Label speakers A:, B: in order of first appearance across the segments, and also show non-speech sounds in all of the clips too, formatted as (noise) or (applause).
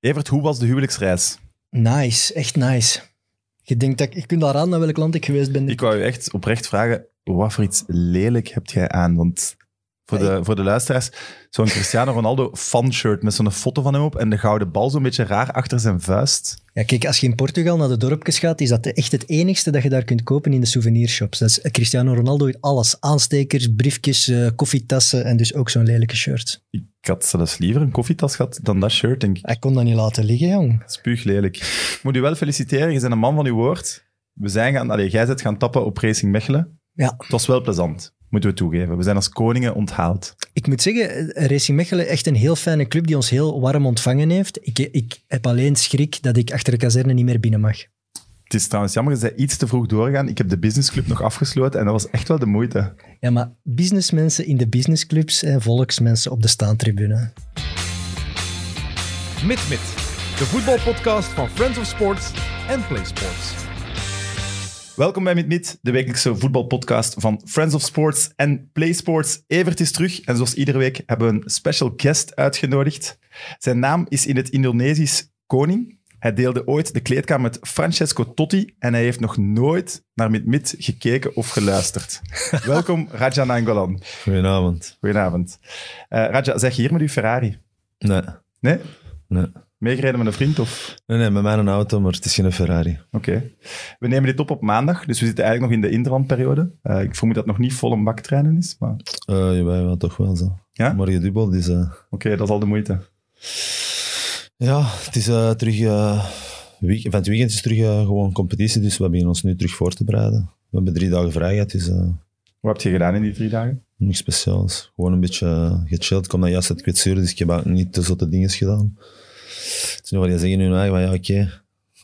A: Evert, hoe was de huwelijksreis?
B: Nice, echt nice. Je denkt dat ik, je kunt al raden naar welk land ik geweest ben.
A: Ik wou je echt oprecht vragen, wat voor iets lelijk heb jij aan? Want voor de, voor de luisteraars, zo'n Cristiano Ronaldo fanshirt met zo'n foto van hem op en de gouden bal zo'n beetje raar achter zijn vuist.
B: Ja, kijk, als je in Portugal naar de dorpjes gaat, is dat de- echt het enigste dat je daar kunt kopen in de souvenirshops. Dat is eh, Cristiano Ronaldo in alles. Aanstekers, briefjes, eh, koffietassen en dus ook zo'n lelijke shirt.
A: Ik had zelfs liever een koffietas gehad dan dat shirt, denk ik.
B: Hij kon dat niet laten liggen, jong.
A: Spuug lelijk. Ik moet u wel feliciteren, je bent een man van uw woord. We zijn gaan, allee, jij bent gaan tappen op Racing Mechelen.
B: Ja.
A: Het was wel plezant, moeten we toegeven. We zijn als koningen onthaald.
B: Ik moet zeggen, eh, Racing Mechelen, echt een heel fijne club die ons heel warm ontvangen heeft. Ik, eh, ik heb alleen schrik dat ik achter de kazerne niet meer binnen mag.
A: Het is trouwens jammer, je zei iets te vroeg doorgaan. Ik heb de businessclub nog afgesloten en dat was echt wel de moeite.
B: Ja, maar businessmensen in de businessclubs en volksmensen op de staantribune.
C: Mit Mit, de voetbalpodcast van Friends of Sports en Play Sports.
A: Welkom bij Mit Mit, de wekelijkse voetbalpodcast van Friends of Sports en Play Sports. Evert is terug en zoals iedere week hebben we een special guest uitgenodigd. Zijn naam is in het Indonesisch Koning. Hij deelde ooit de kleedkamer met Francesco Totti en hij heeft nog nooit naar Mit Mit gekeken of geluisterd. Welkom Raja Nangolan.
D: Goedenavond.
A: Goedenavond. Eh Raja, zeg je hier met uw Ferrari?
D: Nee.
A: Nee?
D: Nee.
A: Meegereden met een vriend of?
D: nee, nee, met mij een auto, maar het is geen Ferrari.
A: Oké. We nemen dit op op maandag, dus we zitten eigenlijk nog in de interlandperiode. Eh, ik vermoed dat het nog niet vol een bak trainen is, maar...
D: Eh jawel, jawel, toch wel zo.
A: Ja?
D: Morgen dubbel, dus... eh,
A: Oké, dat is al de moeite.
D: ja, het is eh, terug... eh, week, van het weekend is terug eh, gewoon competitie, dus we beginnen ons nu terug voor te bereiden. We hebben drie dagen vrij gehad, dus eh,
A: Wat heb je gedaan in die drie dagen?
D: niks speciaals. Gewoon een beetje eh, gechilled. Ik kom dan juist uit kwetsuur, dus ik heb ook niet te zotte dingen gedaan. Dus nu wat je zeggen in hun eigen, van ja, oké,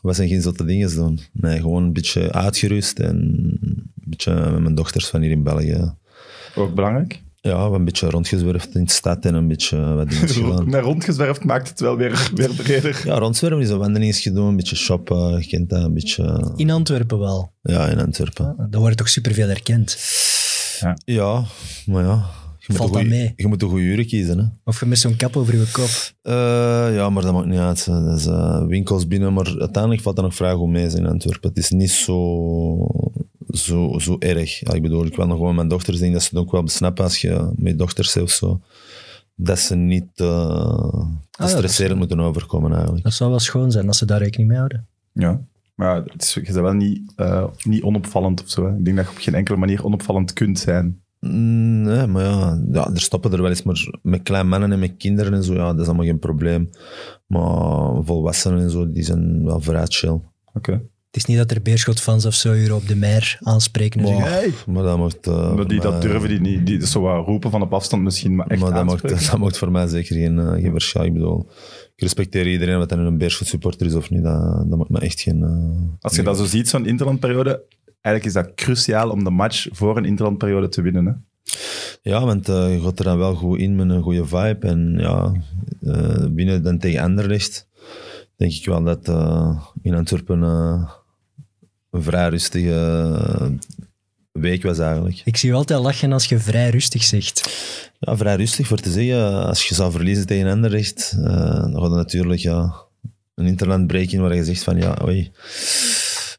D: we zijn geen zotte dingen doen. Nee, gewoon een beetje uitgerust en een beetje met mijn dochters van hier in België...
A: Ook (laughs) belangrijk.
D: Ja, we hebben een beetje rondgezwerfd in de stad en een beetje eh,
B: (laughs)
D: wat dingen gedaan.
A: Naar rondgezwerfd maakt het wel weer, weer breder.
D: Ja, rondzwerven is een wandeling gedaan, een beetje shoppen, je kent dat, een beetje... eh,
B: In Antwerpen wel.
D: Ja, in Antwerpen.
B: Daar wordt toch superveel herkend.
D: Ja, maar ja. Je moet
B: Valt
D: een
B: dat
D: goeie-
B: mee?
D: Je moet een goede uren kiezen, hè.
B: Of je met zo'n kap over je kop.
D: Eh, ja, maar dat maakt niet uit. Dat is eh, winkels binnen, maar uiteindelijk valt dat nog vrij goed mee in Antwerpen. Het is niet zo, zo, zo erg. Ja, ik bedoel, ik wil nog gewoon mijn dochters denk dat ze het ook wel besnappen als je met dochters zit of zo. Dat ze niet eh te
B: Ah dat is-
D: stresserend moeten overkomen eigenlijk.
B: Dat zou wel schoon zijn als ze daar rekening mee houden.
A: Ja. Maar ja, het is, je bent wel niet, eh, niet onopvallend of zo. Hè. Ik denk dat je op geen enkele manier onopvallend kunt zijn.
D: Mm, Nee, maar ja, ja, er stoppen er wel eens, maar met kleine mannen en met kinderen en zo, ja, dat is allemaal geen probleem. Maar volwassenen en zo, die zijn wel vrij chill.
A: Oké.
B: Het is niet dat er beerschotfans of zo hier op de mer aanspreken. Dus en zeggen,
A: Hey.
D: Maar dat mocht... eh,
A: Maar die,
D: voor
A: dat
D: mij-
A: durven die niet. Die, zo wat roepen van op afstand misschien, maar echt
D: maar dat mocht,
A: aanspreken.
D: dat mocht voor mij zeker geen, eh, geen verschil. Ik bedoel, ik respecteer iedereen wat dan een Beerschot supporter is of niet. Dat, dat maakt me echt geen... eh,
A: Als je dat zo ziet, zo'n interlandperiode, eigenlijk is dat cruciaal om de match voor een interlandperiode te winnen. Hè.
D: Ja, want eh, je gaat er dan wel goed in met een goede vibe. En ja, eh, winnen dan tegen Anderlecht, denk ik wel dat eh, in Antwerpen eh, een vrij rustige eh, week was eigenlijk.
B: Ik zie je altijd lachen als je vrij rustig zegt.
D: Ja, vrij rustig voor te zeggen. Als je zou verliezen tegen Anderlecht, eh, dan gaat er natuurlijk ja, een interland break in waar je zegt van ja, oei,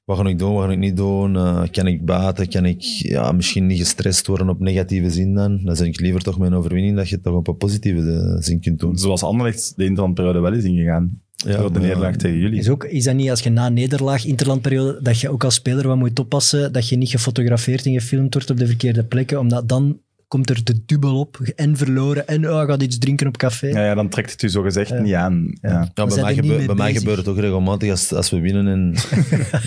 D: wat ga ik doen, wat ga ik niet doen? Eh, kan ik baten? Kan ik ja, misschien niet gestrest worden op negatieve zin dan? Dan zeg ik liever toch mijn overwinning dat je het toch op een positieve eh, zin kunt doen.
A: Zoals Anderlecht de interlandperiode wel is ingegaan.
D: Ja,
A: door de
D: maar-
A: nederlaag tegen jullie.
B: Is, ook, is dat niet als je na nederlaag, interlandperiode, dat je ook als speler wat moet oppassen, dat je niet gefotografeerd en gefilmd wordt op de verkeerde plekken, omdat dan komt er de dubbel op en verloren en oh, gaat iets drinken op café.
A: Ja, ja, dan trekt het u zo gezegd niet aan. Ja.
D: Ja,
B: We
D: bij
B: zijn
D: mij,
B: er niet
D: gebe-
B: mee
D: bij mij
B: bezig.
D: gebeurt het ook regelmatig als, als we winnen
B: (laughs)
D: en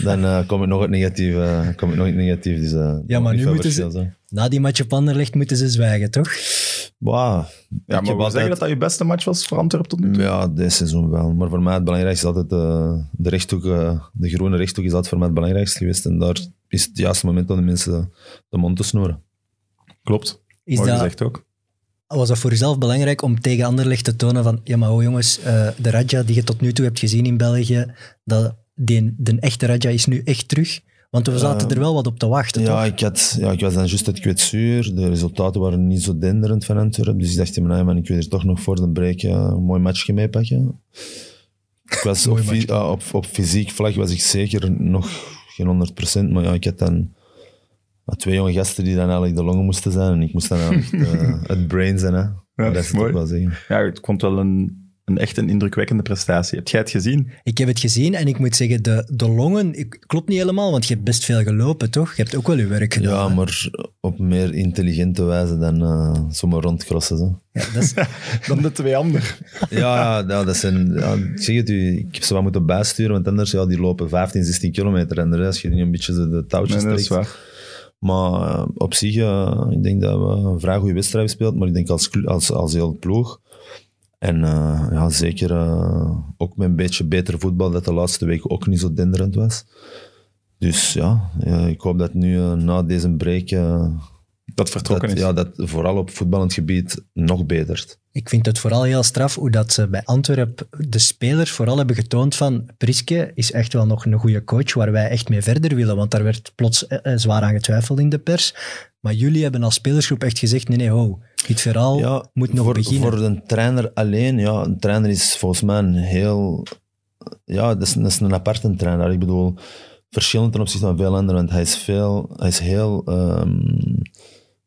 D: dan eh, kom ik nog het negatief. eh, kom ik nog het negatief dus, eh,
B: Ja,
D: nog
B: maar
D: niet
B: nu
D: veel
B: moeten
D: verschil,
B: ze,
D: zo.
B: na die match op Anderlecht moeten ze zwijgen, toch?
D: Wauw.
A: Ja,
D: Ik
A: maar
D: heb
A: we zeggen
D: altijd-
A: dat dat je beste match was voor Antwerpen tot nu toe?
D: Ja, dit seizoen wel. Maar voor mij het belangrijkste is altijd eh, de rechthoek. eh, de groene rechthoek is altijd voor mij het belangrijkste geweest. En daar is het juiste moment om de mensen de mond te snoeren.
A: Klopt.
B: Is
A: Mooi
B: dat,
A: gezegd ook.
B: was dat voor jezelf belangrijk om tegen Anderlecht te tonen van, ja maar oh jongens, eh, de Raja die je tot nu toe hebt gezien in België, dat, die, de echte Raja is nu echt terug? Want we zaten er wel wat op te wachten,
D: Ja
B: toch?
D: ik, had, ja, ik was dan juist uit kwetsuur. De resultaten waren niet zo denderend van Antwerpen. Dus ik dacht in mijn eigen man, ik wil er toch nog voor de break eh, een mooi matchje mee pakken. was op,
B: Mooi
D: fy- ah, op, op fysiek vlak was ik zeker nog geen 100%, maar ja, ik had dan ah, twee jonge gasten die dan eigenlijk de longen moesten zijn en ik moest dan eigenlijk eh, het brain zijn. Hè.
A: dat
D: dat
A: is
D: is het ook
A: mooi.
D: wel zeggen.
A: Ja, het komt wel een, een echt een indrukwekkende prestatie. Heb jij het gezien?
B: Ik heb het gezien en ik moet zeggen, de, de longen, ik, klopt niet helemaal, want je hebt best veel gelopen, toch? Je hebt ook wel je werk gedaan.
D: Ja,
B: hè?
D: maar op meer intelligente wijze dan eh, zomaar rondcrossen. Zo.
B: Ja, dat is,
A: Dan de twee anderen.
D: Ja, ja, ja, dat zijn, ja, ik zeg het u, ik heb ze wat moeten bijsturen, want anders ja, die lopen 15, 16 kilometer en de rest, als je die een beetje de, de touwtjes
A: Nee, dat is
D: trekt.
A: waar.
D: Maar eh, op zich, eh, ik denk dat we een vrij goede wedstrijd hebben gespeeld, maar ik denk als, clu- als, als heel ploeg. En eh, ja, zeker eh, ook met een beetje beter voetbal, dat de laatste weken ook niet zo denderend was. Dus ja, eh, ik hoop dat nu eh, na deze break... eh,
A: Dat vertrokken
D: dat,
A: is.
D: Ja, dat vooral op voetballend gebied nog betert.
B: ik vind het vooral heel straf hoe dat ze bij Antwerp de spelers vooral hebben getoond van Priske is echt wel nog een goede coach waar wij echt mee verder willen, want daar werd plots eh, eh, zwaar aan getwijfeld in de pers. Maar jullie hebben als spelersgroep echt gezegd, nee, nee, ho, dit verhaal moet nog
D: voor,
B: beginnen.
D: Voor een trainer alleen, ja, een trainer is volgens mij een heel... Ja, dat is, dat is een aparte trainer. Ik bedoel, verschillend ten opzichte van veel anderen, want hij is, veel, hij is heel ehm,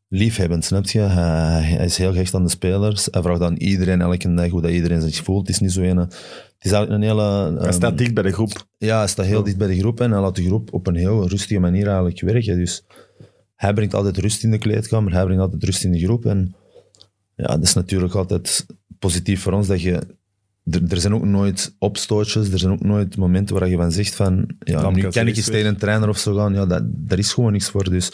D: liefhebbend, snap je? Hij, hij is heel gehecht aan de spelers. Hij vraagt aan iedereen elke dag hoe dat iedereen zich voelt. Het is niet zo een... Het is eigenlijk een hele...
A: Hij
D: ehm,
A: staat dicht bij de groep.
D: Ja, hij staat heel dicht bij de groep en hij laat de groep op een heel rustige manier eigenlijk werken. Dus hij brengt altijd rust in de kleedkamer, hij brengt altijd rust in de groep. En ja, dat is natuurlijk altijd positief voor ons dat je... Er, er zijn ook nooit opstootjes, er zijn ook nooit momenten waar je van zegt van... Ja,
A: Lamke
D: nu kan
A: is
D: ik eens tegen een trainer of zo gaan. Ja, dat, daar is gewoon niks voor. Dus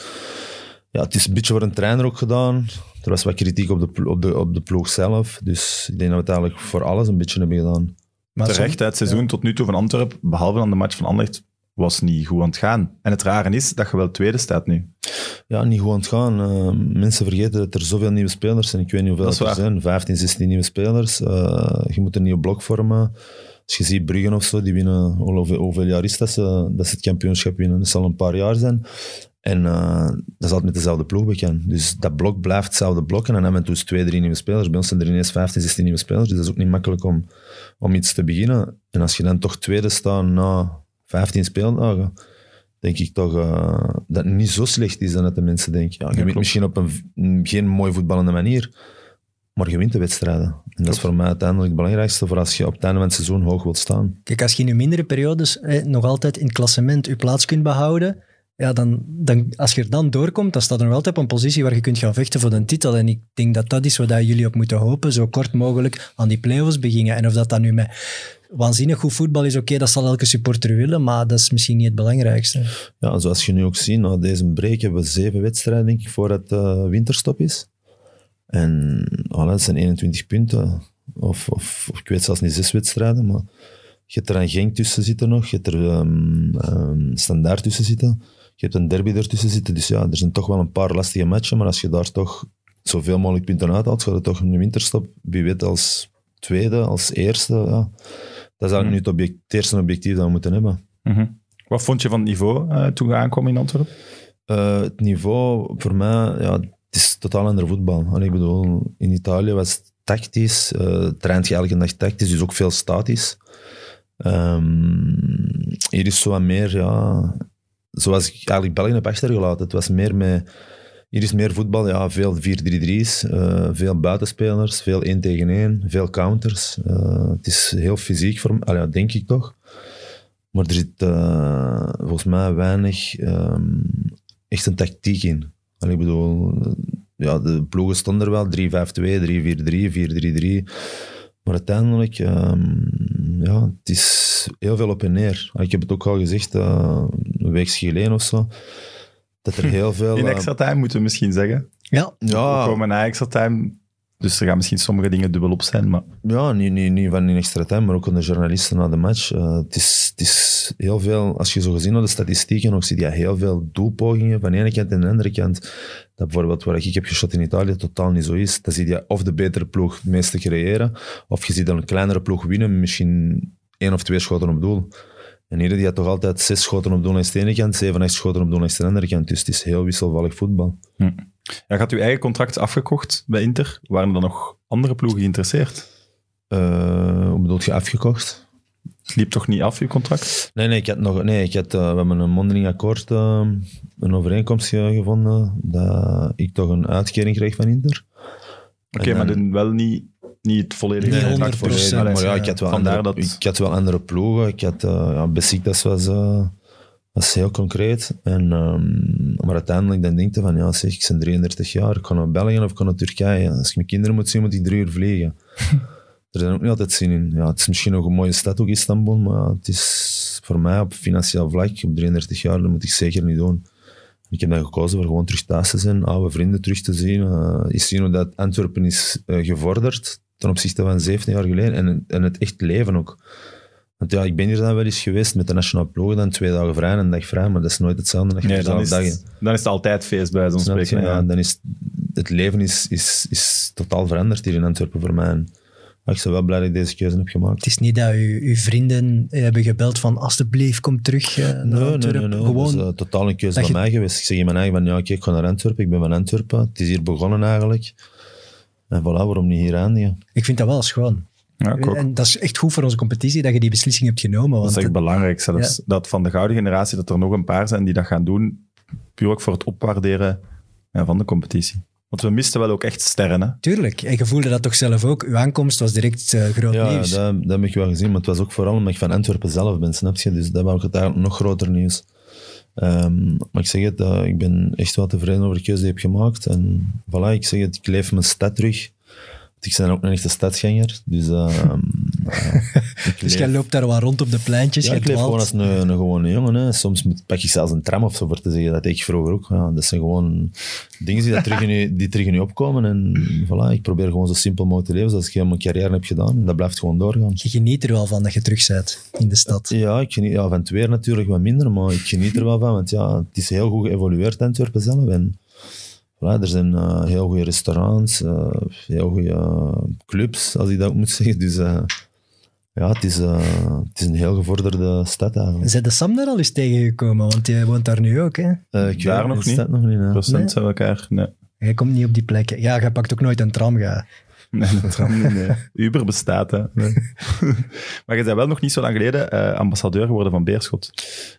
D: ja, het is een beetje voor een trainer ook gedaan. Er was wat kritiek op de, plo- op de, op de ploeg zelf. Dus ik denk dat we het eigenlijk voor alles een beetje hebben gedaan.
B: Maar soms-
A: Terecht, hè, het seizoen tot nu toe van Antwerpen, behalve dan de match van Anderlecht, was niet goed aan het gaan. En het rare is dat je wel tweede staat nu.
D: Ja, niet goed aan het gaan. Eh, mensen vergeten dat er zoveel nieuwe spelers zijn. Ik weet niet hoeveel
A: Dat is
D: het er
A: waar.
D: zijn. 15, 16 nieuwe spelers. Eh, je moet een nieuw blok vormen. Als je ziet Bruggen of zo, die winnen... Hoeveel, hoeveel jaar is dat ze, dat ze het kampioenschap winnen? Dat zal een paar jaar zijn. En eh, dat is altijd met dezelfde ploeg bekend. Dus dat blok blijft hetzelfde blok. En dan hebben we dus twee, drie nieuwe spelers. Bij ons zijn er ineens 15, 16 nieuwe spelers. Dus dat is ook niet makkelijk om, om iets te beginnen. En als je dan toch tweede staat na 15 speeldagen denk ik toch eh, dat het niet zo slecht is dan dat de mensen denken. Ja, je wint
A: klopt.
D: misschien op een, v- m, geen mooi voetballende manier, maar je wint de wedstrijden. En dat is voor mij uiteindelijk het belangrijkste voor als je op het einde van het seizoen hoog wilt staan.
B: Kijk, als je in je mindere periodes eh, nog altijd in het klassement je plaats kunt behouden, ja, dan, dan, als je er dan doorkomt, dan staat er nog altijd op een positie waar je kunt gaan vechten voor de titel. En ik denk dat dat is waar dat jullie op moeten hopen, zo kort mogelijk aan die play-offs beginnen. En of dat dan nu met waanzinnig goed voetbal is, oké, dat zal elke supporter willen, maar dat is misschien niet het belangrijkste.
D: Ja, zoals je nu ook ziet, na deze break hebben we zeven wedstrijden, denk ik, voordat de winterstop is. En voilà, dat zijn 21 punten. Of, of, of ik weet zelfs niet zes wedstrijden, maar je hebt er een Genk tussen zitten nog, je hebt er ehm, ehm, Standaard tussen zitten, je hebt een derby ertussen zitten. Dus ja, er zijn toch wel een paar lastige matchen, maar als je daar toch zoveel mogelijk punten uithaalt, gaat het toch in de winterstop, wie weet, als tweede, als eerste. Ja. Dat is eigenlijk nu het, object- het eerste objectief dat we moeten hebben.
A: Mhm. Wat vond je van het niveau eh, toen je aankwam in Antwerpen?
D: Eh, het niveau voor mij, ja, het is totaal ander voetbal. En ik bedoel, in Italië was het tactisch, eh traint je elke dag tactisch, dus ook veel statisch. Ehm, hier is zo wat meer, ja, zoals ik eigenlijk België heb achtergelaten. Het was meer met, hier is meer voetbal, ja, veel 4-3-3's, eh, veel buitenspelers, veel 1 tegen 1, veel counters. Eh, het is heel fysiek voor mij, ja, denk ik toch. Maar er zit eh, volgens mij weinig ehm, echt een tactiek in. En ik bedoel, eh, ja, de ploegen stonden er wel, 3-5-2, 3-4-3, 4-3-3. Maar uiteindelijk, ehm, ja, het is heel veel op en neer. En Ik heb het ook al gezegd, eh, een week geleden of zo, dat er heel veel...
A: In
D: eh,
A: extra time moeten we misschien zeggen.
B: Ja,
A: We
D: ja,
A: komen na extra time, dus er gaan misschien sommige dingen dubbel op zijn, maar
D: ja niet, niet, niet van in extra time, maar ook aan de journalisten na de match. Eh, het, is, het is heel veel, als je zo gezien naar de statistieken ook ziet, ja, heel veel doelpogingen van de ene kant en de andere kant. Dat bijvoorbeeld waar ik heb geschot in Italië totaal niet zo is. Dan zie je of de betere ploeg het meeste creëren, of je ziet dan een kleinere ploeg winnen, misschien één of twee schoten op doel. En hier die had toch altijd zes schoten op doel langs de ene kant, zeven, acht schoten op doel langs de andere kant. Dus het is heel wisselvallig voetbal.
A: ja, je had je eigen contract afgekocht bij Inter. Waren er dan nog andere ploegen geïnteresseerd?
D: Eh, hoe bedoel je afgekocht?
A: Het liep toch niet af, uw contract?
D: Nee, nee, ik had nog, nee ik had, eh, we hebben een mondeling akkoord, eh, een overeenkomst ge- gevonden, dat ik toch een uitkering kreeg van Inter.
A: Oké,
D: En
A: maar
D: dan-
A: dan wel niet, niet het volledige
B: Nee,
A: contract
B: 100%.
A: volledig.
B: Allee,
D: Eh, maar ja, ik had wel,
A: vandaar
D: andere,
A: dat-
D: ik
A: (laughs)
D: had wel andere ploegen. Ik had, eh ja, Besiktas was, eh, was heel concreet. En, ehm, maar uiteindelijk dan denk je van, ja zeg, ik ben 33 jaar, ik ga naar België of ik ga naar Turkije. Als ik mijn kinderen moet zien, moet ik drie uur
A: (laughs)
D: vliegen. er zijn ook niet altijd zin in. Ja, het is misschien nog een mooie stad, ook Istanbul, maar het is voor mij op financieel vlak, op 33 jaar, dat moet ik zeker niet doen. Ik heb dan gekozen voor gewoon terug thuis te zijn, oude vrienden terug te zien. eh eens zien hoe dat Antwerpen is eh, gevorderd ten opzichte van 17 jaar geleden. En, en het echt leven ook. Want ja, ik ben hier dan wel eens geweest met de nationale ploeg, dan twee dagen vrij en een dag vrij, maar dat is nooit hetzelfde. als je
A: Nee,
D: op
A: dan is,
D: dezelfde dag in-
A: het, dan is het altijd feest bij zo'n
D: Snap je?
A: spreken.
D: Ja,
A: Ja.
D: dan is het leven is, is, is totaal veranderd hier in Antwerpen voor mij. En, ah, ik ben wel blij dat ik deze keuze heb gemaakt.
B: Het is niet dat u, uw vrienden eh, hebben gebeld van alsjeblieft, kom terug eh, naar
D: Nee, nee, nee,
B: Antwerpen.
D: nee.
B: Gewoon,
D: Dat is eh, totaal een keuze
B: dat
D: van
B: je-
D: mij geweest. Ik zeg in mijn eigen van, ja, oké, ik ga naar Antwerpen, ik ben van Antwerpen. Het is hier begonnen eigenlijk. En voilà, waarom niet hier eindigen?
B: ik vind dat wel schoon.
A: Ja, ik ook.
B: en dat is echt goed voor onze competitie dat je die beslissing hebt genomen.
A: Dat
B: Want
A: is echt belangrijk zelfs. Dat van de gouden generatie, dat er nog een paar zijn die dat gaan doen. Puur ook voor het opwaarderen ja, van de competitie. Want we misten wel ook echt sterren. Hè?
B: Tuurlijk, en je voelde dat toch zelf ook. Uw aankomst was direct eh, groot
D: Ja,
B: nieuws.
D: dat, dat heb ik wel gezien, maar het was ook vooral omdat ik van Antwerpen zelf ben, snap je? Dus dat wou ik het eigenlijk nog groter nieuws. Ehm, maar ik zeg het, eh, ik ben echt wel tevreden over de keuze die ik heb gemaakt. En voilà, ik zeg het, ik leef mijn stad terug. Want Ik ben ook een echte stadsganger,
B: (laughs)
D: dus... ehm, eh, ik
B: Dus
D: leef-
B: jij loopt daar wat rond op de pleintjes.
D: Ja,
B: jij
D: ik leef gewoon
B: dwaalt.
D: als een, een gewone jongen. Hè. Soms moet, pak ik zelfs een tram of zo voor te zeggen. Dat deed ik vroeger ook. Ja, dat zijn gewoon dingen die, dat terug in je, die terug in je opkomen. En voilà, ik probeer gewoon zo simpel mogelijk te leven zoals ik heel mijn carrière heb gedaan. En dat blijft gewoon doorgaan.
B: Je geniet er wel van dat je terug bent in de stad.
D: Ja, ik geniet, ja, van het weer natuurlijk wat minder, maar ik geniet er wel van. Want ja, het is heel goed geëvolueerd, Antwerpen zelf. En voilà, er zijn eh, heel goede restaurants, eh, heel goede eh, clubs, als ik dat ook moet zeggen. Dus eh, ja, het is, eh, het is een heel gevorderde stad eigenlijk.
B: Zijn de Sam daar al eens tegengekomen? Want jij woont daar nu ook, hè?
D: Eh, ik
A: Daar
D: weet
A: nog
D: het,
A: niet.
D: staat nog niet. hè.
A: Procent
B: Nee.
A: zijn we elkaar. Nee.
B: Jij komt niet op die plekken. Ja, jij pakt ook nooit een tram, ga.
A: Nee, dat kan niet,
D: (laughs)
A: nee. Uber bestaat, hè. (laughs) maar je bent wel nog niet zo lang geleden eh, ambassadeur geworden van Beerschot.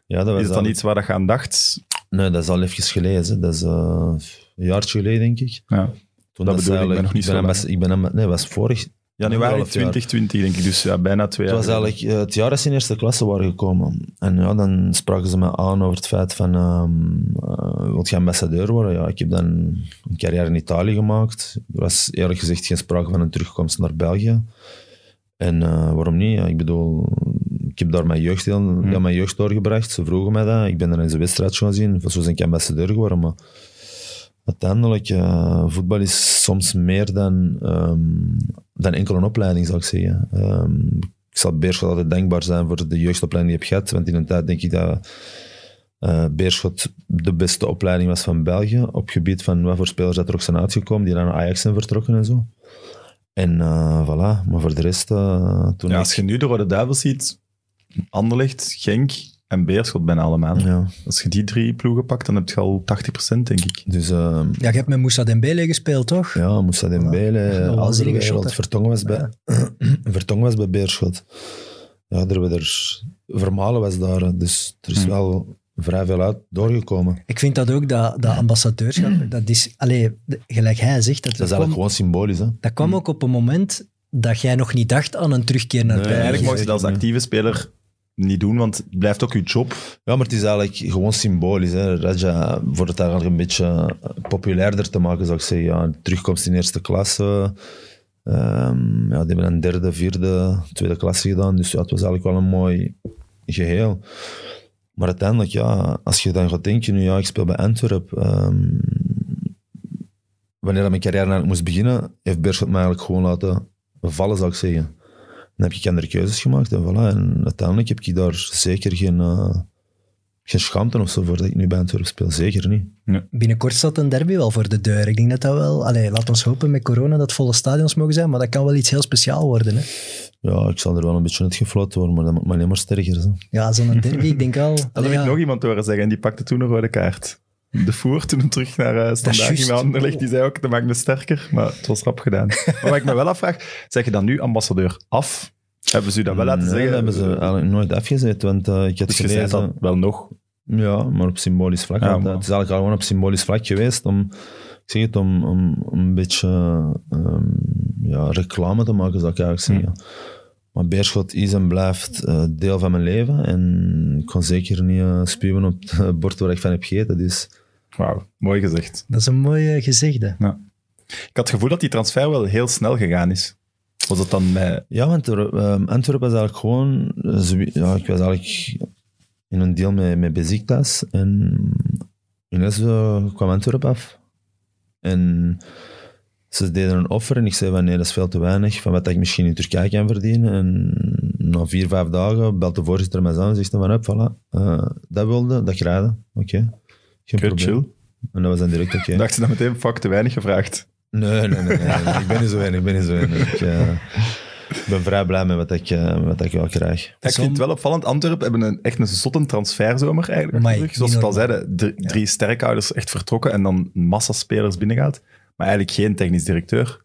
D: Ja, dat was
A: Is het dan
D: al-
A: iets waar dat je aan dacht?
D: Nee, dat is al even geleden. hè. Dat is eh, een jaartje geleden, denk ik.
A: Ja.
D: Toen
A: Dat bedoel ik, ik ben
D: eigenlijk-
A: nog niet
D: ik ben
A: zo lang.
D: ambas- ik ben amb- Nee, was vorig.
A: Januari
D: anderhalf jaar.
A: 2020, denk ik. Dus ja, bijna twee jaar.
D: Het was eigenlijk eh, het jaar dat ze in eerste klasse waren gekomen. En ja, dan spraken ze me aan over het feit van, ehm eh, wil je ambassadeur worden? Ja, ik heb dan een carrière in Italië gemaakt. Er was eerlijk gezegd geen sprake van een terugkomst naar België. En eh, waarom niet? Ja, ik bedoel, ik heb daar mijn jeugd, heel,
A: Hmm.
D: heel mijn jeugd doorgebracht. Ze vroegen mij dat. Ik ben er in zijn wedstrijd gaan zien. Zo ben ik ambassadeur geworden, maar... Uiteindelijk, eh, voetbal is soms meer dan, ehm, dan enkel een opleiding, zou ik zeggen. Ehm, ik zal Beerschot altijd dankbaar zijn voor de jeugdopleiding die ik heb gehad, want in een tijd denk ik dat eh, Beerschot de beste opleiding was van België, op gebied van wat voor spelers dat er ook zijn uitgekomen, die dan naar Ajax zijn vertrokken en zo. En eh, voilà, maar voor de rest, eh, toen
A: Ja,
D: ik-
A: als je nu de Rode Duivels ziet, Anderlecht, Genk en Beerschot bijna allemaal.
D: Ja,
A: Als je die drie ploegen pakt, dan heb je al 80%, denk ik. Eh,
D: dus... ehm,
B: Ja, je hebt met Moussa Dembele gespeeld, toch?
D: Ja, Moussa Dembele,
B: Een waanzinnige
D: Alderwereld,
B: shotter.
D: Vertongen was bij, (clears throat) Vertongen was bij Beerschot. Ja, er hebben er, Vermalen was daar, hè. dus er is
A: Hmm.
D: wel vrij veel uit doorgekomen.
B: Ik vind dat ook, dat, dat ambassadeurschap, dat is... Allee, de- gelijk hij zegt, dat,
D: Dat
B: dat,
D: is eigenlijk
B: kwam,
D: gewoon Mm. symbolisch. Hè.
B: dat kwam ook op een moment dat jij nog niet dacht aan een terugkeer naar
D: Nee,
B: België.
A: eigenlijk mag je dat als
D: nee.
A: actieve speler niet doen, want het blijft ook je job.
D: Ja, maar het is eigenlijk gewoon symbolisch. Hè. Raja, voor het eigenlijk een beetje populairder te maken, zou ik zeggen. Ja, terugkomst in eerste klasse. Ehm, ja, die hebben een derde, vierde, tweede klasse gedaan. Dus ja, het was eigenlijk wel een mooi geheel. Maar uiteindelijk, ja, als je dan gaat denken, nu ja, ik speel bij Antwerpen. ehm, wanneer dat mijn carrière eigenlijk moest beginnen, heeft Beerschot mij eigenlijk gewoon laten vallen, zou ik zeggen. Dan heb ik andere keuzes gemaakt en voilà. En uiteindelijk heb ik daar zeker geen... eh, geen schaamte of zo voor dat ik nu bij Antwerpen speel. Zeker niet.
B: Binnenkort staat een derby wel voor de deur. Ik denk dat dat wel... Allee, laat ons hopen met corona dat volle stadions mogen zijn, maar dat kan wel iets heel speciaal worden, hè.
D: Ja, ik zal er wel een beetje uitgefloten worden, maar dat maakt me alleen maar sterker. Zo.
B: Ja, zo'n derby, ik denk al...
A: (laughs) Dat heb
B: ja,
A: ik nog iemand horen zeggen en die pakte toen een rode kaart. De voer toen hem terug naar eh Standaard
B: juist.
A: ging met Anderlecht, die zei ook,
D: (laughs)
A: dat maakt me sterker. Maar het was rap gedaan. maar wat ik me wel afvraag, zeg je dan nu ambassadeur af? Hebben ze u dat wel laten
D: Nee,
A: zeggen?
D: dat hebben ze eigenlijk nooit afgezet, want eh, ik had
A: Dus je zei
D: gelezen...
A: dat wel nog.
D: Ja, maar op symbolisch vlak.
A: Ja,
D: want, eh,
A: maar-
D: Het is eigenlijk gewoon op symbolisch vlak geweest om, ik zeg het, om, om, om een beetje ehm, ja, reclame te maken, zou ik eigenlijk
A: Hm.
D: zeggen. Maar Beerschot is en blijft eh, deel van mijn leven. En ik kon zeker niet eh, spuwen op het bord waar ik van heb gegeten. Dus
A: Wauw, mooi gezegd.
B: Dat is een mooie gezegde.
A: Ik had het gevoel dat die transfer wel heel snel gegaan is. Was dat dan met...
D: Ja, want er, ehm, Antwerpen was eigenlijk gewoon... eh, zo- ja, ik was eigenlijk in een deal met, met Besiktas. En ineens eh, kwam Antwerpen af. En ze deden een offer en ik zei van nee, dat is veel te weinig. Van wat ik misschien in Turkije kan verdienen. En na vier, vijf dagen belt de voorzitter mij aan en zegt dan van hup, voilà. eh, dat wilde, dat graden. Oké. Geen
A: Oké,
D: probleem.
A: chill.
D: En dat was dan direct oké.
A: Dacht ze dan meteen, fuck, te weinig gevraagd.
D: Nee, nee, nee, nee, nee, nee. Ik ben niet zo weinig, ik ben niet zo weinig. Ik, eh, ik ben vrij blij met wat ik, eh, met wat ik wel krijg.
A: Ja, ik vind het wel opvallend. Antwerpen hebben een, echt een zotte transferzomer eigenlijk.
B: Amai,
A: Terug. Zoals we het al
B: niet normaal.
A: zeiden, dr- drie sterkhouders echt vertrokken en dan een massa spelers binnengaat. Maar eigenlijk geen technisch directeur.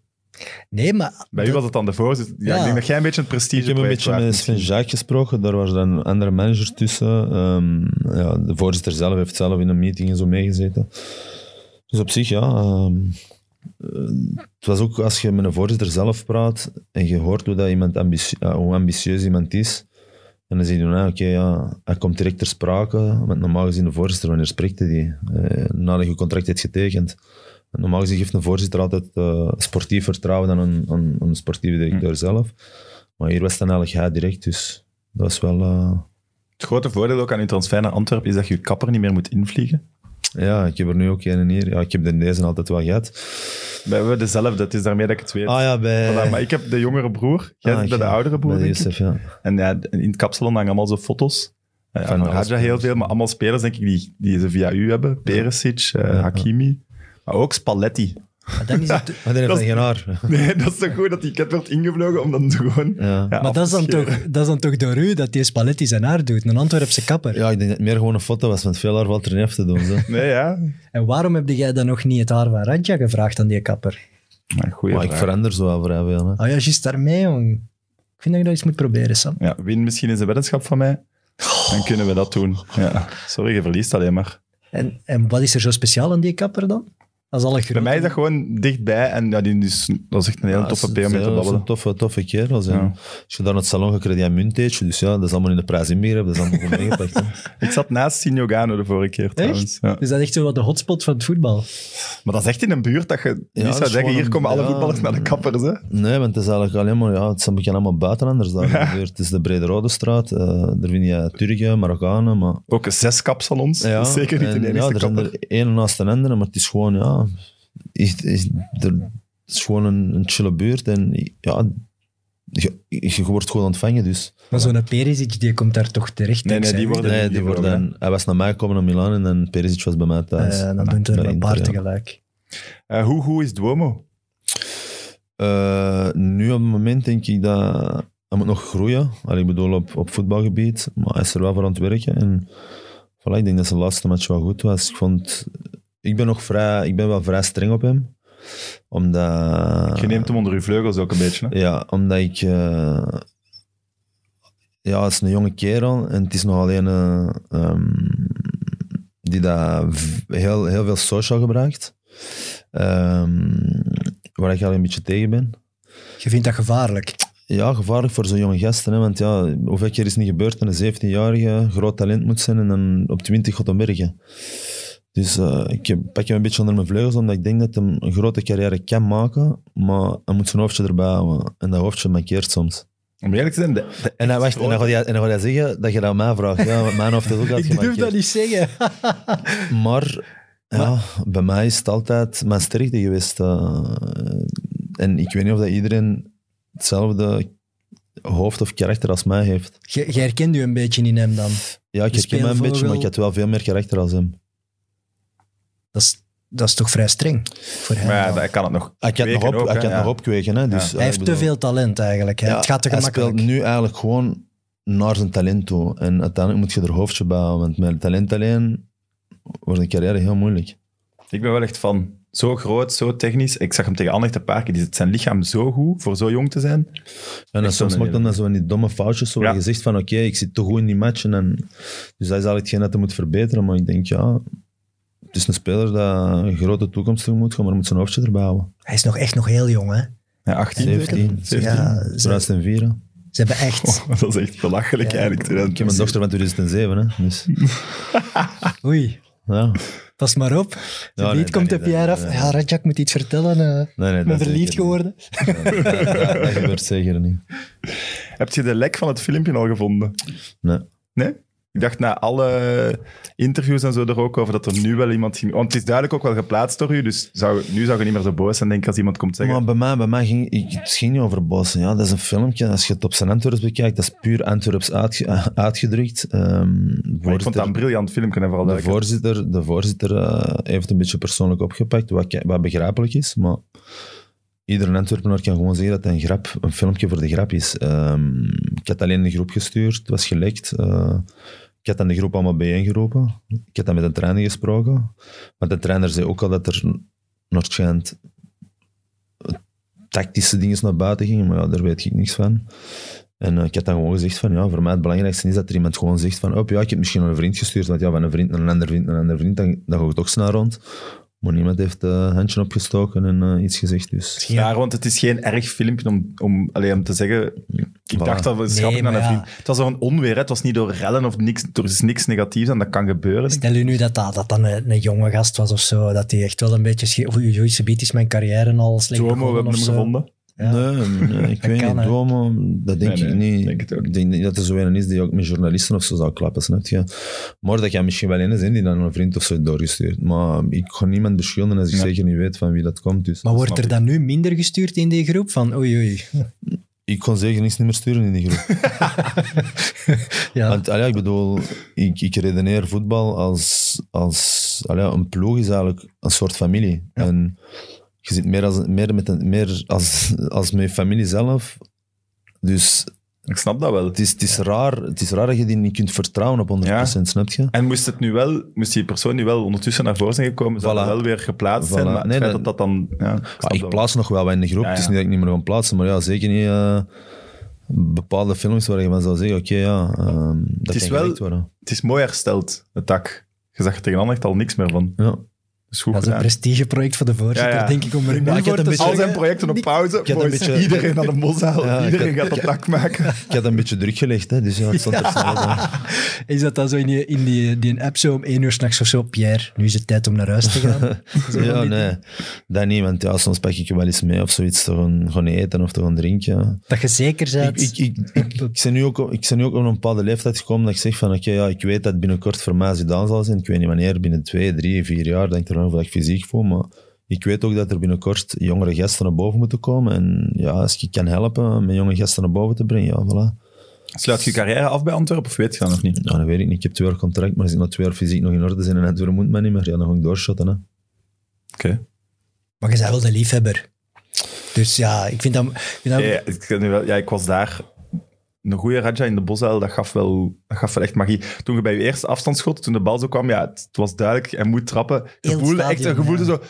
B: Nee, maar...
A: Bij u was het dan de voorzitter. Ja, Ik
B: Ja.
A: denk dat jij een beetje een prestige
D: Ik heb een
A: kwijt
D: beetje
A: waart
D: met
A: misschien.
D: Sven Jacques gesproken, daar was dan een andere manager tussen. Ehm, ja, de voorzitter zelf heeft zelf in een meeting en zo meegezeten. Dus op zich, ja. ehm, eh, het was ook als je met een voorzitter zelf praat en je hoort hoe, dat iemand ambitie- ja, hoe ambitieus iemand is. En dan zie je, nou, oké, ja, hij komt direct ter sprake. Want normaal gezien, de voorzitter, wanneer spreekt hij die? Eh, nadat je contract hebt getekend. En normaal gezien geeft een voorzitter altijd eh, sportief vertrouwen dan een, een, een sportieve directeur zelf. Maar hier was dan eigenlijk hij direct, dus dat was wel... eh,
A: Het grote voordeel ook aan uw transfer naar Antwerpen is dat je je kapper niet meer moet invliegen.
D: ja, ik heb er nu ook één en hier. Ja, ik heb er deze altijd wel gehad.
A: We hebben dezelfde, het is daarmee dat ik het weet.
D: Ah ja, bij...
A: Voilà, maar ik heb de jongere broer, jij
D: Ah,
A: bent bij
D: ja,
A: de oudere broer,
D: bij
A: denk ik.
D: Youssef,
A: (laughs)
D: ja.
A: En ja, in het kapsalon hangen allemaal zo foto's. Eh,
D: Van
A: van
D: alle
A: Raja heel
D: spelers.
A: veel, maar allemaal spelers denk ik die, die ze via u hebben. Perisic, eh,
D: ja.
A: Hakimi, maar ook Spalletti.
B: Maar dan is het,
D: Maar die
A: Dat
D: heeft dan
A: is-
D: geen haar.
A: (laughs) Nee, dat is toch goed dat die ket wordt ingevlogen om dan gewoon...
D: Ja.
A: ja,
B: maar dat, is dan
A: afgeschreven.
B: toch, dat is dan toch door u dat die Spalletti zijn haar doet, een Antwerpse kapper.
D: ja, ik denk dat het meer gewoon een foto was, want veel haar valt er niet af te doen. Zo.
A: Nee, ja.
B: En waarom heb jij dan nog niet het haar van Radja gevraagd aan die kapper?
A: Maar goeie
D: Maar ik
A: vraag.
D: verander zo wel vrij veel. Hè.
B: Oh ja, juist daarmee, jong. Ik vind dat je dat eens moet proberen, Sam.
A: Ja, win misschien eens een weddenschap van mij. Dan kunnen we dat doen. Ja. Sorry, je verliest alleen maar.
B: En, en wat is er zo speciaal aan die kapper dan? Als alle
A: Bij
B: grote-
A: mij is dat gewoon dichtbij. En ja, die is, dat is echt een hele
D: Ah, Ja,
A: toffe
D: ze-
A: P om
D: ze-
A: mee te
D: ze-
A: babbelen.
D: Een toffe, toffe kerels. En
A: Ja.
D: Als je daar naar het salon gaat, krijg je een munteetje. Dus ja, dat is allemaal in de prijs inbegrepen. Dat is allemaal gewoon meegepakt.
A: (laughs)
D: hè.
A: Ik zat naast Signogano de vorige keer trouwens. Ja.
B: Dus dat is echt zo wat de hotspot van het voetbal.
A: Maar dat is echt in een buurt dat je
D: dat
A: niet
D: is
A: zou zeggen,
D: gewoon
A: hier
D: een-
A: komen alle
D: ja,
A: voetballers naar de kappers. Hè?
D: Nee, want het is eigenlijk alleen maar... Ja, het zijn een beetje allemaal buitenlanders daar. Het is de Brede Rode Straat. eh, daar vind je Turken, Marokkanen, maar...
A: Ook zes kapsalons.
D: Ja,
A: dat is zeker niet de
D: en Ja,
A: enige
D: er zijn
A: kapper.
D: er één naast de andere, maar het is gewoon, ja... Echt, echt, er, het is gewoon een, een chille buurt en ja... Je, je wordt gewoon ontvangen, dus...
B: Maar zo'n Perisic, die komt daar toch terecht.
A: Nee, nee,
B: dankzij
A: die
B: u.
A: worden-
D: Nee,
A: die
D: die worden, hij was naar mij gekomen naar Milaan en dan Perisic was bij mij thuis.
B: Eh, dan doen ze er
D: Bij
B: een paar
D: Inter, ja.
B: tegelijk.
A: Eh, hoe, hoe is Duomo?
D: Eh, nu op het moment denk ik dat hij moet nog groeien. Allee, ik bedoel op, op voetbalgebied, maar hij is er wel voor aan het werken. En voilà, ik denk dat zijn laatste match wel goed was. Ik, vond, ik, ben, nog vrij, ik ben wel vrij streng op hem. Omdat...
A: Je neemt hem onder uw vleugels ook een beetje. Hè?
D: Ja, omdat ik... eh, ja, het is een jonge kerel en het is nog alleen... eh, ehm, die daar v- heel, heel veel social gebruikt. Ehm, waar ik al een beetje tegen ben.
B: Je vindt dat gevaarlijk.
D: Ja, gevaarlijk voor zo'n jonge gasten. Hè? Want ja, hoeveel keer is het niet gebeurd dat een 17-jarige groot talent moet zijn en dan op 20 gaat hem merken. Dus eh, ik heb- pak hem een beetje onder mijn vleugels, omdat ik denk dat hij een grote carrière kan maken, maar hij moet zijn hoofdje erbij houden. En dat hoofdje mankeert soms.
A: Om eerlijk te zijn, de, de
D: En dan, wacht, en
A: grote-
D: dan, gaat, hij, en dan gaat hij zeggen dat je dat aan mij vraagt. (laughs) Ja, want mijn hoofd is ook altijd
B: (laughs) Ik durf
D: gemankeerd.
B: dat niet zeggen. (laughs)
D: Maar ja, bij mij is het altijd mijn sterkte geweest. eh. en ik weet niet of dat iedereen hetzelfde hoofd of karakter als mij heeft.
B: Je, je herkent u een beetje in hem dan.
D: Ja, ik
B: Een
D: herken mij een beetje, maar ik
B: speelvogel.
D: had wel veel meer karakter als hem.
B: Dat is, dat is toch vrij streng voor hem.
A: Maar ja,
B: dan.
A: dat kan het nog.
D: Ah, Ik had nog,
A: Kweken
D: op,
A: ook,
D: ik
A: hè,
D: had
A: ja.
D: nog opkweken. Hè, dus,
B: Hij heeft te veel talent eigenlijk. hè. het gaat te
D: hij
B: gemakkelijk.
D: speelt nu eigenlijk gewoon naar zijn talent toe. En uiteindelijk moet je er hoofdje bij houden, want met talent alleen wordt een carrière heel moeilijk.
A: Ik ben wel echt van zo groot, zo technisch. Ik zag hem tegen Anderlecht een paar keer. Die zit zijn lichaam zo goed voor zo jong te zijn.
D: En dan
A: Echt
D: soms
A: zo'n
D: maakt dan dat zo van die domme foutjes, zo
A: Ja.
D: waar je zegt van oké, ik zit te goed in die matchen. En, dus dat is eigenlijk hetgeen dat hij moet verbeteren. Maar ik denk ja, het is een speler dat een grote toekomst tegemoet gaat, maar moet zijn hoofdje erbij houden.
B: Hij is nog echt nog heel jong, hè.
A: Ja, 18
D: 17.
A: zeker? 17.
B: Ja, ze,
D: 2004. hè.
B: ze hebben
D: (laughs)
B: echt...
A: (laughs)
D: Oh.
A: Dat is echt belachelijk
B: Ja.
A: eigenlijk.
D: Ik heb een dochter van 2007, hè. Dus,
B: Oei,
D: ja.
B: pas maar op.
D: Ja,
B: Ja,
D: nee,
B: komt de
D: dat niet,
B: Pierre
D: dat
B: af.
D: niet,
B: Ja, Rajak moet iets vertellen. eh ik
D: Nee, nee,
B: ben
D: dat zeker
B: verliefd
D: niet.
B: geworden.
D: Nee, dat, dat- dat gebeurt zeker niet.
A: Heb je de lek van het filmpje al gevonden?
D: Nee.
A: Nee? Ik dacht na alle interviews en zo er ook over dat er nu wel iemand ging... Want het is duidelijk ook wel geplaatst door u, dus zou, nu zou je niet meer zo boos zijn, denk ik, als iemand komt zeggen...
D: Maar bij mij, bij mij ging ik, het ging niet over bossen. Ja, dat is een filmpje. Als je het op zijn Antwerps bekijkt, dat is puur Antwerps uitge- eh, uitgedrukt. Ehm,
A: Maar ik vond
D: voorzitter-
A: dat een briljant filmpje, en vooral dat
D: De
A: ik het-
D: voorzitter, de voorzitter eh, heeft het een beetje persoonlijk opgepakt, wat, ke- wat begrijpelijk is, maar iedere Antwerpenaar kan gewoon zeggen dat het een grap, een filmpje voor de grap is. Ehm, ik had alleen de groep gestuurd, het was gelekt. eh, ik had aan de groep allemaal bijeengeroepen. Ik had dan met een trainer gesproken. Want de trainer zei ook al dat er naar het schijnt eh, tactische dingen naar buiten gingen, maar ja, daar weet ik niks van. En eh, ik had dan gewoon gezegd van, ja, voor mij het belangrijkste is dat er iemand gewoon zegt van, oh ja, ik heb misschien een vriend gestuurd, want ja, van een vriend naar een ander vriend naar een ander vriend, dan, dan ga ik toch snel rond. Maar niemand heeft eh, een handje opgestoken en eh, iets gezegd, dus...
A: Ja, want het is geen erg filmpje om, om, alleen om te zeggen. Ik
D: Voilà.
A: dacht dat we
B: Nee,
A: schrappen aan
B: maar
A: een
B: ja.
A: vriend. Het was zo'n onweer, hè. het was niet door rellen of niks. Er is niks negatiefs en dat kan gebeuren.
B: Stel u nu dat dat, dat dan een, een jonge gast was of zo, dat hij echt wel een beetje... schi- Of oei, oei, subiet is mijn carrière al slecht
A: Duomo, we
B: begonnen
A: hebben
B: of
A: hem
B: zo.
A: gevonden.
B: Ja.
D: Nee, nee, ik
B: Dat
D: weet
B: kan, hè.
D: niet. Duomo, dat denk
A: Nee,
D: ik
A: nee,
D: niet.
A: denk het ook
D: Ik denk niet dat er zo een is die ook met journalisten of zo zou klappen, snap je? Maar dat kan misschien wel een zijn die dan een vriend of zo heeft doorgestuurd. Maar ik ga niemand beschuldigen als ik
A: Ja.
D: zeker niet weet van wie dat komt. Dus
B: Maar wordt
A: snap
B: er
A: ik.
B: dan nu minder gestuurd in die groep? Van oei, oei.
D: ik kon zeker niks niet meer sturen in die groep.
B: Ja,
D: Want allee, ik bedoel, ik, ik redeneer voetbal als, als allee, een ploeg is eigenlijk een soort familie. En je zit meer, als, meer, met een, meer als, als met je familie zelf. Dus
A: Ik snap dat wel.
D: het is, het, is raar, het is raar dat je die niet kunt vertrouwen op 100%, snap je?
A: En moest, het nu wel, moest die persoon nu wel ondertussen naar voren zijn gekomen, zou
D: Voilà.
A: dat wel weer geplaatst
D: Voilà.
A: zijn. Maar het
D: Nee,
A: feit dat
D: dan-
A: dat dan... Ja, ik snap
D: Ah, ik
A: dat
D: plaats nog wel wat in de groep.
A: Ja,
D: Het is
A: ja.
D: niet dat ik niet meer ga plaatsen, maar ja, zeker niet eh, bepaalde films waar je van zou zeggen, oké, ja, ehm, dat
A: is
D: kan
A: wel-
D: gelikt worden.
A: wel. Het is mooi hersteld, het dak. Je zag er tegen echt al niks meer van.
D: Ja.
A: Dat is goed
B: dat is een
A: gedaan.
B: prestigeproject voor de voorzitter,
A: Ja, ja.
B: denk ik. Om er
A: Nu
B: nu voor
A: wordt
B: te
A: het al zijn
B: zeggen.
A: projecten op pauze.
D: had een
A: Boys,
D: beetje-
A: Iedereen aan de moshaal.
D: Ja, ik
A: iedereen
D: had-
A: gaat dat dak maken.
D: Ik had een beetje druk gelegd, hè, dus ja, het stond er snel op, hè.
B: Is dat dan zo in die, in die, die app zo om één uur s'nachts of zo? Pierre, nu is het tijd om naar huis te
A: (laughs)
B: gaan. Zo van
D: ja,
B: die
D: nee. Dat niet, want ja, soms pak ik je wel eens mee of zoiets te gaan, gaan eten of te gaan drinken.
B: Dat je zeker
D: Ik,
B: bent.
D: ik, ik,
B: (laughs)
D: ik, ik ben nu ook, ik ben nu ook op een bepaalde leeftijd gekomen dat ik zeg van oké, ja, ik weet dat binnenkort voor mij gedaan zal zijn. Ik weet niet wanneer, binnen twee, drie, vier jaar, denk ik er nog dat ik fysiek voel, maar ik weet ook dat er binnenkort jongere gasten naar boven moeten komen. En ja, als ik kan helpen met jonge gasten naar boven te brengen, ja, voilà.
A: (laughs) Sluit je carrière af bij Antwerpen of weet je dat nog niet?
D: Ja, dat weet ik niet. Ik heb twee jaar contract, maar als ik nog twee jaar fysiek nog in orde zijn en het weer moet men niet meer, ja, dan ga ik doorshotten, hè.
A: Oké.
B: Maar je bent wel de liefhebber. Dus ja, ik vind dat... ik vind dat-
A: Ja, ja, ik, weet nu wel, ja, ik was daar. Een goede Raja in de Bosuil, dat gaf, wel, dat gaf wel echt magie. Toen je bij je eerste afstandsschot, toen de bal zo kwam, ja, het, het was duidelijk, hij moet trappen. Je
B: Heel het
A: voelde echt,
B: stadion,
A: je voelde
B: ja.
A: zo...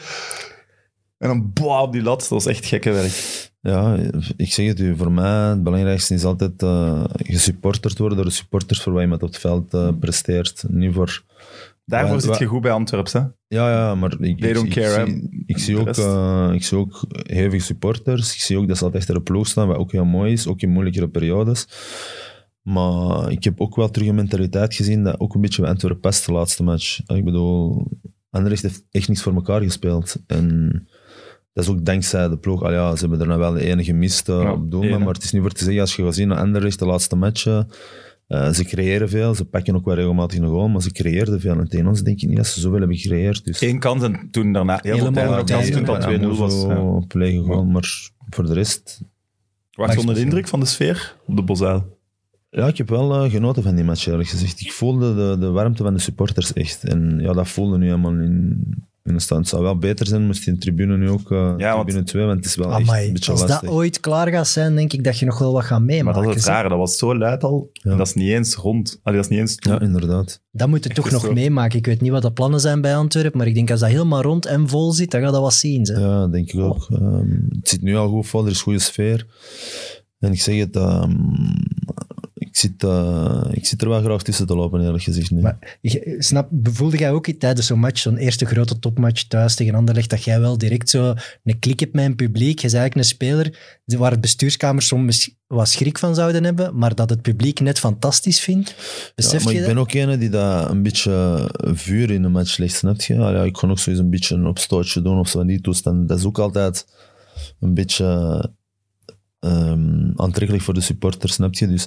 A: En dan boah op die lat, dat was echt gekke werk.
D: Ja, ik zeg het u, voor mij het belangrijkste is altijd eh gesupporterd worden door de supporters voor wat iemand op het veld eh, presteert. Niet voor...
A: Daarvoor
D: Wa-
A: zit je
D: wa-
A: goed bij Antwerps, hè?
D: Ja, ja, maar ik,
A: They
D: ik,
A: don't
D: ik
A: care, hè.
D: zie, ik,
A: De
D: zie ook,
A: rest.
D: eh, ik zie ook hevige supporters. Ik zie ook dat ze altijd achter de ploeg staan, wat ook heel mooi is, ook in moeilijkere periodes. Maar ik heb ook wel terug een mentaliteit gezien dat ook een beetje bij Antwerpen past de laatste match. Ik bedoel, Anderlecht heeft echt niets voor elkaar gespeeld. En dat is ook dankzij de ploeg. Al ja, ze hebben er nou wel de ene gemist eh,
A: Ja,
D: op
A: ene.
D: Doelman, maar het is niet voor te zeggen, als je gaat zien naar Anderlecht, de laatste matchen, eh, ze creëren veel, ze pakken ook wel regelmatig een goal, maar ze creëerden veel. En tegen ons denk ik niet dat ze zoveel hebben gecreëerd. Dus
A: Eén kans en toen daarna helemaal
B: Helemaal
A: tijd nog
B: op
A: kans
B: tijd,
A: toen dat 2-0 was.
D: Zo
A: Ja.
D: op lege goal, maar voor de rest...
A: Wacht onder de
D: Max-
A: indruk van de sfeer op de Bosuil.
D: Ja, ik heb wel eh, genoten van die match, eerlijk gezegd. Ik voelde de, de warmte van de supporters echt. En ja, dat voelde nu helemaal in, in de stand. Het zou wel beter zijn, moest die tribune nu ook, eh
A: Ja, want-
D: tribune 2, want het is wel echt
B: Amai,
D: een beetje
B: als
D: lastig.
B: dat ooit klaar gaat zijn, denk ik dat je nog wel wat gaat
A: Maar
B: meemaken.
A: dat is het
B: zeg.
A: rare, dat was zo luid al.
D: Ja.
A: En dat is niet eens rond. Allee, dat is niet eens toe.
D: Ja, inderdaad.
B: Dat moet je
A: Echt
B: toch
A: een
B: nog
A: soort-
B: meemaken. Ik weet niet wat de plannen zijn bij Antwerpen, maar ik denk als dat helemaal rond en vol zit, dan gaat dat wat zien. Hè.
D: Ja, denk ik ook. Ehm, het zit nu al goed vol, er is goede sfeer. En ik zeg het, ehm, ik, zit, eh, ik zit er wel graag tussen te lopen, eerlijk gezegd. Nu.
B: Maar je- snap, voelde jij ook tijdens zo'n match, zo'n eerste grote topmatch thuis tegen Anderlecht, dat jij wel direct zo een klik hebt met een publiek? Je is eigenlijk een speler waar het bestuurskamer soms wat schrik van zouden hebben, maar dat het publiek net fantastisch vindt. Besef
D: ja, maar
B: je
D: ik
B: dat?
D: ben ook een die dat een beetje eh, vuur in een match legt, snap je? Allee, ik kon ook sowieso een beetje een opstootje doen of zo in die toestand. Dat is ook altijd een beetje ehm, aantrekkelijk voor de supporters, snap je? Dus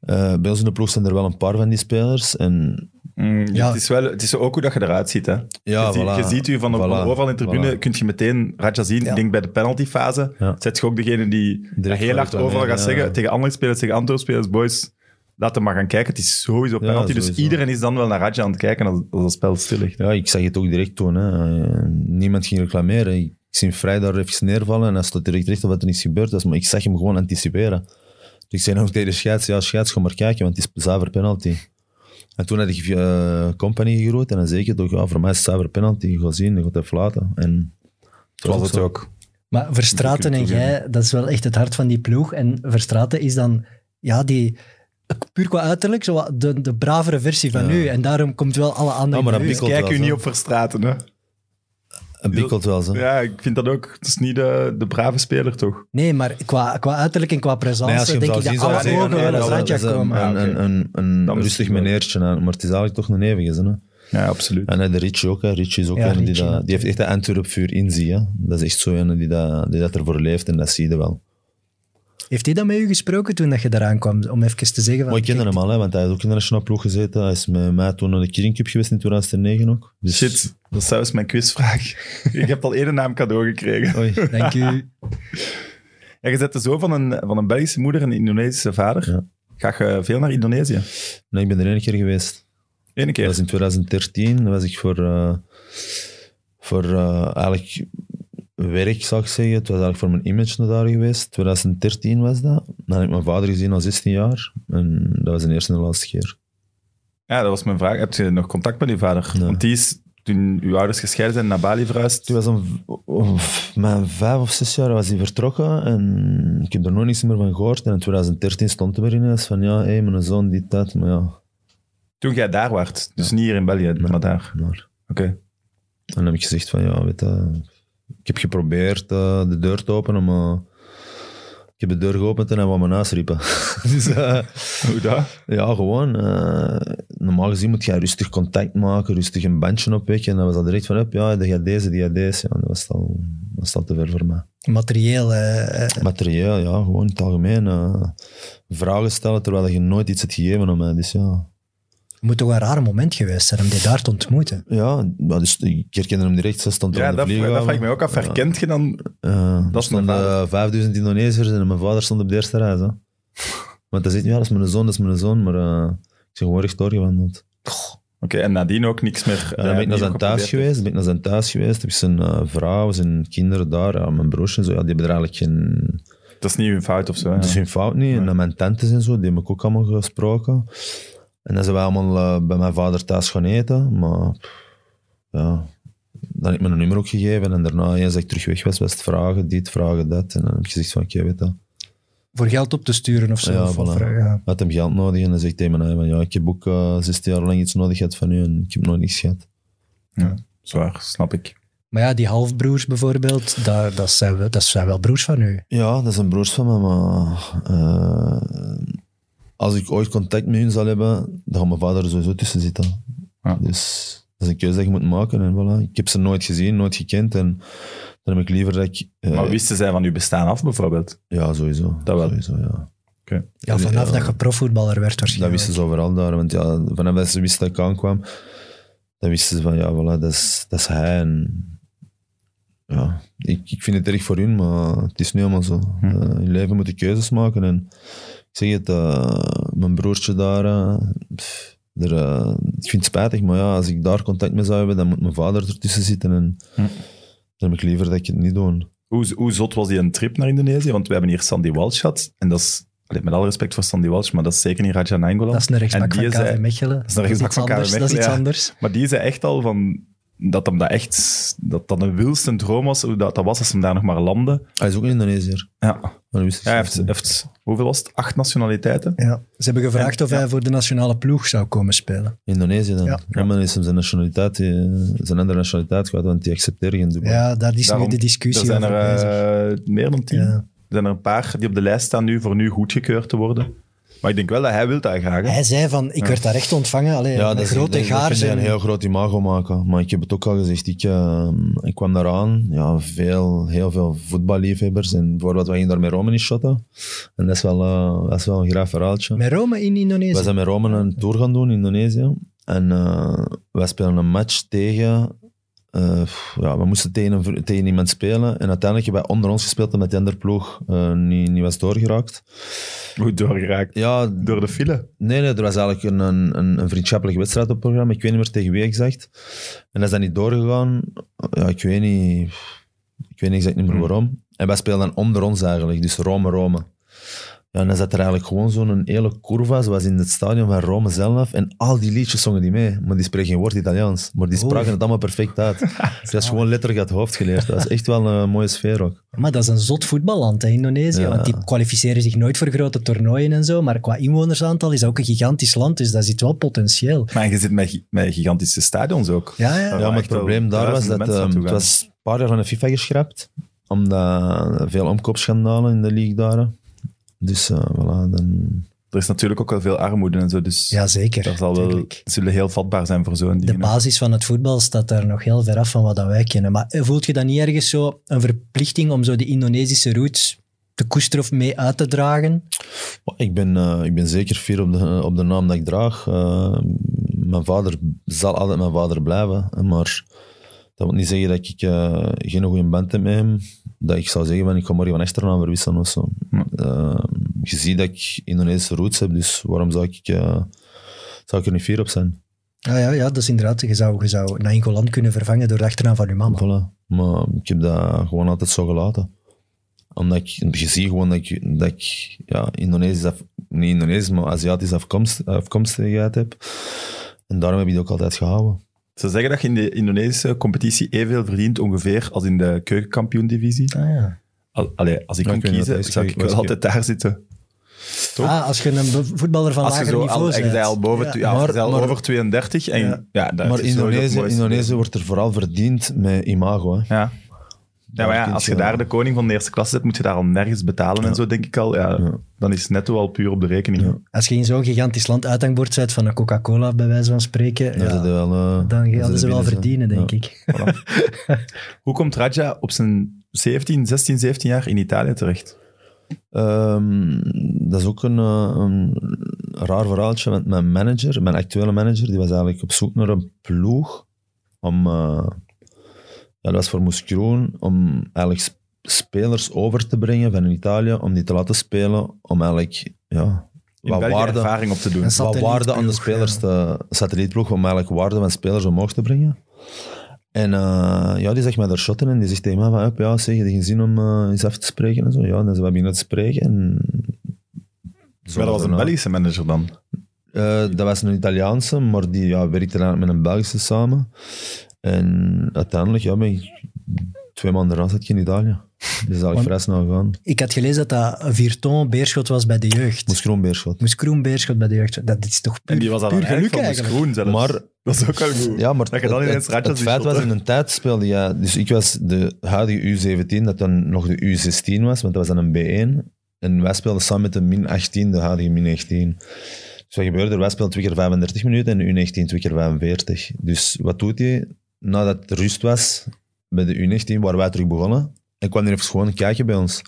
D: eh, bij ons in de ploeg zijn er wel een paar van die spelers. En
A: Mm,
B: Ja.
A: Het, is wel, het is ook hoe dat je eruit ziet. Hè.
D: ja,
A: je, ziet-
D: voilà,
A: je ziet u van, de,
D: voilà,
A: van overal in de tribune,
D: voilà.
A: kun je meteen Raja zien. Ik denk bij de penaltyfase,
D: Ja.
A: zet je ook degene die
D: Direct
A: heel
D: van
A: hard overal
D: reclameren,
A: gaat
D: ja.
A: zeggen, tegen andere spelers, tegen andere spelers, boys, laat hem maar gaan kijken. Het is sowieso
D: Ja,
A: penalty, dus
D: sowieso.
A: iedereen is dan wel naar Raja aan het kijken als, als het spel stil ligt.
D: Ja, ik zag het ook direct toen. Hè. Eh, Niemand ging reclameren. Ik zie hem vrij daar even neervallen en hij stond direct recht op wat er niks gebeurd is. Maar ik zag hem gewoon anticiperen. Dus ik zei nog tegen de scheids, ja scheids, ga maar kijken, want het is zuiver penalty. En toen had ik eh, Company geroeid en dan zei ik het ook, ja, voor mij is het zuiver penalty. Je gaat zien, je gaat even laten. En
A: Dat was het
D: zo.
A: ook.
B: Maar Verstraten en
A: Moet ik u
B: jij, dat is wel echt het hart van die ploeg. En Verstraten is dan, ja, die puur qua uiterlijk, zo wat de, de bravere versie van
D: Ja.
B: u. En daarom komt wel alle andere.
D: Ja, maar dat
B: bij u.
A: Dus
D: bikkelt
A: kijk
D: wel,
A: u niet
D: zo.
A: op verstraten, hè.
D: Het bikkelt wel zo.
A: Ja, ik vind dat ook. Het is niet de, de brave speler, toch?
B: Nee, maar qua, qua uiterlijk en qua presence,
D: Nee, als je hem
B: denk
D: zou
B: ik
D: zien,
B: dat
D: zou
B: alle
D: je zeggen,
A: nee,
B: ogen wel
A: dat
B: naar
A: wel,
B: Radja
D: dat is een,
B: komen.
D: een, een, een,
A: Dan
D: een
A: is
D: rustig
A: het wel.
D: meneertje, hè. maar het is eigenlijk toch een evige. Hè.
A: Ja, absoluut.
D: En hè, de Richie ook. Hè. Richie is ook
B: Ja,
D: een die,
B: Richie
D: dat, die
B: natuurlijk.
D: heeft echt dat Antwerp-vuur in zich. Hè. Dat is echt zo een die dat, die dat ervoor leeft en dat zie je wel.
B: Heeft hij dan met u gesproken toen dat je eraan kwam? Om even te zeggen... Van,
D: Maar ik kende
B: kijk,
D: hem al, hè, want hij heeft ook in de nationale ploeg gezeten. Hij is met mij toen naar de Kirin Cup geweest in 2009 ook. Dus-
A: Shit, dat is zelfs mijn
D: (laughs)
A: quizvraag. ik heb al één naam cadeau gekregen.
D: Oei.
A: (laughs)
B: Dank u.
A: Ja, je zet de zoon van een, van een Belgische moeder en een Indonesische vader.
D: Ja.
A: Ga je veel naar Indonesië?
D: Nee, ik ben er één keer geweest.
A: Eén keer.
D: Dat was in 2013. Dat was ik voor, eh, voor eh, eigenlijk werk, zou ik zeggen. Het was eigenlijk voor mijn image naar daar geweest. 2013 was dat. Dan heb ik mijn vader gezien al 16 jaar. En dat was de eerste en de laatste keer.
A: Ja, dat was mijn vraag. Heb je nog contact met je vader?
D: Nee.
A: Want die is, toen uw ouders gescheiden zijn, naar Bali verhuisd.
D: Toen was om, om- mijn vijf of zes jaar was hij vertrokken en ik heb er nog niks meer van gehoord. En in 2013 stond er weer ineens van, ja, hé, mijn zoon, dit, dat, maar ja.
A: Toen jij daar waart. Dus niet hier in België, maar daar.
D: Maar.
A: Oké.
D: En dan heb ik gezegd van, ja, weet je, ik heb geprobeerd eh, de deur te openen, maar ik heb de deur geopend en hij wou me naast riepen. (laughs) dus eh,
A: Hoe dat?
D: ja, gewoon, eh, normaal gezien moet je rustig contact maken, rustig een bandje opwekken. En dan was dat direct van, hup, ja, die had deze, die had deze. Ja, dat was al, dat was al te ver voor mij.
B: Materieel. eh, eh,
D: Materieel, ja, gewoon in het algemeen. eh, vragen stellen terwijl je nooit iets hebt gegeven aan mij. Dus ja,
B: moet toch een raar moment geweest zijn om die daar te ontmoeten.
D: ja dat is, ik herkende hem direct. Ze stond er
A: Ja,
D: aan de
A: dat, dat
D: vlieghaven.
A: vraag ik mij ook af. Herkent je dan...
D: Eh,
A: Dat
D: er
A: is mijn
D: stonden
A: vader.
D: 5000 Indonesiërs en mijn vader stond op de eerste
A: (laughs)
D: rij. Zo. Want hij zegt, ja, dat is mijn zoon, dat is mijn zoon. Maar eh, ik ben gewoon recht doorgewandeld.
A: Oké, en nadien ook niks meer. eh,
D: Ja, dan ben ik naar zijn
A: dus.
D: thuis geweest, dan ben ik naar zijn thuis geweest. Heb ik zijn eh, vrouw, zijn kinderen daar, ja, mijn broers en zo. Ja, die hebben er eigenlijk geen,
A: Dat is niet hun fout of zo.
D: Dat is
A: Ja.
D: hun fout niet. En
A: Nee.
D: dan mijn tantes en zo, die heb ik ook allemaal gesproken. En dan zijn we allemaal eh, bij mijn vader thuis gaan eten. Maar pff, ja, dan heb ik mijn nummer ook gegeven. En daarna, eens dat ik terug weg was, was het vragen dit, vragen dat. En dan heb ik gezegd van, oké, weet dat.
B: Voor geld op te sturen of zo.
D: Ja,
B: of-
D: voilà.
B: of, eh, ja.
D: Had hem geld nodig en dan zegt hij me, van, ja, ik heb ook eh 16 jaar lang iets nodig gehad van u en ik heb nooit niks gehad.
A: Zwaar, snap ik.
B: Maar ja, die halfbroers bijvoorbeeld, daar, dat, zijn, wel- dat zijn wel broers van u.
D: Ja, dat zijn broers van me, maar eh, als ik ooit contact met hun zal hebben, dan gaat mijn vader er sowieso tussen zitten.
A: Ja.
D: Dus dat is een keuze dat je moet maken. En voilà. Ik heb ze nooit gezien, nooit gekend. En dan heb ik liever dat ik... eh,
A: Maar wisten zij van uw bestaan af, bijvoorbeeld?
D: Ja, sowieso.
A: Dat wel.
D: Sowieso, ja.
B: Ja, vanaf
D: Ja.
B: dat je profvoetballer werd
D: Dat
B: waarschijnlijk.
D: wisten ze overal daar. Want ja, vanaf dat ze wisten dat ik aankwam, dan wisten ze van, ja, voilà, dat is, dat is hij. En, ja, ik, ik vind het erg voor hun, maar het is nu helemaal zo.
A: Hm.
D: Eh, in leven moet je keuzes maken. En ik zeg het, eh, mijn broertje daar, eh, pff, Er, eh, ik vind het spijtig, maar ja, als ik daar contact mee zou hebben, dan moet mijn vader ertussen zitten. En
A: Hm.
D: dan heb ik liever dat ik het niet doe.
A: Hoe, hoe zot was die een trip naar Indonesië? Want we hebben hier Sandy Walsh gehad. En dat is, allee, met alle respect voor Sandy Walsh, maar dat is zeker niet Raja Nainggolan.
B: Dat is een rechtsbak
A: En
B: van
A: die
B: KV
A: zei-
B: Mechelen.
A: is een rechtsbak
B: iets
A: van KV
B: anders, Dat is
A: Mechelen,
B: iets
A: ja.
B: anders.
A: Maar die zei echt al van dat hem dat echt dat dat een wilste droom was, hoe dat, dat was als hem daar nog maar landde.
D: Hij is ook een Indonesiër.
A: Ja,
D: Maar dat wist ik
A: hij
D: zelf
A: heeft,
D: niet.
A: heeft, hoeveel was het? Acht nationaliteiten.
B: Ja. Ze hebben gevraagd of hij voor de nationale ploeg zou komen spelen.
D: Indonesië dan.
B: Ja.
D: Ja. maar is hem zijn nationaliteit, eh, zijn andere nationaliteit gehad, want die accepteer je in Dubai.
B: Ja, daar is
A: Daarom,
B: nu de
A: Er
B: discussie
A: zijn er
B: over bezig.
A: eh, meer dan tien.
B: Ja.
A: Er zijn er een paar die op de lijst staan nu voor nu goedgekeurd te worden. Maar ik denk wel dat hij wil dat graag. hè.
B: Hij zei van, ik werd daar echt ontvangen. Allee,
D: Ja,
B: een
D: dat
B: grote
D: is, dat- dat
B: gaars.
D: kun je
B: en-
D: een heel groot imago maken. Maar ik heb het ook al gezegd, ik, eh, ik kwam daar aan. Ja, veel, heel veel voetballiefhebbers. En bijvoorbeeld, we gingen daar met Roman shotten. En dat is wel, eh, dat is wel een graaf verhaaltje.
B: Met Rome in
D: We
B: Indonesië.
D: zijn met Roman een tour gaan doen in Indonesië. En eh wij spelen een match tegen... eh, ja, we moesten tegen, een- tegen iemand spelen. En uiteindelijk hebben wij onder ons gespeeld omdat die andere ploeg eh, niet, niet was doorgeraakt.
A: Hoe doorgeraakt.
D: Ja,
A: Door de file.
D: Nee, nee, er was eigenlijk een, een, een, een vriendschappelijke wedstrijd op het programma. Ik weet niet meer tegen wie exact. En dat is dan niet doorgegaan. Ja, ik weet niet... Ik weet exact niet meer waarom. En wij speelden dan onder ons eigenlijk. Dus Rome, Rome. Ja, en dan zat er eigenlijk gewoon zo'n hele curva, zoals in het stadion van Rome zelf. En al die liedjes zongen die mee. Maar die spreken geen woord Italiaans. Maar die spraken het allemaal perfect uit. Dus dat is gewoon letterlijk uit het hoofd geleerd. Dat is echt wel een mooie sfeer ook.
B: Maar dat is een zot voetballand, hè, Indonesië.
D: Ja.
B: Want die kwalificeren zich nooit voor grote toernooien en zo. Maar qua inwonersaantal is dat ook een gigantisch land. Dus daar zit wel potentieel.
A: Maar je zit met, gi- met gigantische stadions ook.
B: Ja, ja.
A: Waar
D: Ja, maar
A: Eh, echt
D: het
A: wel
D: probleem daar was
A: duizenden
D: dat
A: mensen
D: ehm,
A: naartoe
D: het
A: gaan.
D: was een paar jaar van de FIFA geschrapt. Omdat veel omkoopschandalen in de league daar. Dus eh, voilà, dan...
A: Er is natuurlijk ook wel veel armoede en zo, dus
B: ja zeker.
A: daar zal wel,
B: tuurlijk.
A: zullen heel vatbaar zijn voor zo'n
B: De
A: ding.
B: basis van het voetbal staat daar nog heel ver af van wat dat wij kennen. Maar eh, voelt je dan niet ergens zo een verplichting om zo de Indonesische roots te koesteren of mee uit te dragen?
D: Maar Ik ben, eh, ik ben zeker fier op de, op de naam dat ik draag. Eh, mijn vader zal altijd mijn vader blijven. eh, Maar dat wil niet zeggen dat ik eh, geen goede band heb met hem. Dat ik zou zeggen, van, ik ga morgen van achternaam verwisselen of zo.
A: Ja.
D: Eh, je ziet dat ik Indonesische roots heb, dus waarom zou ik, eh, zou ik er niet fier op zijn?
B: Ah, Ja, ja, ja dat is inderdaad. Je zou, je zou Nainggolan kunnen vervangen door de achternaam van je mama.
D: Voilà. Maar ik heb dat gewoon altijd zo gelaten. Omdat ik, je ziet gewoon dat ik, dat ik ja, Indonesisch, af- niet Indonesisch, maar Aziatisch afkomst, afkomstigheid heb. En daarom heb ik het ook altijd gehouden.
A: Ze zeggen dat je in de Indonesische competitie evenveel verdient ongeveer als in de keukenkampioen-divisie.
B: Ah, ja.
A: Al- Allee, als ik
D: Ja,
A: kon
D: ik weet niet
A: kiezen,
D: wat hij
A: zou ik
D: zegt,
A: wel
D: maar ik-
A: altijd daar zitten. Toch?
B: Ah, als je een be- voetballer van
A: Als je
B: lager
A: zo
B: niveau
A: al, en je
B: bent.
A: zei al boven,
B: Ja.
A: ja,
D: Maar-
A: je zei al
D: maar-
A: over 32 en ja,
B: Ja.
A: dat
D: maar
A: is sowieso het
D: Indonesië,
A: mooiste.
D: Indonesië wordt er vooral verdiend met imago. Hè.
A: Ja. Ja, maar ja,
D: kun
A: als
D: je-
A: je daar de koning van de eerste klasse zet, moet je daar al nergens betalen en zo, denk ik al. Ja,
D: Ja.
A: Dan is het netto al puur op de rekening.
B: Als je in zo'n gigantisch land uithangbord bent van een Coca-Cola, bij wijze van spreken,
D: Daar
B: ja,
D: zitten wel, eh, daar
B: dan
D: zitten
B: gaan ze wel
D: binnen,
B: verdienen,
D: hè.
B: denk
D: Ja.
B: ik. (laughs)
A: Hoe komt Raja op zijn 17, 16, 17 jaar in Italië terecht?
D: Ehm, dat is ook een, eh, een raar verhaaltje, want mijn manager, mijn actuele manager, die was eigenlijk op zoek naar een ploeg om, eh, ja, dat was voor Moes Kroen, om eigenlijk sp- spelers over te brengen van Italië, om die te laten spelen, om eigenlijk ja,
A: In
D: wat
A: België
D: waarde,
A: ervaring op te doen.
B: En
D: wat
B: satellietploeg,
D: waarde aan de spelers
B: ja.
D: te... Satellietploeg, om eigenlijk waarde van spelers omhoog te brengen. En eh, ja, die zegt mij daar shotten en die zegt tegen mij van, "Hup, ja, zeg, heb je geen zin om eh, eens even te spreken en zo. Ja, en dan zijn we beginnen te spreken en... Zo
A: Maar dat was een
D: daarna.
A: Belgische manager dan.
D: Eh, dat was een Italiaanse, maar die ja, werkte dan met een Belgische samen. En uiteindelijk, ja, ben ik twee maanden eraan zat ik in Italië. Dus eigenlijk vrij snel gegaan.
B: Ik had gelezen dat dat Virton Beerschot was bij de jeugd.
D: Moest Kroonbeerschot.
B: Moest Kroen Beerschot bij de jeugd. Dat is toch puur,
A: En die was al
B: puur geluk eigenlijk.
A: groen zelfs.
D: Maar
A: dat is ook wel goed.
D: Ja, maar
A: Dat je dan
D: het,
A: ineens
D: het-
A: Radja
D: het
A: ziet
D: feit was
A: shotten.
D: in een tijd speelde ja, dus ik was de huidige U17, dat dan nog de U16 was, want dat was dan een B1. En wij speelden samen met de min 18, de huidige min 18. Dus wat gebeurde er? Wij speelden twee keer 35 minuten en de U19 twee keer 45. Dus wat doet hij? Nadat het rust was bij de U19, waar wij terug begonnen, en kwam hij even gewoon kijken bij ons.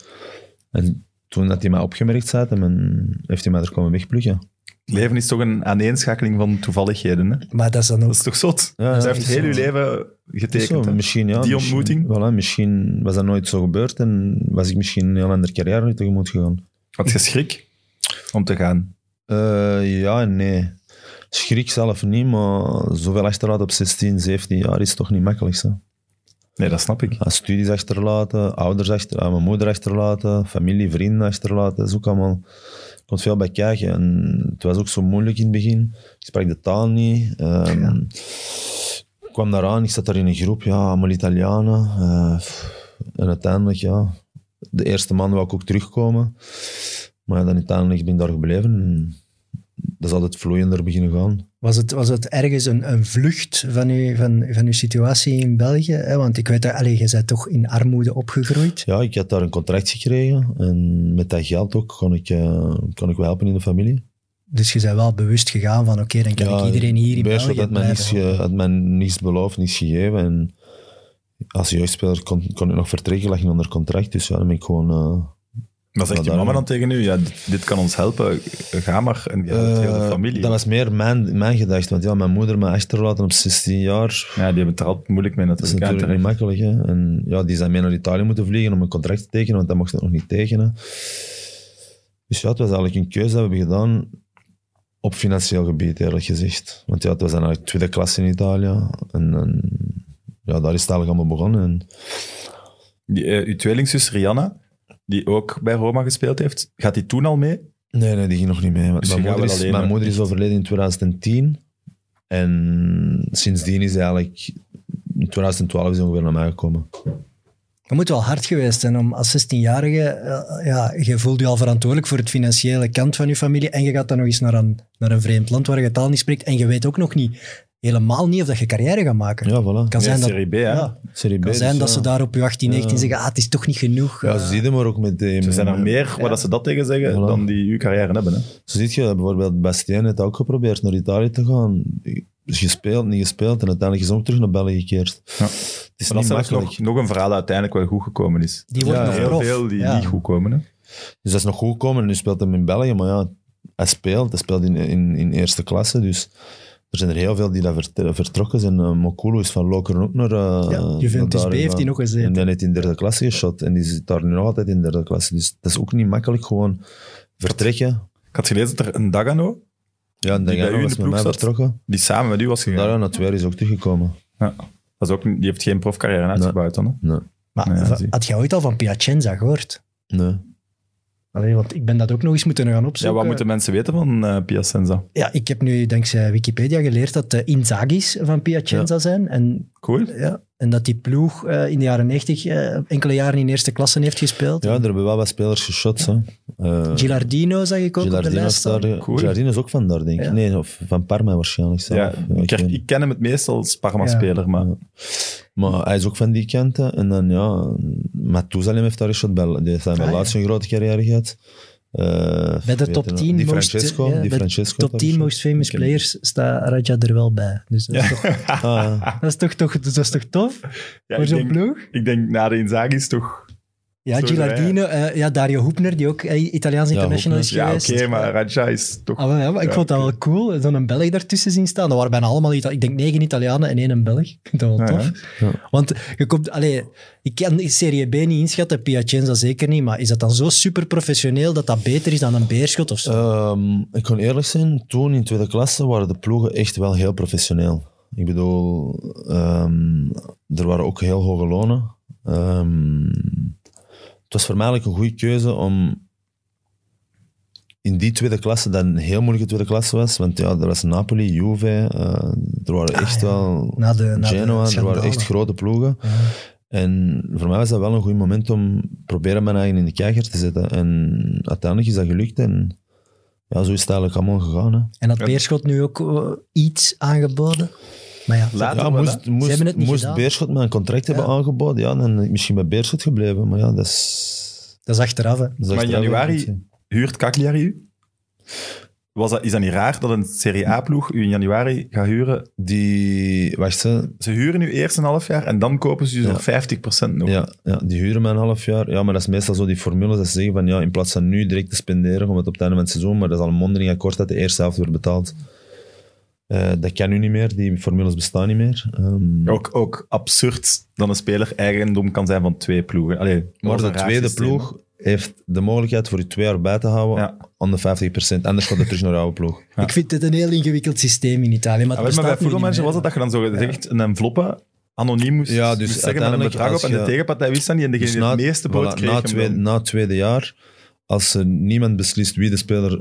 D: En toen dat hij mij opgemerkt had, en men- heeft hij mij er komen wegplukken.
A: Het leven is toch een aaneenschakeling van toevalligheden. Hè?
B: Maar dat is dan
A: Dat
B: ook...
A: is toch zot?
D: Ja,
A: Zij
D: dat
A: heeft
D: is
A: heel
D: zo.
A: uw leven getekend.
D: Zo,
A: hè?
D: misschien, ja,
A: Die
D: misschien-
A: ontmoeting.
D: voilà, misschien was dat nooit zo gebeurd en was ik misschien een heel andere carrière tegemoet gegaan.
A: Had je schrik om te gaan?
D: Eh, ja en nee. Schrik zelf niet, maar zoveel achterlaten op 16, 17 jaar is toch niet makkelijk. Zo.
A: Nee, dat snap ik.
D: Ja, studies achterlaten, ouders achter, ah, mijn moeder achterlaten, familie, e vrienden achterlaten. Dat is ook allemaal... Er komt veel bij kijken. En het was ook zo moeilijk in het begin. Ik sprak de taal niet. Ehm, Ik kwam daar aan, ik zat daar in een groep, ja, allemaal Italianen. Eh, pff, en uiteindelijk, ja... De eerste maand wou ik ook terugkomen. Maar ja, dan uiteindelijk ben ik daar gebleven. En dat is altijd vloeiender beginnen gaan.
B: Was het, was het ergens een, een vlucht van uw, van, van uw situatie in België? Hè? Want ik weet dat, allee, je bent toch in armoede opgegroeid.
D: Ja, ik had daar een contract gekregen. En met dat geld ook kon ik, eh, kon ik wel helpen in de familie.
B: Dus je bent wel bewust gegaan van, oké, dan kan ik iedereen hier in
D: Beerschot
B: België
D: had mij, niks,
B: blijven.
D: ge- had mij niks beloofd, niks gegeven. En als jeugdspeler kon, kon ik nog vertrekken, lag ik onder contract. Dus ja, dan ben ik gewoon... eh,
A: Dan zegt
D: Ja,
A: je mama
D: daarom.
A: dan tegen u, ja, dit, dit kan ons helpen, ga maar. En die helpt heel de
D: eh,
A: familie.
D: Dat was meer mijn, mijn gedachte. Want ja, mijn moeder me achterlaten op 16 jaar...
A: Ja, die hebben het er altijd moeilijk mee
D: Dat is
A: natuurlijk.
D: natuurlijk niet
A: ja,
D: makkelijk. Hè? En ja, die zijn mee naar Italië moeten vliegen om een contract te tekenen, want dat mochten we nog niet tekenen. Dus ja, het was eigenlijk een keuze dat we hebben gedaan op financieel gebied, eerlijk gezegd. Want ja, het was dan eigenlijk tweede klasse in Italië. En, en ja, daar is het eigenlijk allemaal begonnen. En
A: Die, eh, uw tweelingzus Rihanna, die ook bij Roma gespeeld heeft, gaat die toen al mee?
D: Nee, nee, die ging nog niet mee. want
A: Dus
D: mijn
A: je gaat
D: moeder,
A: wel
D: is,
A: alleen,
D: mijn
A: hè?
D: moeder is overleden in 2010. En sindsdien is hij eigenlijk... In 2012 is hij ongeveer naar mij gekomen.
B: Je moet wel hard geweest zijn om als 16-jarige, eh, ja, je voelt je al verantwoordelijk voor het financiële kant van je familie en je gaat dan nog eens naar een, naar een vreemd land waar je taal niet spreekt en je weet ook nog niet, helemaal niet of dat je carrière gaat maken.
D: Ja,
B: kan
D: voilà.
A: Nee,
B: zijn dat,
A: Serie B, hè?
B: ja,
D: Serie B,
B: kan
D: dus
B: zijn dat
D: ja.
B: ze daar op je 18, 19 zeggen, ah, het is toch niet genoeg.
D: Ja,
B: eh,
D: ze zie je maar ook met... de-
A: Er zijn er
D: met-
A: meer waar dat ze dat tegen zeggen
D: Voilà.
A: dan die uw carrière hebben. Hè?
D: Zo ziet je eh, bijvoorbeeld, Bastien heeft ook geprobeerd naar Italië te gaan. Is gespeeld, niet gespeeld en uiteindelijk is hij ook terug naar België gekeerd.
A: Ja.
D: Het is
A: Maar dat is
D: niet
A: zelfs
D: makkelijk.
A: nog, nog een verhaal dat uiteindelijk wel goed gekomen is.
B: die wordt
D: Ja,
B: nog
A: heel
B: prof.
A: veel die
B: Ja.
A: niet goed komen. Hè?
D: Dus dat is nog goed gekomen en nu speelt hij in België, maar ja, hij speelt. Hij speelt in, in, in eerste klasse, dus er zijn er heel veel die daar vert- vertrokken zijn. Uh, Mokulu is van Lokeren ook naar... eh,
B: Ja, Juventus
D: naar
B: B heeft
D: daar
B: die
D: gegaan.
B: nog gezeten.
D: En die heeft in derde klasse geschot en die zit daar nu nog altijd in derde klasse. Dus dat is ook niet makkelijk, gewoon vertrekken.
A: Ik had gelezen dat er een Dagano,
D: Ja, en
A: bij u in
D: Dagano
A: de
D: was met
A: ploeg
D: mij
A: zat.
D: vertrokken.
A: die samen met u was gegaan,
D: Daarna naar twee is ook teruggekomen.
A: ja. dat is ook, niet- die heeft geen profcarrière uitgebouwd dan. Hè?
D: Nee,
B: Maar
A: Ja,
B: va-
A: zie.
B: had je ooit al van Piacenza gehoord?
D: nee.
B: Allee, want ik ben dat ook nog eens moeten gaan
A: Ja,
B: opzoeken.
A: wat moeten mensen weten van eh Piacenza?
B: Ja, ik heb nu dankzij Wikipedia geleerd dat de Inzaghi's van Piacenza zijn. En,
A: Cool.
B: ja, en dat die ploeg eh, in de jaren 90 eh, enkele jaren in eerste klasse heeft gespeeld.
D: Ja, eh, er hebben wel wat spelers geschot. Hè. Eh,
B: Gilardino zag ik ook op de
D: Gilardino,
B: lijst
D: is daar,
B: staan.
D: eh,
A: Cool.
D: Gilardino is ook van daar, denk ik.
B: Ja.
D: Nee, of van Parma waarschijnlijk.
A: Ja,
D: zelf.
A: ik,
D: ik
A: ken-
D: weet
A: ik ken hem het meest als Parma-speler, maar
D: Ja. Maar hij is ook van die kant. hè. En dan, ja, Matuzalem heeft daar geschot. bij- Die heeft daar bij
B: Ah, ja.
D: laatst een grote carrière gehad. Eh,
B: Bij de
D: weet
B: top
D: je nog,
B: 10
D: die
B: most-
D: Francesco,
B: ja,
D: die
B: bij de
D: Francesco heeft
B: Top
D: daar
B: 10
D: geschot.
B: most famous
D: ken
B: players staat Raja er wel bij. Dus dat is, toch, (laughs)
D: Ah, ja.
B: dat is, toch, toch, dat is toch tof?
A: ja,
B: voor
A: ik,
B: zo'n
A: denk,
B: ploeg?
A: ik denk na de Inzaghi's toch...
B: Ja,
A: sowieso,
B: Gilardino. eh, ja, Dario Hoepner, die ook eh, Italiaans
D: Ja,
B: international is
A: Ja, oké,
B: geweest. Eh,
A: maar Raja is toch...
B: Ah, wel, ja, maar ik
A: Ja,
B: vond dat wel cool, zo'n Belg daartussen zien staan. Dat waren bijna allemaal, Ita- ik denk negen Italianen en één een Belg. (laughs) Dat was wel
A: Ja,
B: tof. Want je komt, allee, ik kan Serie B niet inschatten, Piacenza zeker niet, maar is dat dan zo super professioneel dat dat beter is dan een beerschot of zo?
D: Ehm, ik kan eerlijk zijn, toen in tweede klasse waren de ploegen echt wel heel professioneel. Ik bedoel, ehm, er waren ook heel hoge lonen. Ehm, het was voor mij eigenlijk een goede keuze om in die tweede klasse, dat een heel moeilijke tweede klasse was, want ja, er was Napoli, Juve, eh, er waren echt
B: ja.
D: wel
B: na de, na
D: Genoa,
B: de
D: er waren
B: schandalen.
D: echt grote ploegen.
B: Ja.
D: En voor mij was dat wel een goed moment om proberen mijn eigen in de kijker te zetten. En uiteindelijk is dat gelukt en ja, zo is het eigenlijk allemaal gegaan. Hè.
B: En had beerschot nu ook eh, iets aangeboden? Maar ja,
A: Later
D: ja,
A: wel,
D: moest,
A: hè.
D: moest,
B: hebben het niet
D: moest
B: gedaan.
D: Beerschot me een contract hebben aangeboden, ja, dan had ik misschien bij Beerschot gebleven. Maar ja, dat is...
B: dat is achteraf, hè.
D: dat is
A: Maar in
D: achteraf
A: januari-
D: ook goed,
A: Huurt Cagliari u? Was dat, is dat niet raar dat een Serie A-ploeg u in januari gaat huren?
D: hè. Die... Wacht, hè.
A: Ze huren nu eerst een half jaar en dan kopen ze dus
D: Ja.
A: nog 50% nog.
D: Ja, ja, die huren mij een half jaar. Ja, maar dat is meestal zo die formule. Dat ze zeggen van ja, in plaats van nu direct te spenderen, om het op het einde van het seizoen, maar dat is al een mondeling akkoord dat de eerste helft wordt betaald. Eh, dat kan nu niet meer, die formules bestaan niet meer. Ehm,
A: Ook, ook absurd dat een speler eigendom kan zijn van twee ploegen. Allee, dat
D: maar
A: was
D: de
A: een raar
D: tweede
A: systeem.
D: ploeg heeft de mogelijkheid voor je twee jaar bij te houden
A: Ja.
D: aan de 50%. Anders gaat het terug naar de oude
A: (laughs)
D: ploeg.
B: Ik vind het een heel ingewikkeld systeem in Italië.
A: Ja, weet
B: Maar, het
A: je, Ah, maar bij
B: bestaat nu niet
A: voetbalmanager
B: meer.
A: was het dat je dan zo gezegd een enveloppe anoniem moest,
D: Ja, dus
A: moest zeggen met een
D: uiteindelijk
A: bedrag op en
D: als
A: de
D: je-
A: tegenpartij wist dat niet en degene
D: Dus
A: die het
D: na-
A: meeste boot
D: voilà,
A: kreeg
D: na,
A: hem
D: het tweede,
A: dan.
D: na het tweede jaar, als er niemand beslist wie de speler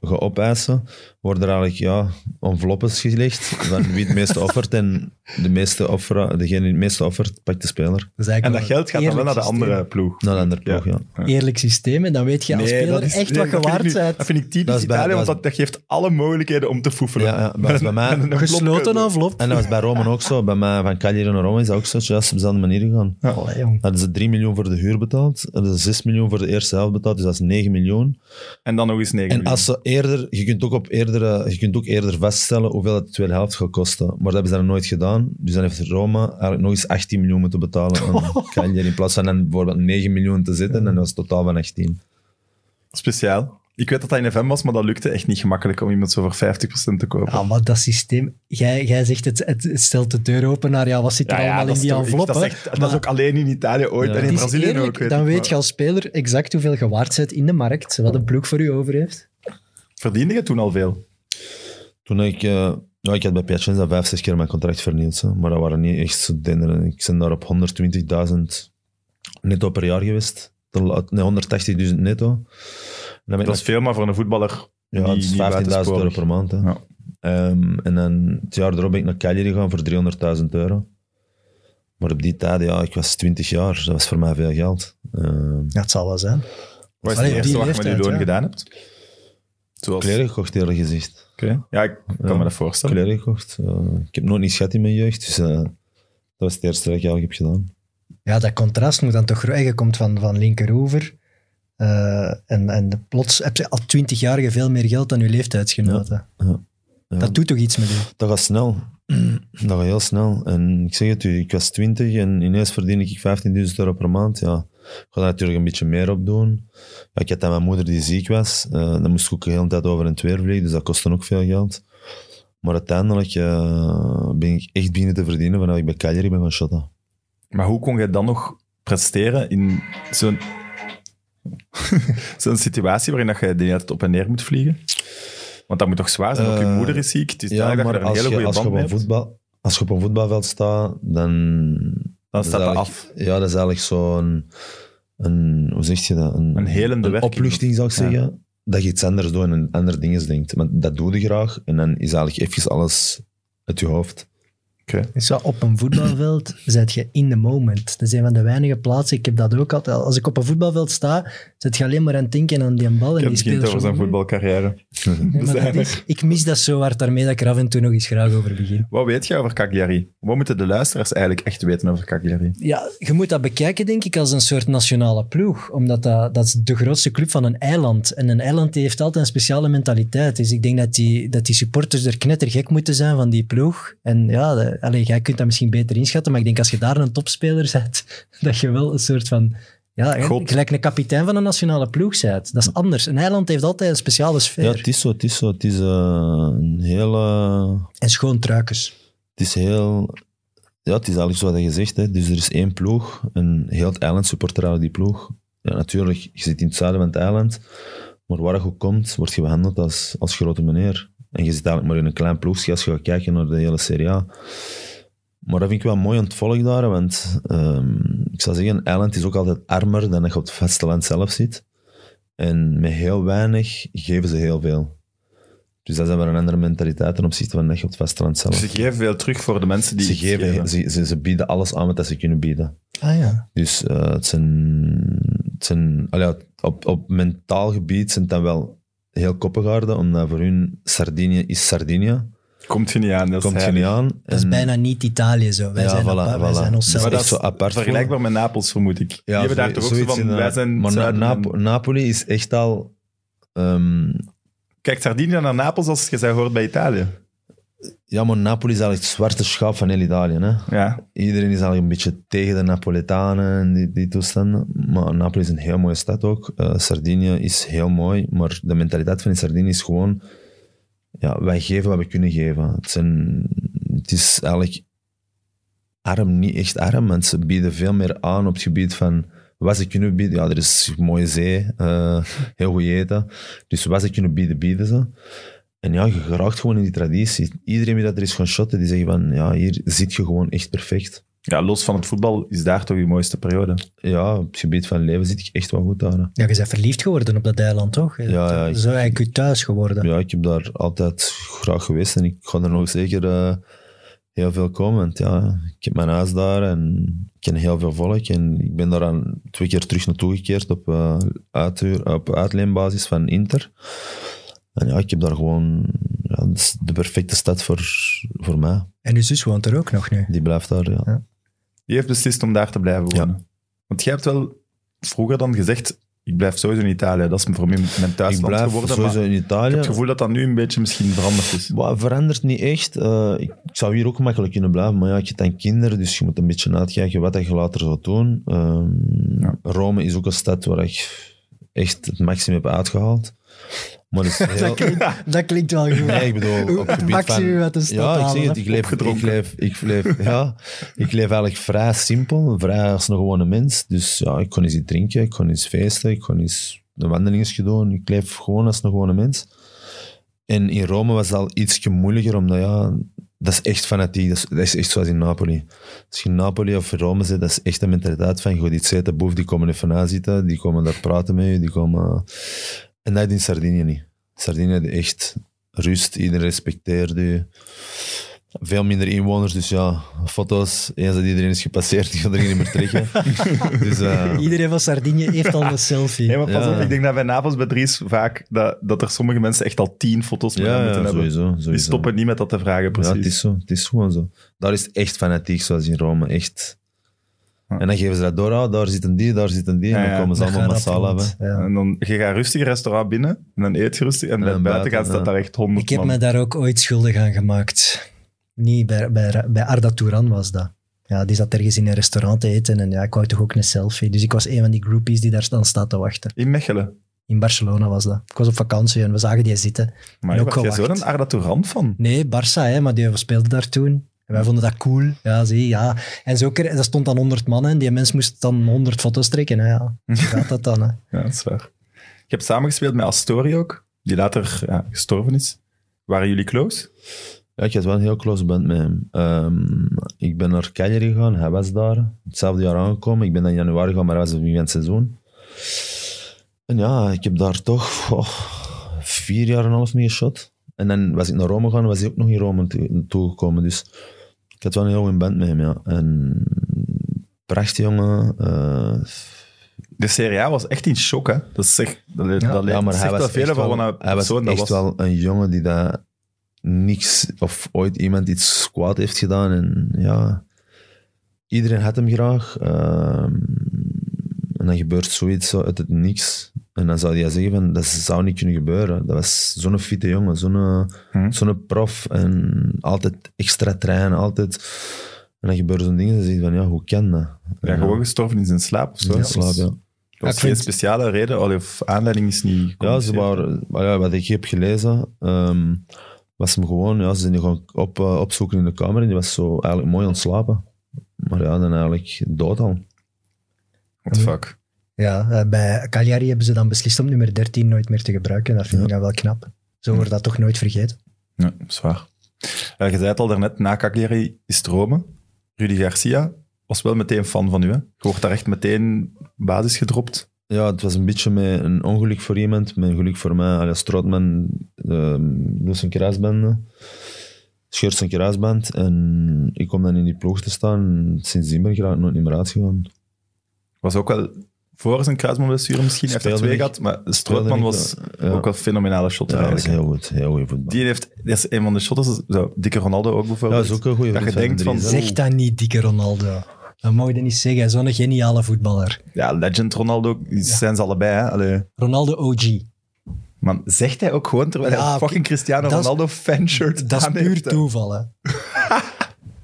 D: gaat opeisen, worden er eigenlijk ja, enveloppes gelegd van wie het
A: (laughs)
D: meeste offert. En de meeste offera, degene die het meeste offert, pakt de speler
B: is eigenlijk
A: En
B: wel
A: dat geld gaat dan wel
B: eerlijk
A: naar de
B: systeem.
A: andere ploeg.
D: naar de andere
A: Ja.
D: ploeg. Ja.
B: Eerlijk systeem. En dan weet je als
A: Nee,
B: speler
A: dat is-
B: echt
A: nee, dat
B: wat je
A: vind ik
B: waard
A: nu-
B: bent.
A: Dat vind ik typisch
D: Dat is bij-
A: Italië, want
D: dat
A: dat,
D: is-
A: dat geeft alle mogelijkheden om te foefelen.
D: Ja, ja, dat is
A: (laughs)
D: bij mij-
A: Met een enveloppe.
B: Gesloten envelop.
D: En dat was bij Rome ook zo. Bij mij van Cagliari naar Rome is dat ook zo. Juist op dezelfde manier gegaan.
A: Ja.
B: Allee, jong.
D: Hadden ze 3 miljoen voor de huur betaald, hadden ze 6 miljoen voor de eerste helft betaald, dus dat is 9 miljoen.
A: En dan nog eens negen.
D: En als ze eerder, je kunt ook, op eerder, eh, je kunt ook eerder vaststellen hoeveel het de tweede helft gaat kosten. Maar dat hebben ze dan nooit gedaan. Dus dan heeft Roma eigenlijk nog eens 18 miljoen moeten betalen (laughs) aan Cagliari. In plaats van dan bijvoorbeeld 9 miljoen te zitten, en dat is totaal van 18.
A: Speciaal. Ik weet dat dat in FM was, maar dat lukte echt niet gemakkelijk om iemand zo voor 50% te kopen.
B: Ja, maar dat systeem... Jij, jij zegt, het, het stelt de deur open naar... Ja, wat zit er
A: Ah, Ja, ja,
B: allemaal
A: dat
B: in
A: is
B: die
A: toch-
B: envelop?
A: Dat is,
B: hè?
A: echt- dat
B: Maar-
A: is ook alleen in Italië ooit
D: Ja.
A: en in
B: Het is
A: Brazilië
B: eerlijk,
A: ook. Weet
B: dan
A: ik,
B: weet
A: maar-
B: je als speler exact hoeveel je waard bent in de markt, wat een ploeg voor u over heeft.
A: Verdiende je toen al veel?
D: Toen ik... eh, ja, ik had bij Piacenza 5, 6 keer mijn contract vernieuwd. hè. Maar dat waren niet echt zo denderen. Ik ben daar op 120.000 netto per jaar geweest. De la- Nee, 180.000 netto. En dan ben ik
A: Dat is veel, maar voor een voetballer
D: Ja,
A: niet-
D: het is
A: niet
D: 15.000 euro
A: buitensporig.
D: per maand. Hè.
A: Ja.
D: Ehm, en dan het jaar erop ben ik naar Cagliari gegaan voor 300.000 euro. Maar op die tijd, ja, ik was 20 jaar. Dat was voor mij veel geld. Ehm
B: Dat zal wel zijn.
A: Wat is het
B: Allee, op
A: eerste wat
B: die
A: je met je
B: leeftijd,
A: loon
B: ja.
A: gedaan hebt? Zoals...
D: kleren gekocht, eerlijk gezegd.
A: Oké. Ja, ik kan
D: Ja.
A: me dat voorstellen.
D: Kleren gekocht. Eh, ik heb nooit iets gehad in mijn jeugd. Dus eh, dat was het eerste dat ik eigenlijk heb gedaan.
B: Ja, dat contrast moet dan toch groot. Je komt van, van linkeroever eh, en, en plots heb je al twintigjarige veel meer geld dan je leeftijdsgenoten.
D: Ja.
B: Dat doet toch iets met je?
D: dat gaat snel. Dat gaat heel snel. En ik zeg het u, ik was 20 en ineens verdien ik 15.000 euro per maand. Ja, ik ga daar natuurlijk een beetje meer op doen. Ja, ik had dan mijn moeder die ziek was. eh dan moest ik ook de hele tijd over en het weer vliegen, dus dat kostte ook veel geld. Maar uiteindelijk eh, ben ik echt beginnen te verdienen vanaf ik bij Cagliari ben van Shotta.
A: Maar hoe kon je dan nog presteren in
D: (laughs)
A: zo'n zo'n situatie waarin dat je de hele tijd op en neer moet vliegen? Want dat moet toch zwaar zijn? Ook je
D: Eh,
A: moeder is ziek. Het is duidelijk dat je daar een
D: als,
A: hele
D: je,
A: goede
D: als, je
A: band
D: op
A: mee
D: een
A: hebt.
D: voetbal, als je op een voetbalveld staat, dan
A: Dan
D: Dat
A: staat
D: is
A: dat af.
D: eigenlijk- Ja, dat is eigenlijk zo'n... Een, hoe zeg je dat?
A: Een helende werking.
D: opluchting, zou ik
A: Ja.
D: zeggen. Dat je iets anders doet en andere dingen denkt. Want dat doe je graag en dan is eigenlijk even alles uit je hoofd.
B: Dus ja, op een voetbalveld zit je in the moment. Dat is een van de weinige plaatsen. Ik heb dat ook altijd. Als ik op een voetbalveld sta, zit je alleen maar aan het denken aan die bal. En
A: Ik
B: die
A: begint
B: speelt
A: over zijn
D: (laughs)
A: voetbalcarrière.
B: ik mis dat zo hard daarmee dat ik er af en toe nog eens graag over begin.
A: Wat weet je over Cagliari? Wat moeten de luisteraars eigenlijk echt weten over Cagliari?
B: Ja, je moet dat bekijken, denk ik, als een soort nationale ploeg. Omdat dat, dat is de grootste club van een eiland. En een eiland die heeft altijd een speciale mentaliteit. Dus ik denk dat die, dat die supporters er knettergek moeten zijn van die ploeg. En ja, de- allee, jij kunt dat misschien beter inschatten, maar ik denk als je daar een topspeler zet, (laughs) dat je wel een soort van... Ja,
A: God.
B: gelijk een kapitein van een nationale ploeg bent. Dat is anders. Een eiland heeft altijd een speciale sfeer.
D: Ja, het is zo. Het is zo. Het is eh, een hele...
B: En schoon truikens.
D: Het is heel... Ja, het is eigenlijk zo dat je zegt. Hè. Dus er is één ploeg en heel het eiland supporteert eigenlijk die ploeg. Ja, natuurlijk, je zit in het zuiden van het eiland. Maar waar je ook komt, word je behandeld als, als grote meneer. En je zit eigenlijk maar in een klein ploegje als je gaat kijken naar de hele Serie A. Maar dat vind ik wel mooi aan het volk daar. Want ehm, ik zou zeggen, een eiland is ook altijd armer dan dat je op het vasteland zelf zit. En met heel weinig geven ze heel veel. Dus dat is dan weer een andere mentaliteit ten opzichte van dat je op het vasteland zelf
A: Ze geven veel terug voor de mensen die
D: Oh. ze,
A: het
D: geven, ze, ze, ze bieden alles aan wat dat ze kunnen bieden.
B: Ah ja.
D: Dus eh, het zijn, het zijn allee, ja, op, op mentaal gebied zijn het dan wel heel koppengaarden, omdat voor hun Sardinië is Sardinië.
A: Komt je niet aan. Dat is
D: Komt je
A: heilig.
D: niet aan.
B: Dat is
D: en-
B: bijna niet Italië zo. Wij
D: Ja,
B: zijn,
D: voilà,
B: apart, wij
D: voilà.
B: zijn onszelf.
A: Maar
D: Dat
A: dat
D: is
A: is
D: zo apart
A: Vergelijkbaar met Napels, vermoed ik. die hebben daar
D: zo-
A: toch ook zo
D: zoiets
A: van,
D: in, eh,
A: wij zijn
D: Maar Na-
A: Zuiden en-
D: Nap- Napoli is echt al... ehm,
A: Kijk, Sardinië naar Napels als je zij hoort bij Italië.
D: ja, maar Napoli is eigenlijk het zwarte schaap van heel Italië. Hè?
A: Ja.
D: iedereen is al een beetje tegen de Napoletanen en die, die toestanden. Maar Napoli is een heel mooie stad ook. Eh, Sardinië is heel mooi, maar de mentaliteit van in Sardinië is gewoon... Ja, wij geven wat we kunnen geven. Het, zijn, het is eigenlijk arm, niet echt arm, want ze bieden veel meer aan op het gebied van wat ze kunnen bieden, ja, er is een mooie zee, eh, heel goed eten. Dus wat ze kunnen bieden, bieden ze. En ja, je geraakt gewoon in die traditie. Iedereen die dat er is gaan shotten, die zeggen van, ja, hier zit je gewoon echt perfect.
A: Ja, los van het voetbal is daar toch je mooiste periode.
D: Ja, op het gebied van leven zit ik echt wel goed daar. hè.
B: Ja, je bent verliefd geworden op dat eiland, toch?
D: ja, ik-
B: Zo eigenlijk je thuis geworden.
D: Ja, ik heb daar altijd graag geweest en ik ga er nog zeker eh, heel veel komen. Want ja, ik heb mijn huis daar en ik ken heel veel volk. En ik ben daar aan twee keer terug naartoe gekeerd op, eh uithuur, op uitleenbasis van Inter. En ja, ik heb daar gewoon... Ja, dat is de perfecte stad voor, voor mij.
B: En je zus woont er ook nog nu.
D: Die blijft daar, ja.
A: Die heeft beslist om daar te blijven wonen. Want jij hebt wel vroeger dan gezegd, ik blijf sowieso in Italië. Dat is voor mij mijn
D: ik
A: thuisland
D: blijf
A: geworden. maar
D: sowieso in
A: ik
D: Italië.
A: heb het gevoel dat dat nu een beetje misschien veranderd is.
D: Wat verandert niet echt. Eh, ik zou hier ook makkelijk kunnen blijven, maar ja, je hebt dan kinderen, dus je moet een beetje uitkijken wat dat je later zou doen. Ehm,
A: Ja.
D: Rome is ook een stad waar ik echt het maximum heb uitgehaald. Maar het is heel...
B: Dat klinkt wel goed.
D: Nee, ik bedoel, op het gebied
B: maximum
D: van...
B: uit de stad
D: ja, ik
B: halen,
D: zeg het,
B: hè.
D: ik leef, ik,
A: Opgedronken.
D: leef, ik, leef, ja, ik leef eigenlijk vrij simpel, vrij als een gewone mens. Dus ja, ik kon eens iets drinken, ik kon eens feesten, ik kon eens een wandelingetje doen. Ik leef gewoon als een gewone mens. En in Rome was het al iets moeilijker, omdat ja, dat is echt fanatiek. Dat is, dat is echt zoals in Napoli. Als je in Napoli of Rome zit, dat is echt de mentaliteit van, je gaat iets eten, boef, die komen even na zitten, die komen daar praten met je, die komen... En dat in Sardinië niet. Sardinië had echt rust, iedereen respecteerde je. Veel minder inwoners, dus ja, foto's, eens dat iedereen is gepasseerd, (laughs) die gaan er niet meer
A: (laughs)
D: trekken. dus eh,
B: Iedereen van Sardinië heeft
D: (laughs)
B: al een selfie.
A: Nee, maar pas
D: Ja.
A: op, ik denk dat bij Napels, bij Dries, vaak dat, dat er sommige mensen echt al tien foto's met hem
D: ja,
A: moeten
D: ja,
A: hebben.
D: sowieso.
A: Die
D: sowieso.
A: stoppen niet met dat te vragen, precies.
D: Ja, het is zo. Het is gewoon zo. Daar is het echt fanatiek, zoals in Rome. Echt.
A: Ja.
D: En dan geven ze dat door. ah, daar zitten die, daar zitten die.
A: Ja,
D: en dan
A: ja.
D: komen ze
B: Dan
D: allemaal
B: gaat dat
D: massaal hebben.
B: rond. Ja.
A: En dan, je gaat rustig een restaurant binnen en dan eet je rustig. En,
D: En
A: bij
D: dan
A: buiten gaat
D: buiten,
A: staat
D: ja.
A: daar echt honderd
B: Ik heb
A: man.
B: me daar ook ooit schuldig aan gemaakt. Niet bij, bij, bij Arda Touran was dat. Ja, die zat ergens in een restaurant te eten en ja, ik wou toch ook een selfie. Dus ik was een van die groupies die daar dan staat te wachten.
A: In Mechelen.
B: In Barcelona was dat. Ik was op vakantie en we zagen die zitten.
A: Maar
B: En
A: je
B: ook
A: was jij
B: gewacht.
A: zo'n Arda Touran van?
B: Nee, Barça, hè, maar die speelde daar toen. En wij vonden dat cool. Ja, zie, ja. En zo, kreeg- dat stond dan 100 man en die mens moest dan 100 foto's trekken. Hè, ja. Hoe gaat dat dan? Hè?
A: Ja, dat is waar. Ik heb samengespeeld met Astori ook, die later ja, gestorven is. Waren jullie close?
D: Ja, ik had wel een heel close band met hem. Ehm, ik ben naar Cagliari gegaan, hij was daar. Hetzelfde jaar aangekomen. Ik ben dan in januari gegaan, maar hij was het begin van het seizoen. En ja, ik heb daar toch goh, vier jaar en een half mee geshot. En dan was ik naar Rome gegaan, was hij ook nog in Rome toe- toegekomen. Dus ik had wel een heel goede band met hem, ja. En prachtig jongen. eh,
A: De Serie A was echt in shock, hè? Dat zegt dat, dat
B: Ja,
A: leed- zegt wel
D: echt
A: veel van wat een
D: hij was
A: persoon dat was.
D: echt wel een jongen die daar niks of ooit iemand iets kwaad heeft gedaan. En ja, iedereen had hem graag. Ehm, en dan gebeurt zoiets zo uit het niks. En dan zou hij zeggen van, dat zou niet kunnen gebeuren. Dat was zo'n fitte jongen, zo'n
A: Hm.
D: zo'n prof. En altijd extra trainen, altijd... En dan gebeuren zo'n dingen en dan zeg je van, ja, hoe kan dat?
A: Ja, gewoon gestorven in zijn slaap of zo.
D: in
A: Dat was-
D: slaap, ja.
A: Er was
B: Ik
A: geen
B: vind-
A: speciale reden, allee, of aanleiding is niet
D: Ja, ze
A: gecommuniceerd.
D: waren, maar ja, wat ik heb gelezen, ehm, was hem gewoon, ja, ze zijn die gewoon op, eh, opzoeken in de kamer en die was zo eigenlijk mooi aan het slapen. Maar ja, dan eigenlijk dood al.
A: What the fuck.
B: Ja, eh, bij Cagliari hebben ze dan beslist om nummer 13 nooit meer te gebruiken. Dat vind ik dan wel knap. Zo wordt dat toch nooit vergeten.
A: Ja, zwaar. Eh je zei het al daarnet, na Cagliari is het Rome. Rudy Garcia was wel meteen fan van u, hè? Je wordt daar echt meteen basis gedropt.
D: Ja, het was een beetje met een ongeluk voor iemand, met een geluk voor mij. Alias Strootman ehm, doet zijn kruisbanden, scheurt zijn kruisband en ik kom dan in die ploeg te staan. Sindsdien ben ik er eigenlijk nooit meer uitgegaan.
A: Was ook wel voor zijn kruisbandblessure misschien, heeft er
D: Speelde
A: twee
D: ik-
A: gehad, maar Strootman
D: ik
A: was
D: ja.
A: ook wel een fenomenale shot
D: Ja, dat is
A: eigenlijk.
D: heel goed, heel goed voetbal.
A: Die heeft, dat is een van de shotters, zo, dikke Ronaldo ook
D: ja,
A: bijvoorbeeld.
D: dat is ook een goede
A: Dat je denkt van, oh, Oeh.
B: Zeg dat niet, dikke Ronaldo. Dat mag je niet zeggen. Zo'n geniale voetballer.
A: Ja, legend Ronaldo, die zijn ze allebei, hè? Allee.
B: Ronaldo OG.
A: Man, zegt hij ook gewoon terwijl hij
B: Ja,
A: een fucking
B: oké.
A: Cristiano
B: Dat is-
A: Ronaldo fanshirt
B: Dat is
A: aan
B: puur
A: heeft, hè.
B: toeval, hè.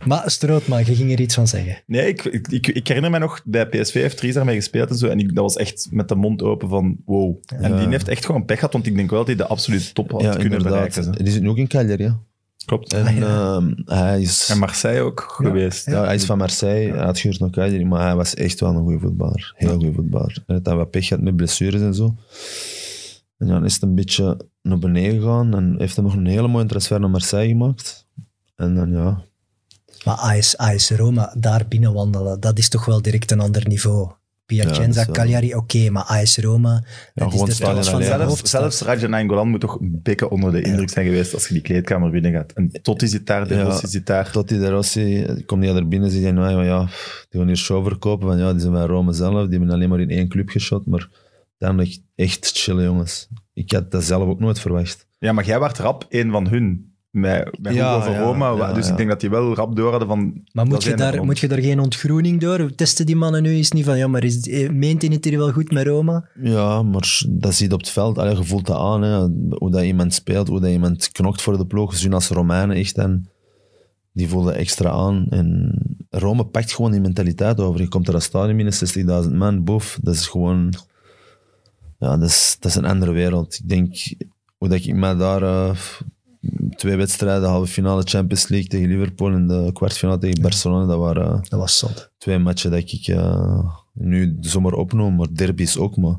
B: maar Strootman, je ging er iets van zeggen.
A: Nee, ik, ik, ik, ik herinner me nog, bij PSV heeft Dries daarmee gespeeld en zo. En ik, dat was echt met de mond open van wow. En die heeft echt gewoon pech gehad, want ik denk wel dat hij de absolute top had kunnen bereiken. Ah,
D: Die zit nu ook in Cagliari, ja.
A: Klopt.
D: En
A: En,
D: ehm, hij, is,
A: Marseille ook geweest.
D: ja, hij is van Marseille, hij had gehuurd naar Cagliari, maar hij was echt wel een goede voetballer. Heel goede voetballer. Hij had dan wat pech gehad met blessures en zo. En dan is het een beetje naar beneden gegaan en heeft hij nog een hele mooie transfer naar Marseille gemaakt. En dan ja,
B: Maar AS, AS Roma, daar binnen wandelen, dat is toch wel direct een ander niveau.
D: Ja, dat
B: Piacenza,
D: is wel-
B: Cagliari, oké, maar AS Roma, dat is
D: gewoon
B: de
D: stadion
B: trots van
D: alleen.
B: zijn
D: Zelfs-
A: Zelfs,
B: hoofd.
A: zelfs Rajan Angolan moet toch een beetje onder de indruk zijn geweest als je die kleedkamer binnen gaat. En Totti zit daar, De
D: Ja.
A: Rossi zit daar.
D: tot die de Rossi, komt die er binnen zit en nou, van ja, pff, die gaan hier show verkopen. Van ja, die zijn bij Rome zelf, die hebben alleen maar in één club geschot. Maar uiteindelijk echt chillen jongens. Ik had dat zelf ook nooit verwacht.
A: Ja, maar jij werd rap één van hun. Met, met
D: Ja,
A: Hugo
D: ja,
A: Roma.
D: ja,
A: dus
D: ja.
A: ik denk dat die wel rap door hadden van...
B: Maar
A: dat
B: moet je,
A: zijn er
B: daar,
A: rond.
B: moet je daar geen ontgroening door? We testen die mannen nu eens niet van, ja, maar is, eh, meent hij het hier wel goed met Roma?
D: Ja, maar dat ziet op het veld. Allee, je voelt dat aan, hè. hoe dat iemand speelt, hoe dat iemand knokt voor de ploeg. Ze zien als Romeinen echt en die voelen extra aan. En Rome pakt gewoon die mentaliteit over. Je komt er als stadion binnen, 60.000 man, boef. Dat is gewoon... Ja, dat is, dat is een andere wereld. Ik denk, hoe dat ik me daar... eh, twee wedstrijden, halve finale Champions League tegen Liverpool en de kwartfinale tegen Barcelona, dat waren eh,
B: Dat was zot.
D: twee matchen dat ik eh, nu zomaar opnoem, maar derbies ook. Maar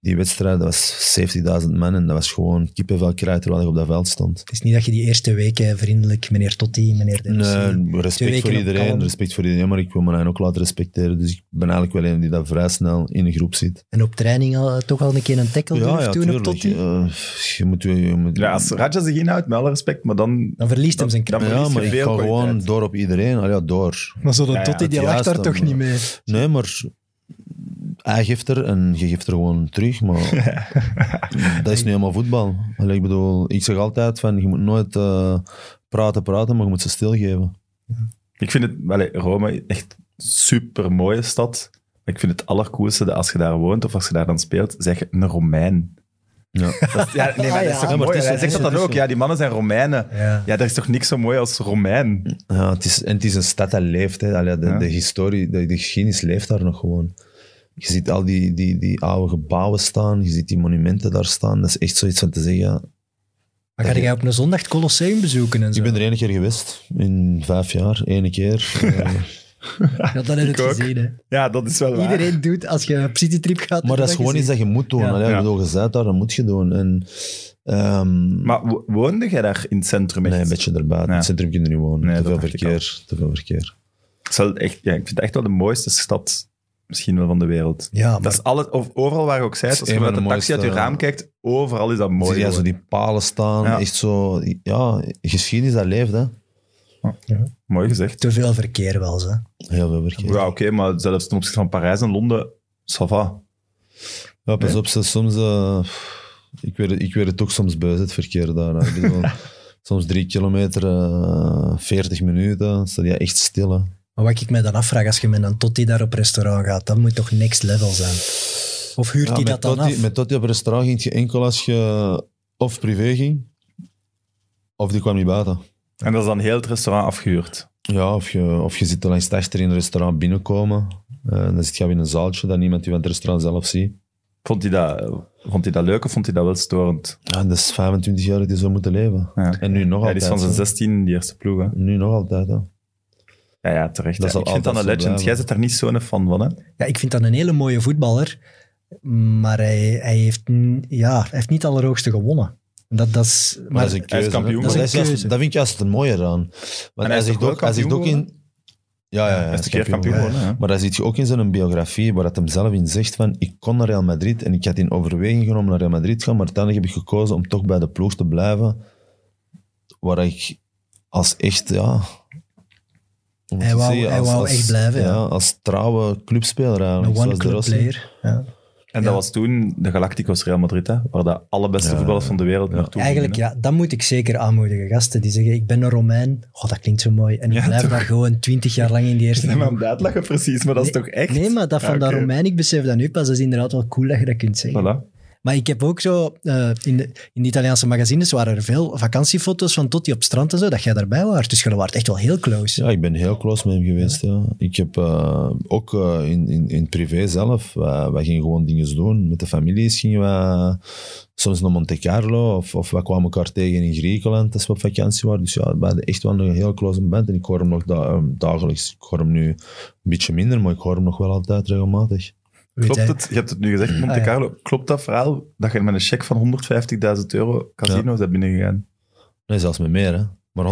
D: die wedstrijd, dat was 70.000 man en dat was gewoon kippenvel krijgen terwijl ik op dat veld stond.
B: Het is niet dat je die eerste week eh, vriendelijk, meneer Totti, meneer De Rossi.
D: Nee,
B: Twee
D: Dus, eh, respect
B: weken
D: voor
B: op
D: iedereen,
B: kalm.
D: respect voor iedereen, maar ik wil mijn eigen ook laten respecteren. Dus ik ben eigenlijk wel een die dat vrij snel in de groep zit.
B: En op training al, toch al een keer een tackle durft doen op Totti.
D: Eh, je moet... Je, je moet
A: Ja, als Raja zich inhoudt, met alle respect, maar dan...
B: Dan verliest hem zijn
A: dan
B: kracht.
A: verlies
D: ja,
A: je
D: maar ik ga
A: veel kwaliteit.
D: gewoon door op iedereen. Allee, ja, door.
B: Maar zo'n
A: Ja, ja,
B: Totti, die
D: het
B: lacht daar
D: juiste,
B: toch niet
D: maar-
B: mee?
D: Nee, maar hij geeft er en je geeft er gewoon terug. Maar dat is niet helemaal voetbal. Allee, ik bedoel, ik zeg altijd van je moet nooit eh, praten, praten, maar je moet ze stilgeven.
A: Ik vind het... Welle, Rome echt super mooie stad. Maar Ik vind het allercoolste dat als je daar woont of als je daar dan speelt, zeg je een Romein.
D: (laughs) Ja.
A: Dat is- ja, nee, maar dat
B: Ah, ja.
A: is toch
D: Ja, maar
A: mooi?
D: het is
A: Hij
D: zo,
A: zegt dat
D: het is
A: dan ook.
D: zo.
A: Ja, die mannen zijn Romeinen.
B: Ja.
A: Ja, dat is toch niks zo mooi als Romein?
D: Ja, het is, en het is een stad dat leeft. Hè. Allee, de,
A: Ja.
D: de historie, de, de geschiedenis leeft daar nog gewoon. Je ziet al die, die, die oude gebouwen staan, je ziet die monumenten daar staan. Dat is echt zoiets van te zeggen.
B: Maar ga jij op een zondag het Colosseum bezoeken en zo?
D: Ik ben er één keer geweest, in vijf jaar, één (laughs) keer. Eh,
B: Ja, dat heb je
A: Ik
B: het
A: ook.
B: gezien, hè.
A: Ja, dat is wel waar.
B: Iedereen doet, als je op citytrip gaat...
D: Maar dat is gewoon iets
B: gezien.
D: dat je moet doen.
B: Ja.
D: Allee,
A: Ja.
D: Ik bedoel, je bent daar, dat moet je doen. En, ehm,
A: Maar wo- woonde jij daar in het centrum? echt?
D: nee, een beetje erbuiten. In het
A: Ja.
D: centrum kun je niet wonen.
A: Nee, dat
D: te, veel
A: dacht ik
D: verkeer, te veel verkeer.
A: Het is wel echt, ja, ik vind het echt wel de mooiste stad, misschien wel van de wereld.
B: Ja, maar
A: Dat is alles, of overal waar je ook zijt,
D: Het
A: als
D: is
A: je
D: een
A: vanuit
D: van
A: de
D: de
A: taxi uit je
D: mooiste-
A: raam kijkt, overal is dat mooi.
D: Zie jij zo
A: gewoon.
D: die palen staan.
A: Ja.
D: Echt zo... Ja, geschiedenis dat leeft, hè.
A: Mooi gezegd.
B: te veel verkeer wel, hè.
D: Heel veel
A: Ja,
D: verkeer.
A: oké, maar zelfs ten opzichte van Parijs en Londen, ça va.
D: Ja, pas
A: Nee.
D: op, ze- soms... eh, ik, werd, ik werd het ook soms buis, het verkeer daar. hè. Ik
A: (laughs)
D: bedoel, soms drie kilometer, eh 40 minuten. Staat je echt stil, hè.
B: Maar wat ik me dan afvraag, als je met een Totti daar op restaurant gaat, dat moet toch next level zijn? Of huurt
D: Ja,
B: hij
D: met
B: dat dan
D: Totti-
B: af?
D: Met Totti op restaurant ging je enkel als je of privé ging, of die kwam niet buiten.
A: En dat is dan heel het restaurant afgehuurd.
D: Ja, of je, of je zit er langs de achter in een restaurant binnenkomen. Eh, dan zit je in een zaaltje dat niemand die van het restaurant zelf ziet.
A: Vond hij dat, vond hij dat leuk of vond hij dat wel storend?
D: Ja, dat is 25 jaar dat je zo moeten leven.
A: Ja.
D: En nu nog
A: Hij
D: altijd.
A: is van zijn
D: hè.
A: 16 in die eerste ploeg. Hè.
D: Nu nog altijd, hè.
A: Ja, ja, terecht.
D: Dat
A: ja.
D: zal
A: Ik vind dat een
D: altijd
A: legend.
D: zo blijven.
A: Jij zit daar niet zo'n fan van, hè?
B: Ja, ik vind dat een hele mooie voetballer, maar hij, hij, heeft, n- ja, hij heeft niet het allerhoogste gewonnen. Dat, dat is, maar,
D: Maar, dat is een
A: hij is
D: keuze. hè.
A: kampioen
D: Maar
B: geworden.
D: dat, is juist-
B: Dat is een
D: dat vind ik juist het mooie eraan.
A: hij
D: Want hij
A: is
D: zit
A: toch
D: ook,
A: wel
D: hij zit ook
A: kampioen
D: in... Ja, ja, ja.
A: Hij
D: hij
A: is
D: is
A: de keer
D: kampioen
A: kampioen
D: geworden.
A: geworden, hè?
D: Maar dat zit je ook in zijn biografie, waar dat hem zelf in zegt van, ik kon naar Real Madrid en ik had in overweging genomen naar Real Madrid te gaan, maar uiteindelijk heb ik gekozen om toch bij de ploeg te blijven, waar ik als echt, ja... hoe moet
B: Hij
D: ik
B: wou- hij wou echt blijven, ja.
D: als trouwe clubspeler
B: een
D: eigenlijk, zoals de
B: one-club
D: Rossi.
B: player. Ja.
A: En
B: Ja.
A: dat was toen de Galacticos Real Madrid, hè, waar de allerbeste
D: Ja.
A: voetballers van de wereld
D: Ja.
A: naartoe
B: Eigenlijk,
A: gingen,
B: ja, dat moet ik zeker aanmoedigen. Gasten die zeggen, ik ben een Romein. Oh, dat klinkt zo mooi. En ik
A: Ja,
B: blijf
A: toch?
B: daar gewoon twintig jaar lang in
D: (laughs)
B: die
A: hè.
B: eerste
A: Nee, maar
B: ploeg.
A: om dat lachen precies, maar dat is
B: Nee,
A: toch echt?
B: Nee, maar dat van
A: Ja,
B: dat
A: oké.
B: Romein, ik besef dat nu pas. Dat is inderdaad wel cool dat je dat kunt zeggen.
A: Voilà.
B: Maar ik heb ook zo, eh, in, de, in de Italiaanse magazines waren er veel vakantiefoto's van Totti op strand en zo, dat jij daarbij was. Dus je waart echt wel heel close.
D: Ja, ik ben heel close met hem geweest. Ja. Ik heb eh, ook eh, in, in, in het privé zelf, eh, wij gingen gewoon dingen doen. Met de families gingen we eh, soms naar Monte Carlo of, of we kwamen elkaar tegen in Griekenland als we op vakantie waren. Dus ja, we hadden echt wel een heel close band. En ik hoor hem nog da- eh, dagelijks. Ik hoor hem nu een beetje minder, maar ik hoor hem nog wel altijd regelmatig.
B: Weet
A: Klopt
B: hij-
A: het, je hebt het nu gezegd, Monte
B: Ah, ja.
A: Carlo. Klopt dat verhaal dat je met een cheque van 150.000 euro casino's hebt binnengegaan?
D: Nee, zelfs met meer. Hè. Maar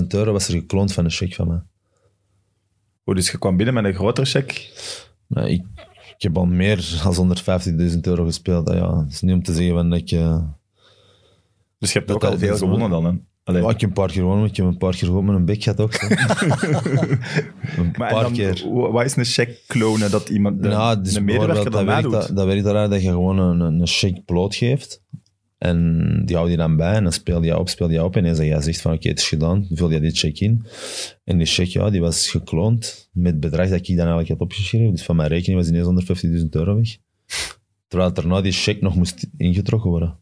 D: 150.000 euro was er gekloond van een cheque van mij.
A: Oh, dus je kwam binnen met een grotere cheque.
D: Nou, ik, ik heb al meer dan 150.000 euro gespeeld. hè, Ja. Het is niet om te zeggen van dat ik... eh,
A: Dus je hebt
D: Dat
A: ook al
D: dat
A: veel
D: is,
A: gewonnen dan, hè? Allee.
D: Ja, ik heb een paar keer gewonnen, ik heb een paar keer goed met een bek
A: (laughs)
D: gehad ook. hè. een
A: Maar en
D: paar
A: dan,
D: keer.
A: wa- wat is een cheque klonen dat iemand de,
D: Nou, dus
A: een medewerker
D: bijvoorbeeld,
A: dat
D: dat
A: mij
D: werkt,
A: doet?
D: dat, dat werkt eruit dat je gewoon een, een een chic bloot geeft. En die houdt je dan bij en dan speel je op, speel je op. En eens dat jij zegt van oké, het is gedaan, vul je die check in. En die check, ja, die was gekloond met het bedrag dat ik dan eigenlijk had opgeschreven. Dus van mijn rekening was ineens 150.000 euro weg. Terwijl daarna die check nog moest ingetrokken worden.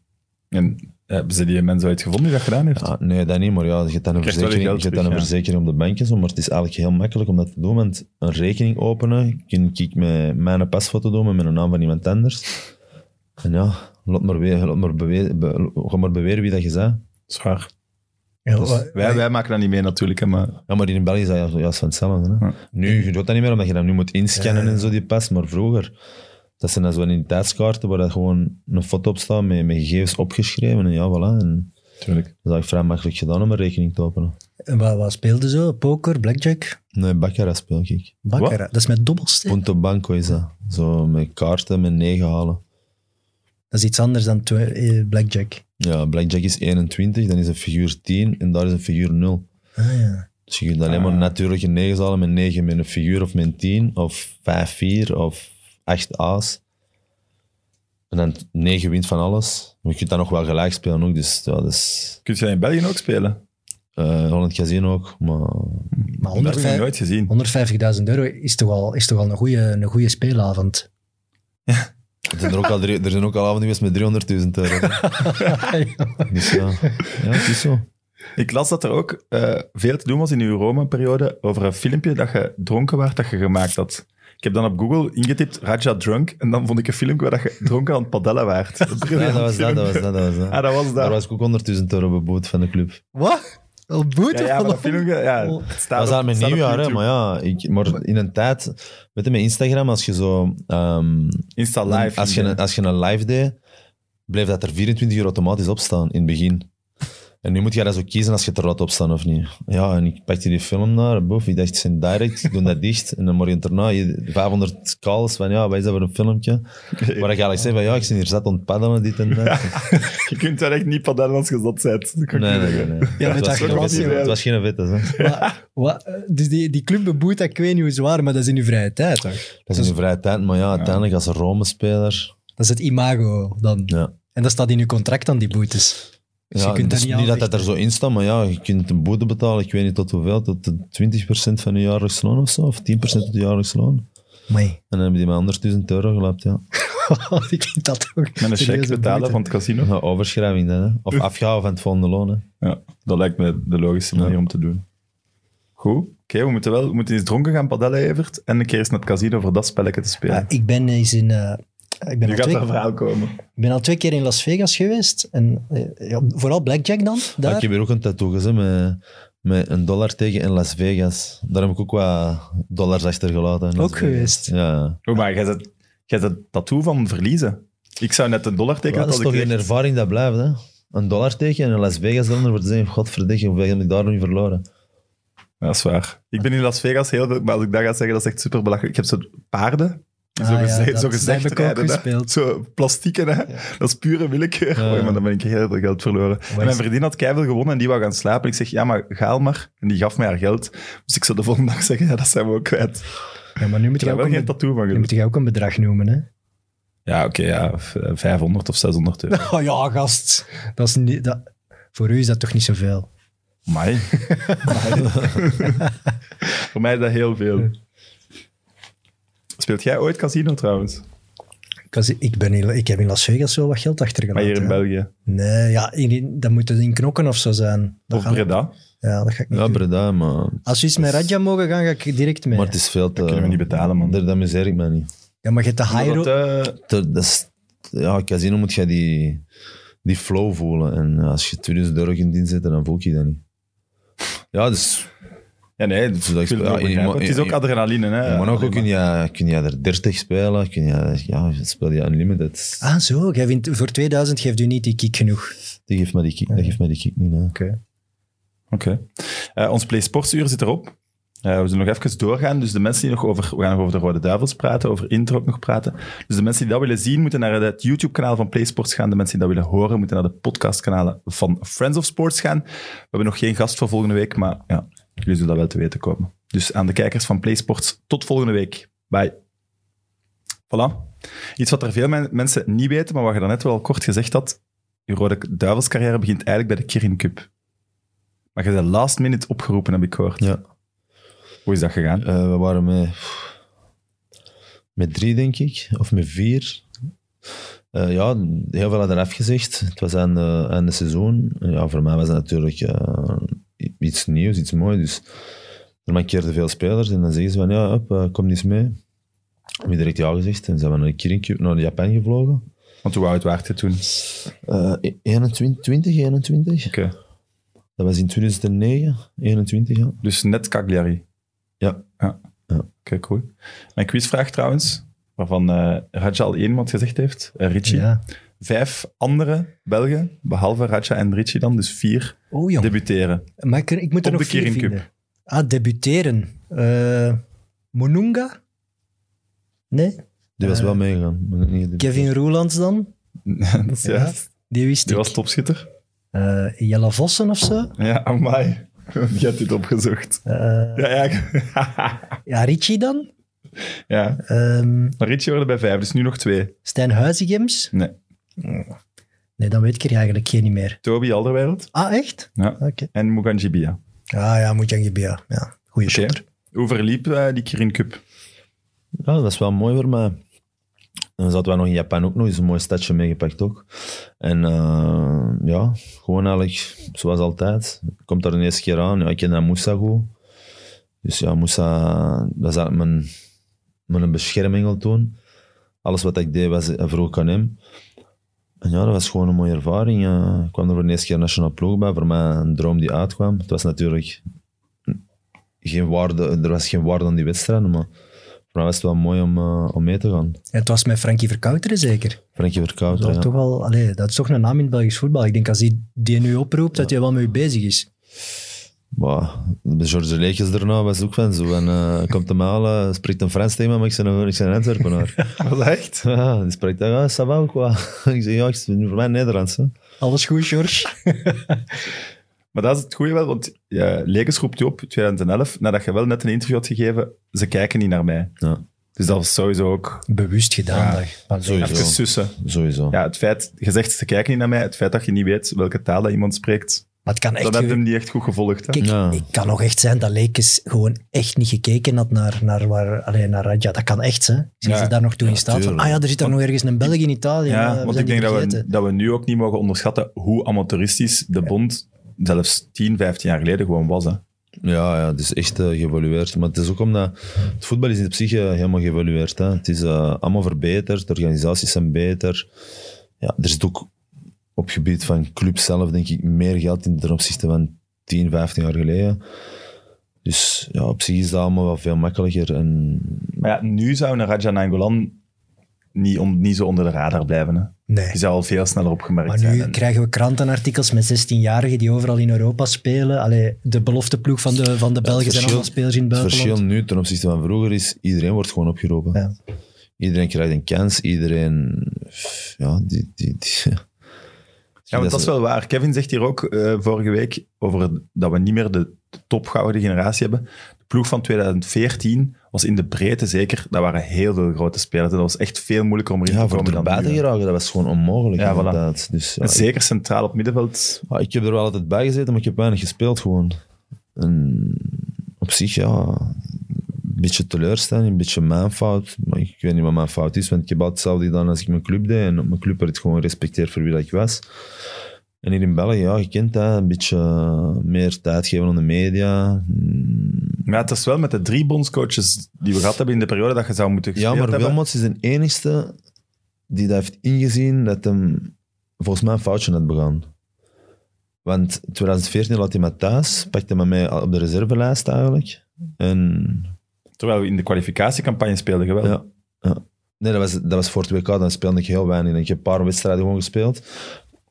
A: En eh, hebben ze die mensen uitgevonden die dat gedaan heeft?
D: Ja, Ah, nee, dat niet, maar ja, je hebt dan een,
A: krijgt wel je
D: verzekering, je
A: geld
D: hebt dan een
A: terug, ja.
D: verzekering op de bank en zo, maar het is eigenlijk heel makkelijk om dat te doen, want een rekening openen, kun ik met mijn pasfoto doen, maar met een naam van iemand anders. En ja, laat maar, weer, laat maar, bewe- be- ga maar beweren wie dat je zei.
A: Zwaar.
B: Ja,
A: Dus
B: wa-
A: wij, wij maken dat niet mee natuurlijk, hè, maar
D: Ja, maar in België is dat ju- juist van hetzelfde. Hè?
A: Ja.
D: Nu, je doet dat niet meer, omdat je dat nu moet inscannen en zo, die pas, maar vroeger... Dat zijn dan zo'n identiteitskaarten waar dat gewoon een foto op staat met, met gegevens opgeschreven. En ja, voilà. En
A: natuurlijk.
D: dat is vrij makkelijk gedaan om een rekening te openen.
B: en wat, wat speelde zo? Poker, blackjack,
D: Nee, Baccarat speel ik.
B: baccarat.
A: Wat?
B: Dat is met dobbelstenen.
D: Punto Banco is dat. Zo met kaarten, met negen halen.
B: Dat is iets anders dan twe- eh, blackjack.
D: Ja, Blackjack is 21, dan is een figuur 10 en daar is een figuur 0.
B: Ah ja.
D: Dus je kunt alleen maar natuurlijk een 9 halen met 9 met een figuur of met een 10 of 5-4 of 8 aas. En dan 9 wint van alles. Maar je kunt dan nog wel gelijk spelen ook, dus ja, dat is...
A: Kun je dat in België ook spelen?
D: eh Holland Casino ook, maar...
B: Maar
A: Dat heb ik
B: 150
A: nooit gezien.
B: 150.000 euro is toch al, is toch al een goede een goeie speelavond.
D: Er zijn er ook al, drie- er zijn ook al avonden geweest met 300.000 euro. Dus ja, ja, het is zo.
A: Ik las dat er ook eh, veel te doen was in uw Rome-periode over een filmpje dat je dronken werd, dat je gemaakt had. Ik heb dan op Google ingetipt Raja Drunk en dan vond ik een filmpje waar dat je dronken aan het padellen waart.
D: Ja, dat was dat, dat was dat, dat was dat.
A: Ah, dat was
D: Daar
A: dat.
D: was ik ook 100.000 euro beboet van de club.
B: Wat? Al boete
A: Ja, ja, maar dat
B: van
A: filmpje, ja, het staat
D: dat was
A: op-
D: aan mijn
A: staat op
D: nieuwjaar, hè,
A: YouTube.
D: maar ja, ik, maar in een tijd, weet je, met Instagram, als je zo, ehm,
A: Insta live.
D: als, je,
A: ging,
D: een- als je een live deed, bleef dat er 24 uur automatisch op staan in het begin. En nu moet je dat zo kiezen als je het er laat op staan of niet. Ja, en ik pakte die film naar, boef, ik dacht, het is een direct, ik doe dat dicht. En dan morgen daarna, je- 500 calls van, ja, wat is dat voor een filmpje? Waar ik eigenlijk zei van, ja, ik zit hier zat ontpaddelen, dit en dat.
A: hè. Je kunt wel echt niet padellen als je zat bent. Dat kan ik
D: Nee,
A: niet
D: nee, nee.
A: zeggen.
D: nee.
B: Ja, met
D: het,
B: dat
D: was geen
A: glas
D: witte-
A: hier,
D: het was geen witte, hè.
B: Maar, wat, eh, dus die, die club beboet, dat ik weet niet hoe zwaar, maar dat is in uw vrije tijd, toch?
D: Dat is een vrije tijd, maar ja, uiteindelijk als een Rome-speler...
B: Dat is het imago dan.
D: Ja.
B: En dat staat in uw contract dan, die boetes. Dus je kunt
D: dus
B: dat niet
D: niet dat dat er
B: aanvechten.
D: zo in staat, maar ja, je kunt een boete betalen, ik weet niet tot hoeveel, tot de 20% van je jaarlijks loon of zo, of 10% van je jaarlijks loon.
B: Amai.
D: En dan hebben die mij 100.000 euro gelapt, ja. (laughs)
B: (laughs) ik vind dat ook.
A: Met een check betalen van het casino.
D: Ja, Overschrijving dan, hè. Of afgaan van het volgende loon, hè.
A: Ja, dat lijkt me de logische manier om te doen. Goed. Oké, we moeten wel we moeten eens dronken gaan padellen, Evert. En een keer eens naar het casino voor dat spelletje te spelen.
B: ik ben eens in... eh, ik ben
A: nu
B: al
A: gaat
B: twee-
A: dat verhaal komen.
B: Ik ben al twee keer in Las Vegas geweest. En, eh, ja, vooral Blackjack dan.
D: Ja,
B: Daar.
D: ik heb hier ook een tattoo gezet met, met een dollar tegen in Las Vegas. Daar heb ik ook wat dollars achtergelaten. in Las
B: Ook
D: Vegas.
B: geweest?
D: Ja.
A: Oh, maar jij zet, jij zet tattoo van verliezen. Ik zou net een dollar tekenen
D: dat is
A: als ik
D: toch een
A: kreeg.
D: ervaring dat blijft, hè. Een dollar tegen en in Las Vegas dan wordt zeggen, godverdikke, hoeveel heb ik daar nu verloren?
A: Ja, Dat is waar. Ik ben in Las Vegas heel veel, maar als ik dat ga zeggen, dat is echt super belachelijk. Ik heb zo paarden. die Zo,
B: Ah, ja,
A: gezegd,
B: dat-
A: zo
B: dat
A: gezegd
B: heb ik ook
A: rijden, hè.
B: gespeeld.
A: Zo plastieken, hè. Dat is pure willekeur.
D: Ja.
A: Oei, maar dan ben ik heel veel geld verloren. En mijn vriendin had keiveel gewonnen en die wou gaan slapen. Ik zeg, ja, maar ga al maar. En die gaf mij haar geld. Dus ik zou de volgende dag zeggen, ja, dat zijn we ook kwijt.
B: Ja, maar nu moet
A: Ik
B: je
A: heb
B: ook
A: wel
B: een
A: geen
B: bed-
A: tattoo van
B: nu moet
A: genoemd.
B: je ook een bedrag noemen, hè? (laughs)
A: Ja, oké, ja. v- eh, 500 of 600 (laughs) euro.
B: Oh ja, gast. Dat is niet, dat, voor u is dat toch niet zoveel?
A: Mai. (laughs) Voor mij is dat heel veel. Speelt jij ooit casino trouwens?
B: kan zeggen, ik, ben in, ik heb in Las Vegas wel wat geld
A: Maar
B: achtergelaten.
A: hier in
B: ja.
A: België.
B: Nee, ja, in, dat moet het in knokken of zo zijn. Dat
A: Of
B: ga ik-
A: Breda.
B: Ja, dat ga ik niet
D: Ja,
B: doen.
D: Breda, maar,
B: Als we eens met Radja mogen gaan, ga ik direct mee.
D: maar het is veel te... Dat
A: kunnen we niet betalen, man.
D: Dat amuseer ik mij niet.
B: Ja, maar je hebt de high road.
A: Omdat, eh,
D: Te- dat is, ja, casino moet je die, die flow voelen. En als je 2000 euro kunt inzetten, dan voel je dat niet. Ja, dus...
A: ja, nee, dat
D: Dus dat
A: ik wil
D: is-
A: het wel
D: ja, in-
A: begrijpen.
D: in-
A: Het is ook
D: in-
A: adrenaline. Hè,
D: in Monaco
A: Alleen
D: kun je, kun je er 30 spelen. Kun je, ja, speel je unlimited.
B: Ah, zo. Jij vindt, voor 2000 geeft u niet die kick genoeg.
D: Die geeft mij die kick, dat geeft mij die kick niet. Hè.
A: Oké. Eh, ons Play Sportsuur zit erop. Eh, we zullen nog even doorgaan. Dus de mensen die nog over... We gaan nog over de Rode Duivels praten, over Introk nog praten. Dus de mensen die dat willen zien, moeten naar het YouTube-kanaal van Play Sports gaan. De mensen die dat willen horen, moeten naar de podcastkanalen van Friends of Sports gaan. We hebben nog geen gast voor volgende week, maar ja, jullie zullen dat wel te weten komen. Dus aan de kijkers van Play Sports, tot volgende week. Bye. Voilà. Iets wat er veel men- mensen niet weten, maar wat je daarnet wel kort gezegd had. Je Rode Duivels-carrière begint eigenlijk bij de Kirin Cup. Maar je bent last minute opgeroepen, heb ik gehoord.
D: Ja.
A: Hoe is dat gegaan?
D: Eh, we waren met, pff, met drie, denk ik, of met vier. Eh, ja, heel veel hadden afgezegd. Het was aan de, aan de seizoen. Ja, voor mij was dat natuurlijk eh, iets nieuws, iets moois. Dus er mankeerden veel spelers. En dan zeggen ze van, ja, hop, eh, kom eens mee. Heb je direct ja gezegd. En zijn we naar de Kirin Cup, naar Japan gevlogen.
A: Want hoe oud werd je toen?
D: Eh 21, 20, 21.
A: Oké.
D: Dat was in 2009, 21, ja.
A: Dus net Cagliari.
D: Ja.
A: ja.
D: Ja.
A: Oké, cool. Mijn quizvraag trouwens, waarvan eh Raja al één iemand gezegd heeft, eh, Richie.
B: Ja.
A: Vijf andere Belgen, behalve Raja en Richie dan, dus vier,
B: Oh, jong.
A: debuteren.
B: maar ik, ik moet er
A: Op de
B: nog vier
A: Kirin Cup.
B: vinden. Ah, debuteren. Eh Monunga? Nee?
D: Die was
B: Eh,
D: wel meegegaan. maar niet-
B: Kevin Roelands
A: (laughs)
B: dan?
A: Dat is
B: Ja.
A: juist.
B: Die wist
A: Die
B: ik.
A: was topschutter.
B: Eh, Jelle Vossen of zo?
A: Ja, amai. (laughs) Je hebt dit opgezocht.
B: Eh,
A: Ja, ja. (laughs)
B: ja, Richie dan?
A: ja.
B: Ehm,
A: Maar Richie hoorde bij vijf, dus nu nog twee.
B: Stijn Huizigems?
A: Nee.
B: Nee, dan weet ik er eigenlijk geen niet meer.
A: Toby Alderwereld
B: Ah, echt?
A: Ja.
B: Oké.
A: en Muganjibia.
B: Ah ja, Mujang Bia. Ja, goeie
A: Oké.
B: shotter.
A: Hoe verliep eh, die Kirin Cup?
D: Ja, dat was wel mooi voor mij. En dan zaten we nog in Japan ook nog eens een mooi stadje meegepakt ook. En eh, ja, gewoon eigenlijk zoals altijd. Komt er de eerste keer aan. Ja, ik ken dat Moussa goed. Dus ja, Moussa, dat was eigenlijk mijn, mijn bescherming al toen. Alles wat ik deed, was, hij vroeg aan hem. En ja, dat was gewoon een mooie ervaring. eh. ik kwam er voor de eerste keer nationaal ploeg bij. Voor mij een droom die uitkwam. Het was natuurlijk geen waarde, er was geen waarde aan die wedstrijden, maar voor mij was het wel mooi om, eh, om mee te gaan.
B: En het was met Frankie Verkouteren zeker?
D: Frankie
B: Dat,
D: Verkouter,
B: is
D: ja.
B: toch wel, allee, dat is toch een naam in het Belgisch voetbal. Ik denk als die, die nu oproept, dat hij wel mee bezig is.
D: Bah, de George Leekjes daarna was ook van zo. En eh, komt hem halen, spreekt een Frans thema, maar ik ben, ik ben een
B: (laughs)
D: Antwerpenaar.
A: Was dat echt?
D: ja, die spreekt dan, ja, ça va ook wel. (laughs) ik zeg, ja, ik ben voor mij Nederlands. Hè.
B: Alles goed, George?
A: Maar dat is het goede wel, want ja, Lekers roept je op 2011, nadat je wel net een interview had gegeven, ze kijken niet naar mij.
D: Ja.
A: Dus dat was sowieso ook
B: Bewust gedaan.
A: Ja,
B: dat. Maar
D: sowieso.
A: even sussen.
D: Sowieso.
A: Ja, het feit, je zegt ze kijken niet naar mij, het feit dat je niet weet welke taal dat iemand spreekt,
B: Maar het kan
A: dat
B: echt...
A: heb je
B: ge-
A: hem niet echt goed gevolgd. Hè?
B: Kijk,
D: Ja.
B: het kan nog echt zijn dat Lekes gewoon echt niet gekeken had naar, naar, waar, allee, naar Radja. Dat kan echt, hè. Ik zie
A: Ja.
B: ze daar nog toe in staat van,
D: tuurlijk.
B: ah ja, er zit daar nog ergens een Belg in Italië. eh,
A: Ja,
B: we
A: want ik denk
B: zijn die
A: dat we,
B: vergeten.
A: dat we nu ook niet mogen onderschatten hoe amateuristisch de bond zelfs 10, 15 jaar geleden gewoon was. Hè?
D: Ja, ja, het is echt eh, geëvolueerd. Maar het is ook omdat het voetbal is in de psyche helemaal geëvolueerd. Hè. Het is eh, allemaal verbeterd, de organisaties zijn beter. Ja, er zit ook op het gebied van club zelf, denk ik, meer geld in ten opzichte van 10, 15 jaar geleden. Dus ja, op zich is dat allemaal wel veel makkelijker. En
A: Maar ja, nu zou een Raja Nangolan niet, on- niet zo onder de radar blijven. Hè?
B: Nee.
A: Die zou al veel sneller opgemerkt
B: Maar
A: zijn.
B: nu
A: En-
B: krijgen we krantenartikels met 16-jarigen die overal in Europa spelen. Allee, de belofteploeg van de, van de Belgen zijn
D: verschil-
B: allemaal spelers in het
D: het verschil
B: buitenland.
D: nu ten opzichte van vroeger is, iedereen wordt gewoon opgeroepen.
B: Ja.
D: Iedereen krijgt een kans, iedereen... Ja, die... die, die
A: Ja, want dat is
D: ze-
A: wel waar. Kevin zegt hier ook eh, vorige week over dat we niet meer de topgouden generatie hebben. De ploeg van 2014 was in de breedte zeker, dat waren heel veel grote spelers. En dat was echt veel moeilijker om erin
D: Ja,
A: te
D: voor
A: komen dan
D: erbij te
A: nu, hè.
D: geraken, dat was gewoon onmogelijk
A: Ja, voilà.
D: inderdaad. Dus, ja,
A: En
D: ik,
A: Zeker centraal op middenveld.
D: ja, ik heb er wel altijd bij gezeten, maar ik heb weinig gespeeld gewoon. En op zich, ja, beetje teleurstelling, een beetje mijn fout. Maar ik weet niet wat mijn fout is, want ik heb altijd hetzelfde gedaan als ik mijn club deed. En op mijn club werd ik gewoon gerespecteerd voor wie dat ik was. En hier in België, ja, je kent dat, een beetje eh, meer tijd geven aan de media. Mm,
A: Maar ja, het is wel met de drie bondscoaches die we gehad hebben in de periode dat je zou moeten
D: Ja,
A: gespeeld
D: maar
A: hebben.
D: Wilmots is de enigste die dat heeft ingezien dat hem volgens mij een foutje had begaan. Want in 2014 laat hij me thuis, pakte hij mij op de reservelijst eigenlijk. En
A: Terwijl we in de kwalificatiecampagne speelden, geweldig.
D: Ja. Nee, dat was, dat was voor het WK, dan speelde ik heel weinig. Ik heb een paar wedstrijden gewoon gespeeld.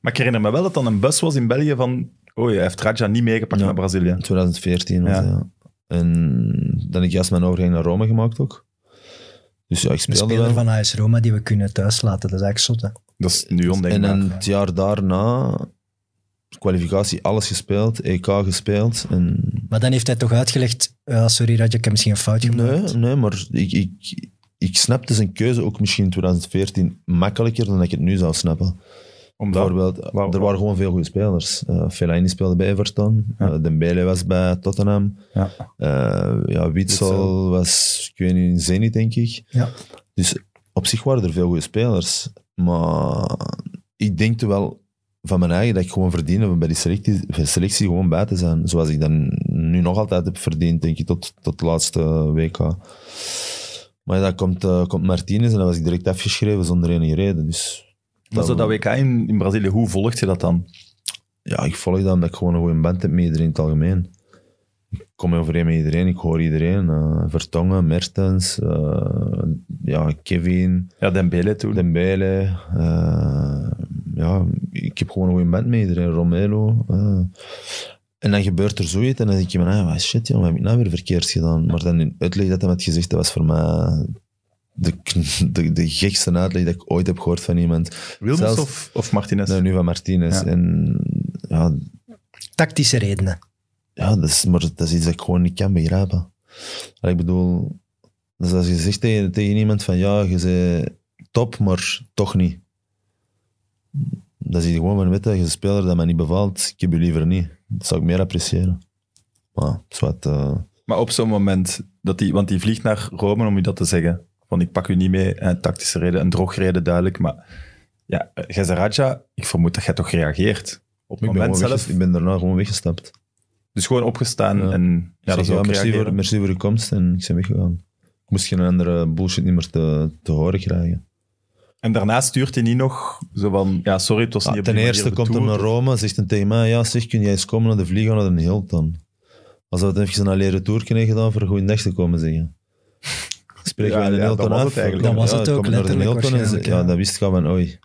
A: Maar ik herinner me wel dat dan een bus was in België van... Oei, hij heeft Raja niet meegepakt
D: Ja.
A: naar Brazilië.
D: In 2014 was
A: Ja.
D: dat, ja. En dan heb ik juist mijn overgang naar Rome gemaakt ook. Dus ja, ik
B: Een
D: speelde
B: speler
D: wel.
B: van AS Roma die we kunnen thuis laten, dat is eigenlijk zot. hè.
A: Dat is nu
D: En
A: ondenkbaar.
D: dan het jaar daarna, kwalificatie, alles gespeeld. EK gespeeld. En...
B: Maar dan heeft hij toch uitgelegd, ja, sorry Radja, ik heb misschien een foutje gemaakt.
D: Nee, nee, maar ik, ik, ik snapte zijn keuze ook misschien in 2014 makkelijker dan dat ik het nu zou snappen.
A: Omdat-
D: Bijvoorbeeld,
A: Waar-
D: er waren gewoon veel goede spelers. Eh Fellaini speelde bij Everton.
A: Ja.
D: Eh, Dembele was bij Tottenham.
A: Ja.
D: Eh, ja, Witzel
A: Witsel.
D: was, ik weet niet, in Zenit, denk ik.
B: Ja.
D: Dus op zich waren er veel goede spelers. Maar ik denkte wel van mijn eigen dat ik gewoon verdiende om bij die selectie, selectie gewoon bij te zijn. Zoals ik dan nu nog altijd heb verdiend, denk ik, tot, tot de laatste WK. Maar ja, dan komt, eh, komt Martinez en dan was ik direct afgeschreven zonder enige reden. Dus
A: Maar zo dat WK in, in Brazilië, hoe volgt je dat dan?
D: ja, ik volg dat omdat ik gewoon een goede band heb met iedereen in het algemeen. Ik kom overeen met iedereen, ik hoor iedereen. eh, Vertongen, Mertens, eh, ja, Kevin,
A: Ja, Dembele toen.
D: Dembele. eh, ja, ik heb gewoon een goede band met iedereen, Romero. eh. en dan gebeurt er zoiets en dan denk je, van, ah, wat shit, joh, wat heb ik nou weer verkeerd gedaan? Maar dan in uitleg dat hij met gezegd, dat was voor mij de, kn- de, de gekste uitleg dat ik ooit heb gehoord van iemand.
A: Wilmots
D: zelfs-
A: of, of Martinez?
D: Nee, nu van Martinez.
A: Ja.
D: En ja,
B: Tactische redenen.
D: ja, dat is, maar dat is iets dat ik gewoon niet kan begrijpen. Allee, ik bedoel, dus als je zegt tegen, tegen iemand van ja, je bent top, maar toch niet. Dat is gewoon van, weet je, je bent een speler dat mij niet bevalt, ik heb je liever niet. Dat zou ik meer appreciëren. Maar, zwart, eh,
A: Maar op zo'n moment, dat die, want die vliegt naar Rome om je dat te zeggen. Van ik pak u niet mee, en tactische reden, een drogreden duidelijk. Maar ja, eh, jij zei Raja, ik vermoed dat jij toch reageert. Op het
D: ik,
A: moment
D: ben gewoon
A: zelf.
D: wegges- ik ben daarna gewoon weggestapt.
A: Dus gewoon opgestaan
D: Ja.
A: en ja,
D: Ik
A: dat
D: zeg,
A: is ook
D: merci,
A: reageren.
D: voor, merci voor uw komst en ik ben weggegaan. Ik moest geen andere bullshit niet meer te, te horen krijgen.
A: En daarna stuurt hij niet nog zo van, ja sorry, het was
D: Ja,
A: niet op
D: Ah, ten
A: die manier
D: eerste
A: de
D: komt hem
A: Tour.
D: naar Rome, zegt hij tegen mij, ja zeg, kun jij eens komen naar de vlieger naar de Hilton? Als we het even een leren tour kunnen gedaan voor een goede dag te komen zeggen. Spreken
A: Ja,
D: wij de
A: ja, dat
D: Hilton
A: was
D: af?
A: het eigenlijk.
B: Dat was
D: Ja,
B: het
D: kom
B: ook,
D: ik naar de
B: letterlijk
D: Hilton en ze-
B: waarschijnlijk,
D: Ja,
B: ja.
D: dat wist ik al van, oei.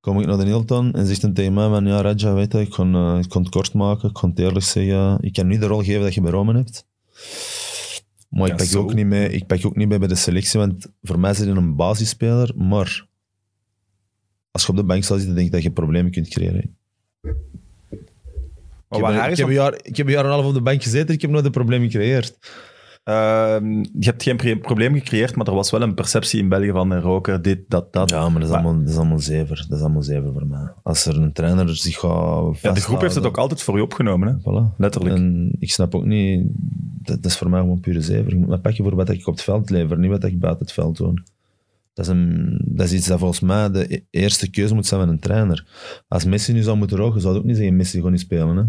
D: Kom ik naar de Hilton en zegt hij tegen mij van, ja Raja, weet je, ik kon, eh, ik kon het kort maken, ik kon het eerlijk zeggen, ik kan nu de rol geven dat je bij Rome hebt. Maar
A: Ja,
D: ik, pak je
A: zo.
D: ook niet mee, ik pak je ook niet mee bij de selectie, want voor mij zit je een basisspeler, maar als je op de bank zal zitten, denk ik dat je problemen kunt creëren.
A: Maar
D: ik,
A: wat
D: heb,
A: raar
D: ik,
A: is,
D: heb een jaar, ik heb een jaar en een half op de bank gezeten, ik heb nooit een probleem gecreëerd.
A: ehm, je hebt geen pre- probleem gecreëerd, maar er was wel een perceptie in België van eh, roker, dit, dat, dat.
D: Ja, maar dat is,
A: Maar-
D: allemaal, dat is allemaal zever. Dat is allemaal zever voor mij. Als er een trainer zich gaat
A: Ja, de groep heeft het ook
D: vasthouden,
A: altijd voor je opgenomen, hè?
D: Voilà.
A: letterlijk.
D: En ik snap ook niet, dat, dat is voor mij gewoon pure zever. Ik moet mijn pakje voor wat ik op het veld lever, niet wat ik buiten het veld doe. Dat is, een, dat is iets dat volgens mij de e- eerste keuze moet zijn van een trainer. Als Messi nu zou moeten roken, zou het ook niet zeggen Messi gewoon niet spelen. Hè?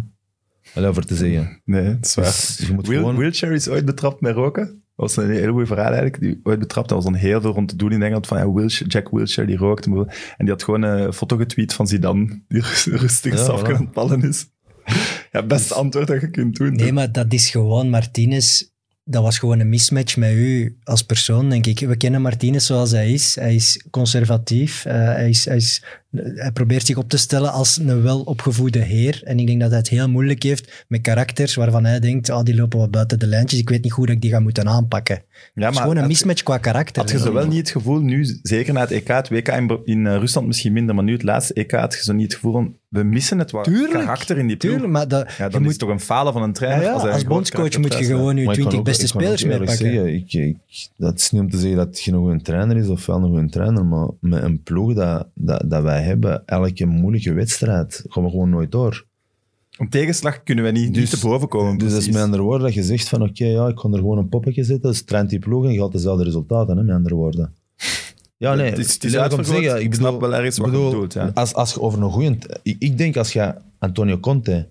D: Allee, over te zeggen.
A: Nee, het is
D: Dus je moet
A: Wheel-
D: gewoon...
A: Wheelchair is ooit betrapt met roken. Dat was een hele goede verhaal eigenlijk. Die ooit betrapt. Dat was dan heel veel rond te doen in Engeland. Van ja, Wilsh- Jack Wilshere die rookt. En die had gewoon een foto getweet van Zidane. Die rust- (laughs) rustig
D: Ja,
A: ja,
D: voilà.
A: aan het ballen is. Ja, best antwoord dat je kunt doen.
B: Dus- Nee, maar dat is gewoon Martinez. Dat was gewoon een mismatch met u als persoon, denk ik. We kennen Martinez zoals hij is. Hij is conservatief. eh, hij, is, hij, is, hij probeert zich op te stellen als een welopgevoede heer. En ik denk dat hij het heel moeilijk heeft met karakters waarvan hij denkt, ah, die lopen wat buiten de lijntjes. Ik weet niet hoe dat ik die ga moeten aanpakken. Het
A: ja,
B: is gewoon een
A: had-
B: mismatch qua karakter.
A: Had je zo
B: denk
A: wel
B: ik.
A: niet het gevoel, nu zeker na het EK, het WK in, Br- in eh, Rusland misschien minder, maar nu het laatste EK, had je zo niet het gevoel van, we missen het wat
B: Tuurlijk,
A: karakter in die ploeg.
B: Tuurlijk, maar dat,
A: Ja, dan
B: je
A: is
B: moet,
A: het toch een falen van een
B: ja,
A: trainer.
B: ja,
A: als hij
B: als,
A: een groot
B: bondscoach
A: karakter
B: moet je
A: thuis laat.
B: gewoon je
D: Maar ik kan
B: 20
D: ook-
B: beste
D: ik kan ook
B: spelers
D: eerlijk
B: meepakken.
D: zeggen, Ik, ik, dat is niet om te zeggen dat het geen goede trainer is of wel een goede trainer, maar met een ploeg dat, dat, dat wij hebben, elke moeilijke wedstrijd, gaan we gewoon nooit door.
A: Een tegenslag kunnen we niet,
D: Dus-
A: niet te boven komen.
D: Dus dat is
A: precies.
D: met andere woorden dat je zegt van oké, ja, ik kan er gewoon een poppetje zetten, dus traint die ploeg en je haalt dezelfde resultaten, hè, met andere woorden. Ja, nee,
A: het is, het is
D: lelijk om te
A: uitvergroot.
D: zeggen,
A: Ik snap wel ergens wat
D: bedoel,
A: je bedoelt. Ja.
D: Als, als je over een goeie... Ik, ik denk als je Antonio Conte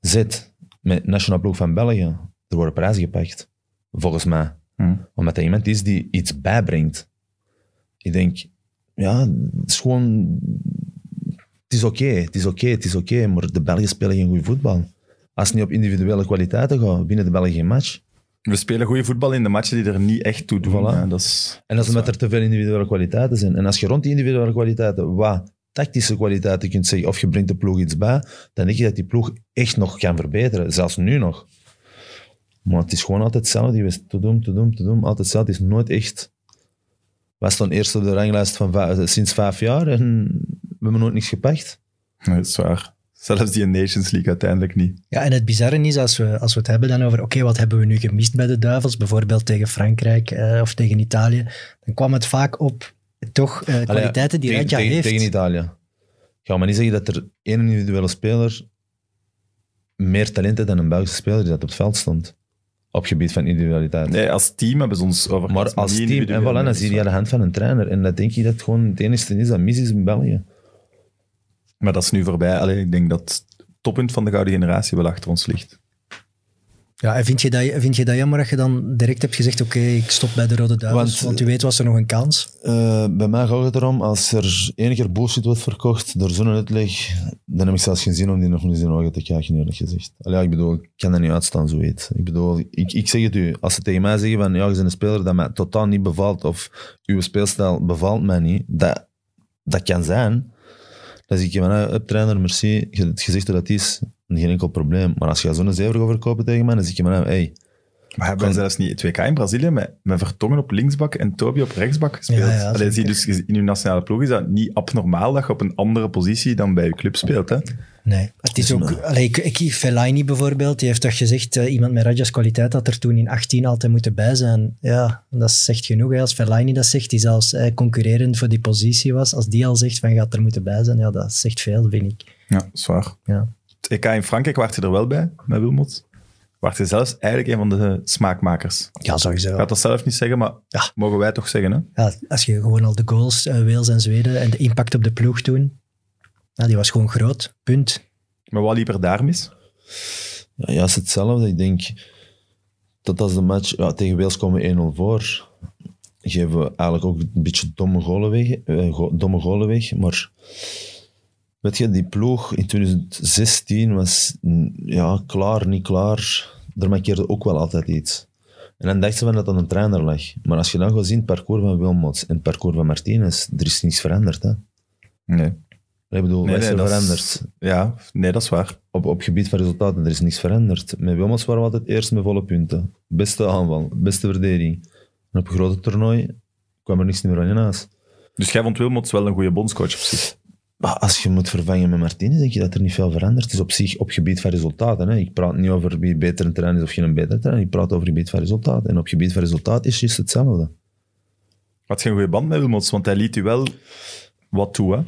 D: zet met nationale ploeg van België, er worden prijzen gepakt. Volgens mij.
A: Hmm.
D: Omdat dat iemand is die iets bijbrengt. Ik denk, ja, het is gewoon... Het is oké, het is oké, het is oké, maar de Belgen spelen geen goed voetbal. Als het niet op individuele kwaliteiten gaat, winnen de Belgen geen match.
A: We spelen goede voetbal in de matchen die er niet echt toe doen.
D: Voilà.
A: Ja, dat is,
D: En dat is
A: Dat is
D: omdat er te veel individuele kwaliteiten zijn. En als je rond die individuele kwaliteiten wat tactische kwaliteiten kunt zeggen, of je brengt de ploeg iets bij, dan denk je dat die ploeg echt nog kan verbeteren. Zelfs nu nog. Maar het is gewoon altijd hetzelfde. Je wist te doen, te doen, te doen. Altijd hetzelfde. Het is nooit echt... We staan eerst op de ranglijst van va- sinds vijf jaar en we hebben nooit niks gepakt.
A: nee, dat is waar. Zelfs die Nations League uiteindelijk niet.
B: Ja, en het bizarre is, als we, als we het hebben dan over, oké, wat hebben we nu gemist bij de Duivels, bijvoorbeeld tegen Frankrijk eh, of tegen Italië, dan kwam het vaak op toch eh,
D: Allee,
B: kwaliteiten die
D: tegen-
B: Radja
D: tegen,
B: heeft.
D: Tegen Italië. Ga maar niet zeggen dat er één individuele speler meer talent heeft dan een Belgische speler die dat op het veld stond. Op gebied van individualiteit.
A: Nee, als team hebben ze ons over.
D: maar als team, en voilà, dan zie je aan de hand van een trainer. En dat denk ik dat het gewoon het enige is dat mis is in België.
A: Maar dat is nu voorbij. Allee, ik denk dat het toppunt van de gouden generatie wel achter ons ligt.
B: Ja, en vind je, dat, vind je dat jammer dat je dan direct hebt gezegd, oké, ik stop bij de Rode Duivels, want,
D: Want-
B: u weet, was er nog een kans?
D: Eh, bij mij gaat het erom, als er één keer bullshit wordt verkocht door zo'n uitleg, dan heb ik zelfs geen zin om die nog eens in de ogen te kijken, eerlijk gezegd. Allee, ja, ik bedoel, ik kan dat niet uitstaan, zoiets. Ik bedoel, ik, ik zeg het u, als ze tegen mij zeggen van, ja, je bent een speler dat mij totaal niet bevalt, of uw speelstijl bevalt mij niet, dat, dat kan zijn. Dan zeg ik, van, ah, up trainer, merci, je hebt het gezegd hoe dat is, geen enkel probleem. Maar als je zo'n zever gaat verkopen tegen mij, dan zeg ik, van, ah, hey,
A: We hebben zelfs niet het WK in Brazilië met, met Vertongen op linksbak en Toby op rechtsbak gespeeld.
B: Ja, ja,
A: Allee, zie je dus in uw nationale ploeg is dat niet abnormaal dat je op een andere positie dan bij je club speelt. Hè?
B: Nee, het is
D: Dus
B: ook... Allee, ik, ik, Fellaini bijvoorbeeld, die heeft toch gezegd, eh, iemand met Radja's kwaliteit had er toen in 18 altijd moeten bij zijn. Ja, dat zegt genoeg. Hè. Als Fellaini dat zegt, die zelfs eh, concurrerend voor die positie was, als die al zegt van gaat er moeten bij zijn, ja, dat zegt veel, vind ik.
A: Ja, zwaar.
B: Ja.
A: Het EK in Frankrijk waart je er wel bij, met Wilmot. Waart je zelfs eigenlijk een van de smaakmakers.
B: Ja,
A: Ik
B: sowieso.
A: gaat dat zelf niet zeggen, maar
B: Ja.
A: mogen wij toch zeggen. Hè?
B: Ja, als je gewoon al de goals, eh, Wales en Zweden, en de impact op de ploeg toen, ja, die was gewoon groot. Punt.
A: Maar wat liep er daar mis?
D: Ja, juist hetzelfde. Ik denk dat als de match ja, tegen Wales komen we 1-0 voor, geven we eigenlijk ook een beetje domme golen weg. eh, go- domme golen weg maar weet je, die ploeg in 2016 was mm, ja, klaar, niet klaar. Er markeerde ook wel altijd iets. En dan dachten ze van dat dat een trainer lag. Maar als je dan gaat zien, het parcours van Wilmots en het parcours van Martinez, er is niets veranderd. Hè?
A: Nee.
D: Ik bedoel, wat is er
A: dat is-
D: veranderd?
A: ja, nee, dat is waar.
D: op, op gebied van resultaten, er is niks veranderd. Met Wilmots waren we altijd eerst met volle punten. Beste aanval, beste verdediging. En op een grote toernooi kwam er niks meer aan je naast.
A: Dus jij vond Wilmots wel een goede bondscoach op zich.
D: Maar als je moet vervangen met Martinez, denk je dat er niet veel veranderd is op zich op gebied van resultaten. Hè? Ik praat niet over wie beter een trainer is of geen betere trainer. Ik praat over gebied van resultaten. En op gebied van resultaat is juist hetzelfde.
A: Had je een goede band met Wilmots? Want hij liet u wel wat toe. Hè?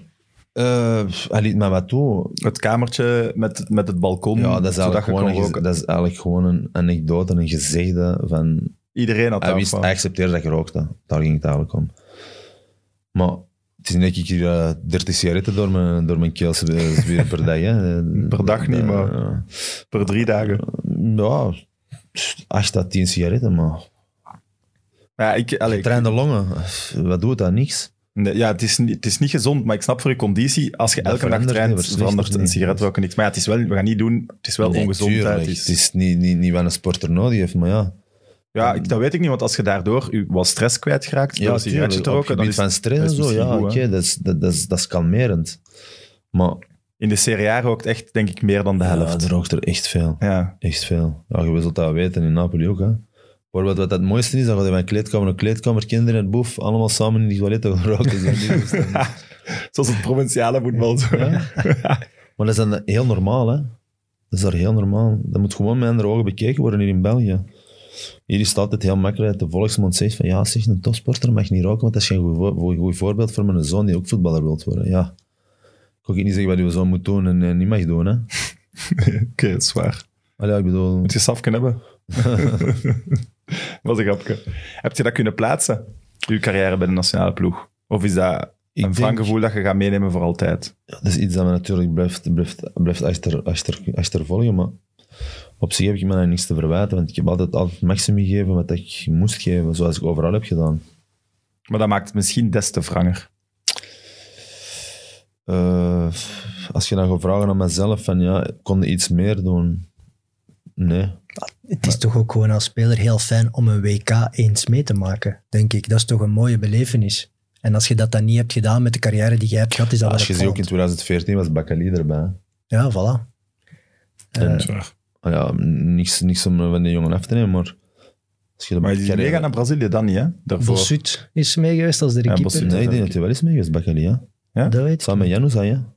D: Eh, hij liet mij wat toe.
A: Het kamertje met, met het balkon.
D: Ja, dat is
A: zodat
D: eigenlijk,
A: je
D: gewoon
A: kon
D: een, gez-
A: roken.
D: dat is eigenlijk gewoon een anekdote, een gezegde van
A: Iedereen had
D: Hij,
A: daar
D: wist,
A: van.
D: hij accepteerde dat ik rookte. Daar ging het eigenlijk om. Maar het is niet dat ik hier eh, 30 sigaretten door mijn, door mijn keel (laughs) zweer per dag. Hè.
A: Per dag niet,
D: Eh,
A: maar-
D: eh,
A: Per drie dagen.
D: Ja, 8 à 10 sigaretten, maar...
A: Ja, ik, allee, ik-
D: Trainde longen, wat doet dat? Niks.
A: nee, ja het, is, niet- het is niet gezond, maar ik snap voor je conditie. Als je
D: Dat
A: elke dag
D: verandert
A: traint,
D: niet, dat verslechtert
A: verandert een
D: niet.
A: sigaret roken niks. Maar ja, het is wel, we gaan niet doen. Het is wel
D: Nee,
A: ongezondheid.
D: tuurlijk.
A: Het is-
D: Het is niet, niet, niet wat een sporter nodig heeft, maar ja.
A: Ja, ik, dat weet ik niet, want als je daardoor je wel stress kwijtgeraakt door een sigaretje
D: tuurlijk,
A: te
D: op
A: roken, dan
D: gebied
A: is
D: van stress en
A: dat is
D: zo,
A: misschien
D: ja,
A: goed,
D: oké,
A: hè.
D: dat, is, dat, dat, is, dat is kalmerend. Maar
A: in de Serie A rookt echt, denk ik, meer dan de
D: ja,
A: helft.
D: er rookt er echt veel.
A: Ja,
D: Echt veel. Ja, je zult dat weten in Napoli ook. Hè. Bijvoorbeeld wat dat het mooiste is, dan gaat je van kleedkamer naar kleedkamer, kinderen en boef, allemaal samen in die toiletten gaan roken. Zo,
A: (laughs)
D: die toestanden.
A: (laughs) zoals het provinciale voetbal. Zo.
D: Ja. maar dat is dan heel normaal, hè. Dat is daar heel normaal. Dat moet gewoon met andere ogen bekeken worden hier in België. Hier is het altijd heel makkelijk dat de volksmond zegt van ja, zeg, een topsporter mag niet roken, want dat is geen goed, voor- goed voorbeeld voor mijn zoon die ook voetballer wil worden. Ja. Ik kan ook niet zeggen wat uw zoon moet doen en, en niet mag doen, hè.
A: (laughs) Oké, dat is waar.
D: Allee, ja, ik bedoel...
A: Moet je safken hebben. (laughs) was een grapje. Heb je dat kunnen plaatsen? Uw carrière bij de nationale ploeg? Of is dat
D: Ik
A: een
D: denk-
A: wrang gevoel dat je gaat meenemen voor altijd?
D: Dat is iets dat me natuurlijk blijft, blijft, blijft achter, achter, achtervolgen, maar op zich heb ik me daar niks te verwijten, want ik heb altijd, altijd het maximum gegeven wat ik moest geven, zoals ik overal heb gedaan.
A: Maar dat maakt het misschien des te wranger.
D: Eh, als je dan gaat vragen aan mezelf, van ja, kon je iets meer doen? Nee.
B: Het is toch ook gewoon als speler heel fijn om een WK eens mee te maken, denk ik. Dat is toch een mooie belevenis. En als je dat dan niet hebt gedaan met de carrière die jij hebt gehad, is dat wel
D: als je ziet, ook in
B: opvallend.
D: 2014 was Bakali erbij. hè.
B: Ja, voilà.
D: En,
A: is waar.
D: ah ja, niks, niks om van die jongen af te nemen, maar... Als je de
A: Maar die is
D: carrière-
A: meegaan naar Brazilië dan niet, hè? Daarvoor.
B: Bossut is mee geweest als de
A: Ja,
B: keeper.
A: Bossut.
D: Nee, ik denk dat hij wel eens mee is, Bakali, ja.
B: Dat weet ik.
D: Samen met Janus, ja.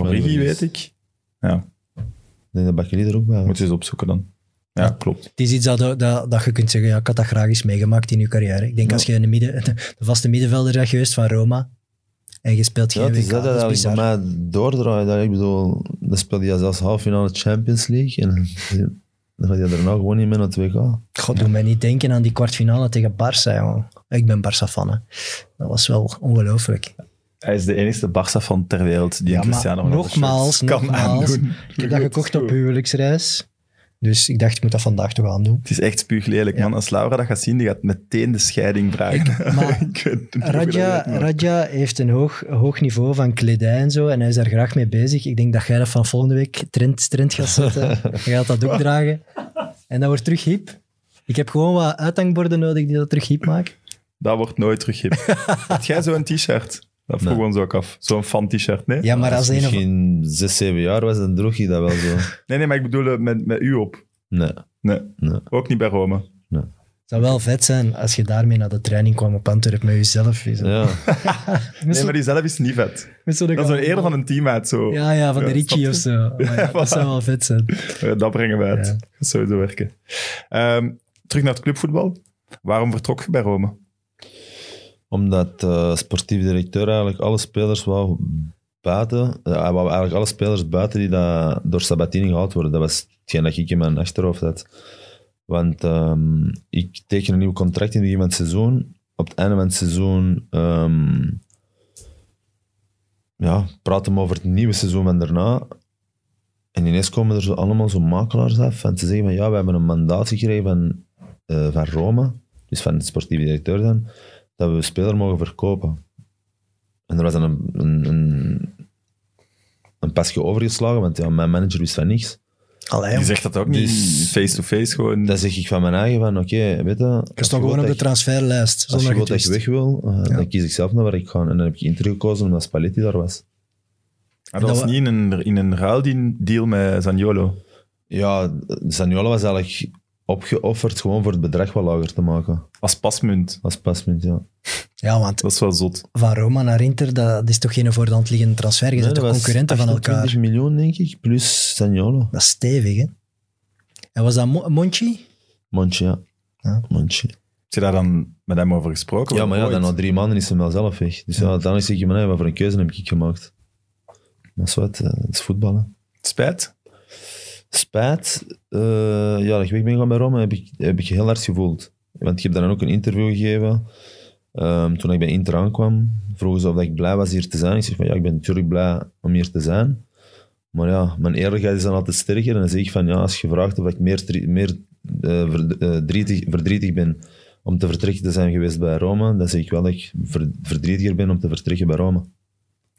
A: Origi, weet ik.
D: Ik denk dat Bakali er ook bij was.
A: Moet je eens opzoeken dan. Ja, klopt.
B: Het is iets dat, dat, dat je kunt zeggen, ja, ik had dat graag eens meegemaakt in je carrière. Ik denk als je in de, midden, (laughs) de vaste middenvelder bent geweest van Roma en je speelt geen
D: Ja, het is
B: WK,
D: dat
B: dat is
D: dat eigenlijk
B: bizar.
D: bij mij doordraait. Dat, ik bedoel, dan speelde je zelfs half finale Champions League en (laughs) dan gaat je daarna gewoon niet meer naar het WK.
B: God, doe mij niet denken aan die kwartfinale tegen Barça, jongen. Ik ben Barça-fan, hè. Dat was wel ongelooflijk.
A: Hij is de enige Barça-fan ter wereld die
B: Ja,
A: een
B: maar
A: Cristiano Ronaldo
B: nogmaals,
A: shirt kan
B: nogmaals.
A: aandoen.
B: Ik heb dat gekocht op huwelijksreis. Dus ik dacht, ik moet dat vandaag toch aandoen.
A: Het is echt spuug lelijk, man. Als Laura dat gaat zien, die gaat meteen de scheiding vragen.
B: maar
A: (laughs) Ik weet niet of je dat
B: Radja,
A: weet, maar-
B: Radja heeft een hoog, hoog niveau van kledij en zo. En hij is daar graag mee bezig. Ik denk dat jij dat van volgende week trend, trend gaat
A: (laughs)
B: zetten. Je gaat dat ook dragen. En dat wordt terug hip. Ik heb gewoon wat uithangborden nodig die dat terug hip maken.
A: Dat wordt nooit terug
B: (laughs)
A: hip. Heb jij zo'n t-shirt? Dat vroegen we ons ook af. Zo'n fan-t-shirt, nee?
B: Ja, maar als
D: Als ik
B: een of
D: misschien 6, 7 jaar was, dan droeg je dat wel zo.
A: Nee, nee, maar ik bedoel eh, met, met u op.
D: Nee.
A: Nee,
D: Nee.
A: ook niet bij Rome.
B: zou wel vet zijn als je daarmee naar de training kwam op Antwerpen met jezelf. Met zo-
D: Ja.
A: Nee, maar die zelf is niet vet.
B: met zo'n
A: Dat is wel
B: gouden
A: eerder
B: bal.
A: van een teammaat, zo.
B: Ja, ja, van de
A: Ja, snap
B: Ritchie
A: je?
B: of zo. Maar
A: (laughs)
B: ja, dat zou wel vet zijn.
A: Eh, Dat brengen we uit.
B: Ja.
A: Dat gaat sowieso werken. Ehm, terug naar het clubvoetbal. Waarom vertrok je bij Rome?
D: Omdat de sportief directeur eigenlijk alle spelers wou buiten, eh, hij wou eigenlijk alle spelers buiten die dat door Sabatini gehaald worden. Dat was hetgeen dat ik in mijn achterhoofd had. Want ehm, ik teken een nieuw contract in het begin van het seizoen. Op het einde van het seizoen ehm ja, praten we over het nieuwe seizoen van daarna. En ineens komen er zo allemaal zo'n makelaars af en ze zeggen van ja, we hebben een mandaat gekregen van, eh, van Rome, dus van de sportieve directeur dan dat we een speler mogen verkopen. En er was dan een, een, een, een pasje overgeslagen, want ja, mijn manager wist van niks.
B: Allee,
A: Die
B: jongen.
A: zegt dat ook niet.
D: Dus-
A: Face-to-face gewoon.
D: Dan zeg ik van mijn eigen van, oké, weet je...
B: Je
D: als
B: stond
D: wilt
B: gewoon op de
D: dat ik-
B: transferlijst.
D: Als je
B: Zonder
D: wilt dat je
B: getwist.
D: weg wil, eh,
B: Ja.
D: dan kies ik zelf naar waar ik ga. En dan heb ik Inter gekozen omdat Spalletti daar was.
A: Ah, dat
B: dat
A: was
B: we-
A: niet in een, in een ruildeal met Zaniolo.
D: Ja, Zaniolo was eigenlijk opgeofferd gewoon voor het bedrag wat lager te maken.
A: Als pasmunt.
D: Als pasmunt, ja.
B: Ja, want
A: Dat is wel zot.
B: van Roma naar Inter, dat, dat is toch geen voor de hand liggende transfer. Je
D: Nee,
B: bent
D: dat
B: toch
D: was
B: concurrenten van elkaar.
D: 28 miljoen, denk ik, plus Zaniolo.
B: Dat is stevig, hè? En was dat Mo- Monchi?
D: Montje, ja.
B: Ja.
D: Montje.
A: Heb je daar dan met hem over gesproken?
D: Ja, maar ja,
A: Ooit?
D: dan na drie maanden is hem wel zelf weg. Dus ja, uiteindelijk zeg je, maar, nee, wat voor een keuze heb ik gemaakt? Maar zo, het, eh, het is voetballen.
A: Spijt.
D: Spijt, eh, ja, dat ik weg ben gegaan bij Rome, heb ik, heb ik heel hard gevoeld. Want ik heb dan ook een interview gegeven. Ehm, toen ik bij Inter aankwam, vroegen ze of dat ik blij was hier te zijn. Ik zeg van, ja, ik ben natuurlijk blij om hier te zijn. Maar ja, mijn eerlijkheid is dan altijd sterker. En dan zeg ik van, ja, als je vraagt of ik meer, tri- meer eh, verd- eh, drietig- verdrietig ben om te vertrekken te zijn geweest bij Rome, dan zeg ik wel dat ik ver- verdrietiger ben om te vertrekken bij Rome.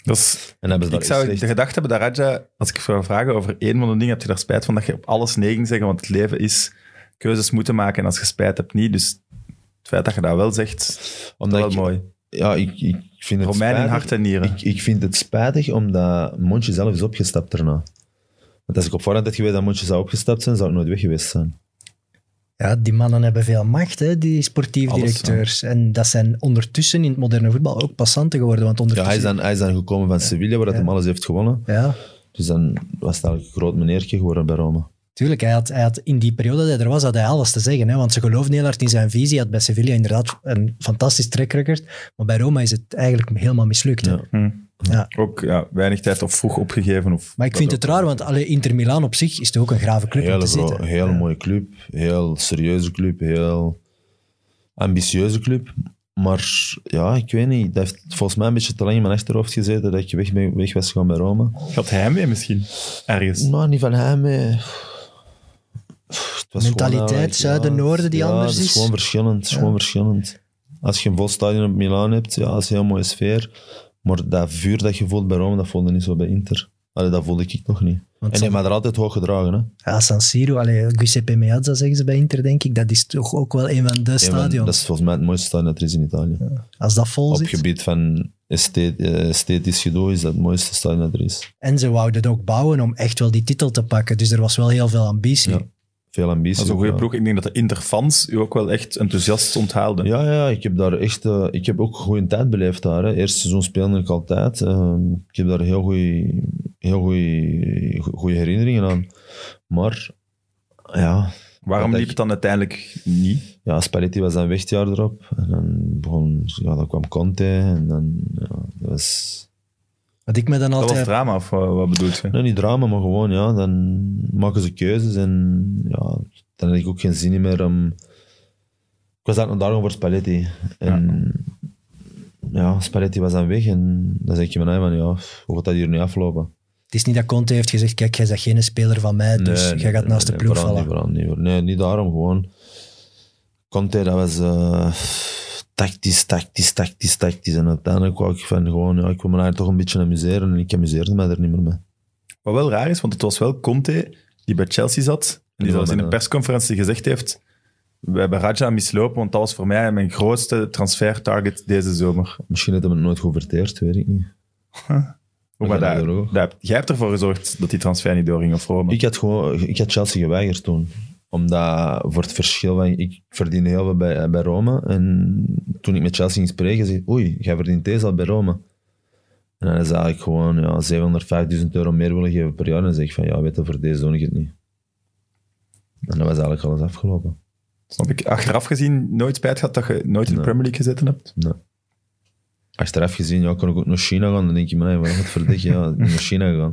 A: Dat is,
D: En hebben ze
A: ik
D: daar
A: zou
D: echt
A: de gedachte hebben dat Raja, als ik je zou vragen over één van de dingen, heb je daar spijt van dat je op alles nee ging zeggen? Want het leven is keuzes moeten maken en als je spijt hebt niet. Dus het feit dat je dat wel zegt, is
D: Omdat
A: wel
D: ik-
A: mooi.
D: Ja, ik, ik vind het
A: Romein in
D: spijtig.
A: hart en nieren.
D: Ik, ik vind het spijtig omdat Montje zelf is opgestapt daarna. Want als ik op voorhand had geweten dat Montje zou opgestapt zijn, zou ik nooit weg geweest zijn.
B: Ja, die mannen hebben veel macht, hè, die sportief
A: Alles,
B: directeurs. En dat zijn ondertussen in het moderne voetbal ook passanten geworden. Want
D: Ja, hij, is
B: ondertussen...
D: dan, hij is dan gekomen van Sevilla, waar dat
B: Ja.
D: hem alles heeft gewonnen.
B: Ja,
D: Dus dan was het eigenlijk een groot meneertje geworden bij Rome.
B: tuurlijk. Hij had, hij had, in die periode dat hij er was, had hij alles te zeggen. Hè, want ze geloofden heel hard in zijn visie. Hij had bij Sevilla inderdaad een fantastisch track record. Maar bij Roma is het eigenlijk helemaal mislukt. hè.
D: Ja.
A: Hm. Ook ja, weinig tijd of vroeg opgegeven. Of
B: Maar ik vind het raar, want allee, Inter Milaan op zich is toch ook een grave club om
D: Hele,
B: te
D: gro-
B: zitten.
D: heel mooie club, heel serieuze club, heel ambitieuze club. Maar ja, ik weet niet. Dat heeft volgens mij een beetje te lang in mijn achterhoofd gezeten dat ik weg, ben, weg was gegaan bij Rome.
A: Gaat hij mee misschien? Ergens.
D: Nou, niet van hem. eh. Het was
B: Mentaliteit,
D: gewoon, eh,
B: zuiden, noorden die
D: ja,
B: anders
D: het
B: is.
D: is gewoon verschillend. het is gewoon verschillend. Als je een vol stadion op Milaan hebt, ja, dat is een heel mooie sfeer. Maar dat vuur dat je voelt bij Rome, dat voelde niet zo bij Inter. Allee, dat voelde ik nog niet.
B: Want
D: en je
B: San,
D: hebt er altijd hoog gedragen. Hè?
B: ja, San Siro, allee, Giuseppe Meazza zeggen ze bij Inter, denk ik. Dat is toch ook wel een van de
D: Een van-
B: stadions.
D: Dat is volgens mij het mooiste stadion dat er is in Italië.
B: Als dat vol
D: Op
B: zit.
D: gebied van esthet- eh, esthetisch gedoe is dat het mooiste stadion dat er is.
B: En ze wouden het ook bouwen om echt wel die titel te pakken. Dus er was wel heel veel ambitie.
D: Ja. Veel ambitie.
A: Dat is een goede
D: ja.
A: ploeg. Ik denk dat de Interfans u ook wel echt enthousiast onthaalden.
D: Ja, ja, ik heb daar echt... eh, ik heb ook een goede tijd beleefd daar. Hè. Eerste seizoen speelde ik altijd. Ehm, ik heb daar heel goede heel goeie, goeie herinneringen aan. Maar, ja...
A: Waarom
D: Dat
A: liep het
D: ik-
A: dan uiteindelijk niet?
D: Ja, Spalletti was dan weg het jaar erop. En dan, begon, ja, dan kwam Conte. En dan... Ja, dat was...
B: Wat ik me dan
A: Dat was
B: altijd...
A: drama, of wat, wat bedoelt je?
D: Nee, niet drama, maar gewoon, ja, dan maken ze keuzes en ja, dan heb ik ook geen zin in meer om... Ik was eigenlijk nog daarom voor Spalletti. En ja. Spalletti was dan weg en dan zeg je me nou van, ja, pff, hoe gaat dat hier nu aflopen?
B: Het is niet dat Conte heeft gezegd, kijk, jij bent geen speler van mij, dus
D: Nee,
B: jij gaat
D: nee,
B: naast
D: nee,
B: de ploeg
D: vooral
B: vallen.
D: Niet, vooral niet, hoor. nee, niet daarom, gewoon... Conte, dat was eh, tactisch, tactisch, tactisch, tactisch. En uiteindelijk wou ik van gewoon, ja, ik wil me daar toch een beetje amuseren en ik amuseerde me er niet meer mee.
A: Wat wel raar is, want het was wel Conte die bij Chelsea zat. En die
D: Ja,
A: zelfs in
D: maar,
A: een
D: ja.
A: persconferentie gezegd heeft... We hebben Raja mislopen, want dat was voor mij mijn grootste transfertarget deze zomer.
D: Misschien heeft hij me het nooit goed verteerd, weet ik niet.
A: Hoe maar
D: Ja,
A: daar,
D: dat ook.
A: daar, jij hebt ervoor gezorgd dat die transfer niet doorging, of Rome?
D: Ik had, gewoon, ik had Chelsea geweigerd toen. Omdat voor het verschil van... Ik verdiende heel veel bij, bij Rome. En toen ik met Chelsea ging spreken, zei ik, Oei, jij verdient deze al bij Rome. En dan is eigenlijk gewoon ja, 750.000 euro meer willen geven per jaar. En dan zeg ik van, ja, weet je, voor deze doe ik het niet. En dan was eigenlijk alles afgelopen.
A: Snap ik. Achteraf gezien nooit spijt gehad dat je nooit in de
D: Nee.
A: Premier League gezeten hebt?
D: Achteraf gezien, ja, kon ik ook naar China gaan. Dan denk je, maar nee, wat gaat verdikken? Ja, (laughs) naar China
A: (laughs)
D: gaan.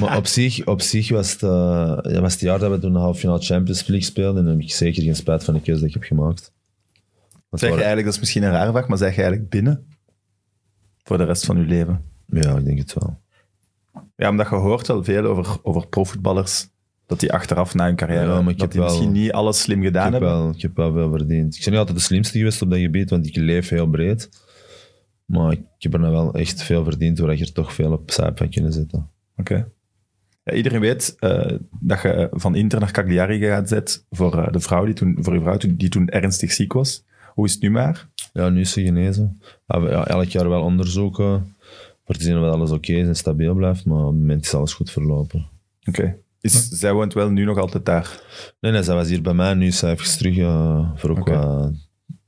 D: Maar op zich, op zich was, het, eh, ja, was het jaar dat we toen de halve finale Champions League speelden. En dan heb ik zeker geen spijt van de keuze die ik heb gemaakt. Want
A: Zeg je
D: waar-
A: eigenlijk, dat is misschien een rare vraag, maar zeg je eigenlijk binnen voor de rest van je leven?
D: Ja, ik denk het wel.
A: Ja, omdat je hoort wel veel over, over profvoetballers, dat die achteraf na hun carrière,
D: Ja, maar ik
A: dat
D: heb
A: die
D: wel-
A: misschien niet alles slim gedaan
D: ik, heb
A: hebben.
D: wel, ik heb wel veel verdiend. Ik ben niet altijd de slimste geweest op dat gebied, want ik leef heel breed. Maar ik heb er nou wel echt veel verdiend, waar je er toch veel op saai van kunnen zitten.
A: Oké. Ja, iedereen weet eh, dat je van Inter naar Cagliari gaat zet voor eh, de vrouw die toen, voor je vrouw toen- die toen ernstig ziek was. Hoe is het nu maar?
D: Ja, nu is ze genezen. Ja, we- ja, elk jaar wel onderzoeken. Voor te zien of alles oké is en stabiel blijft. Maar op het moment is alles goed verlopen.
A: Oké. Is, Zij woont wel nu nog altijd daar.
D: Nee, nee, zij was hier bij mij. Nu is zij even terug eh, voor ook
A: Oké.
D: wat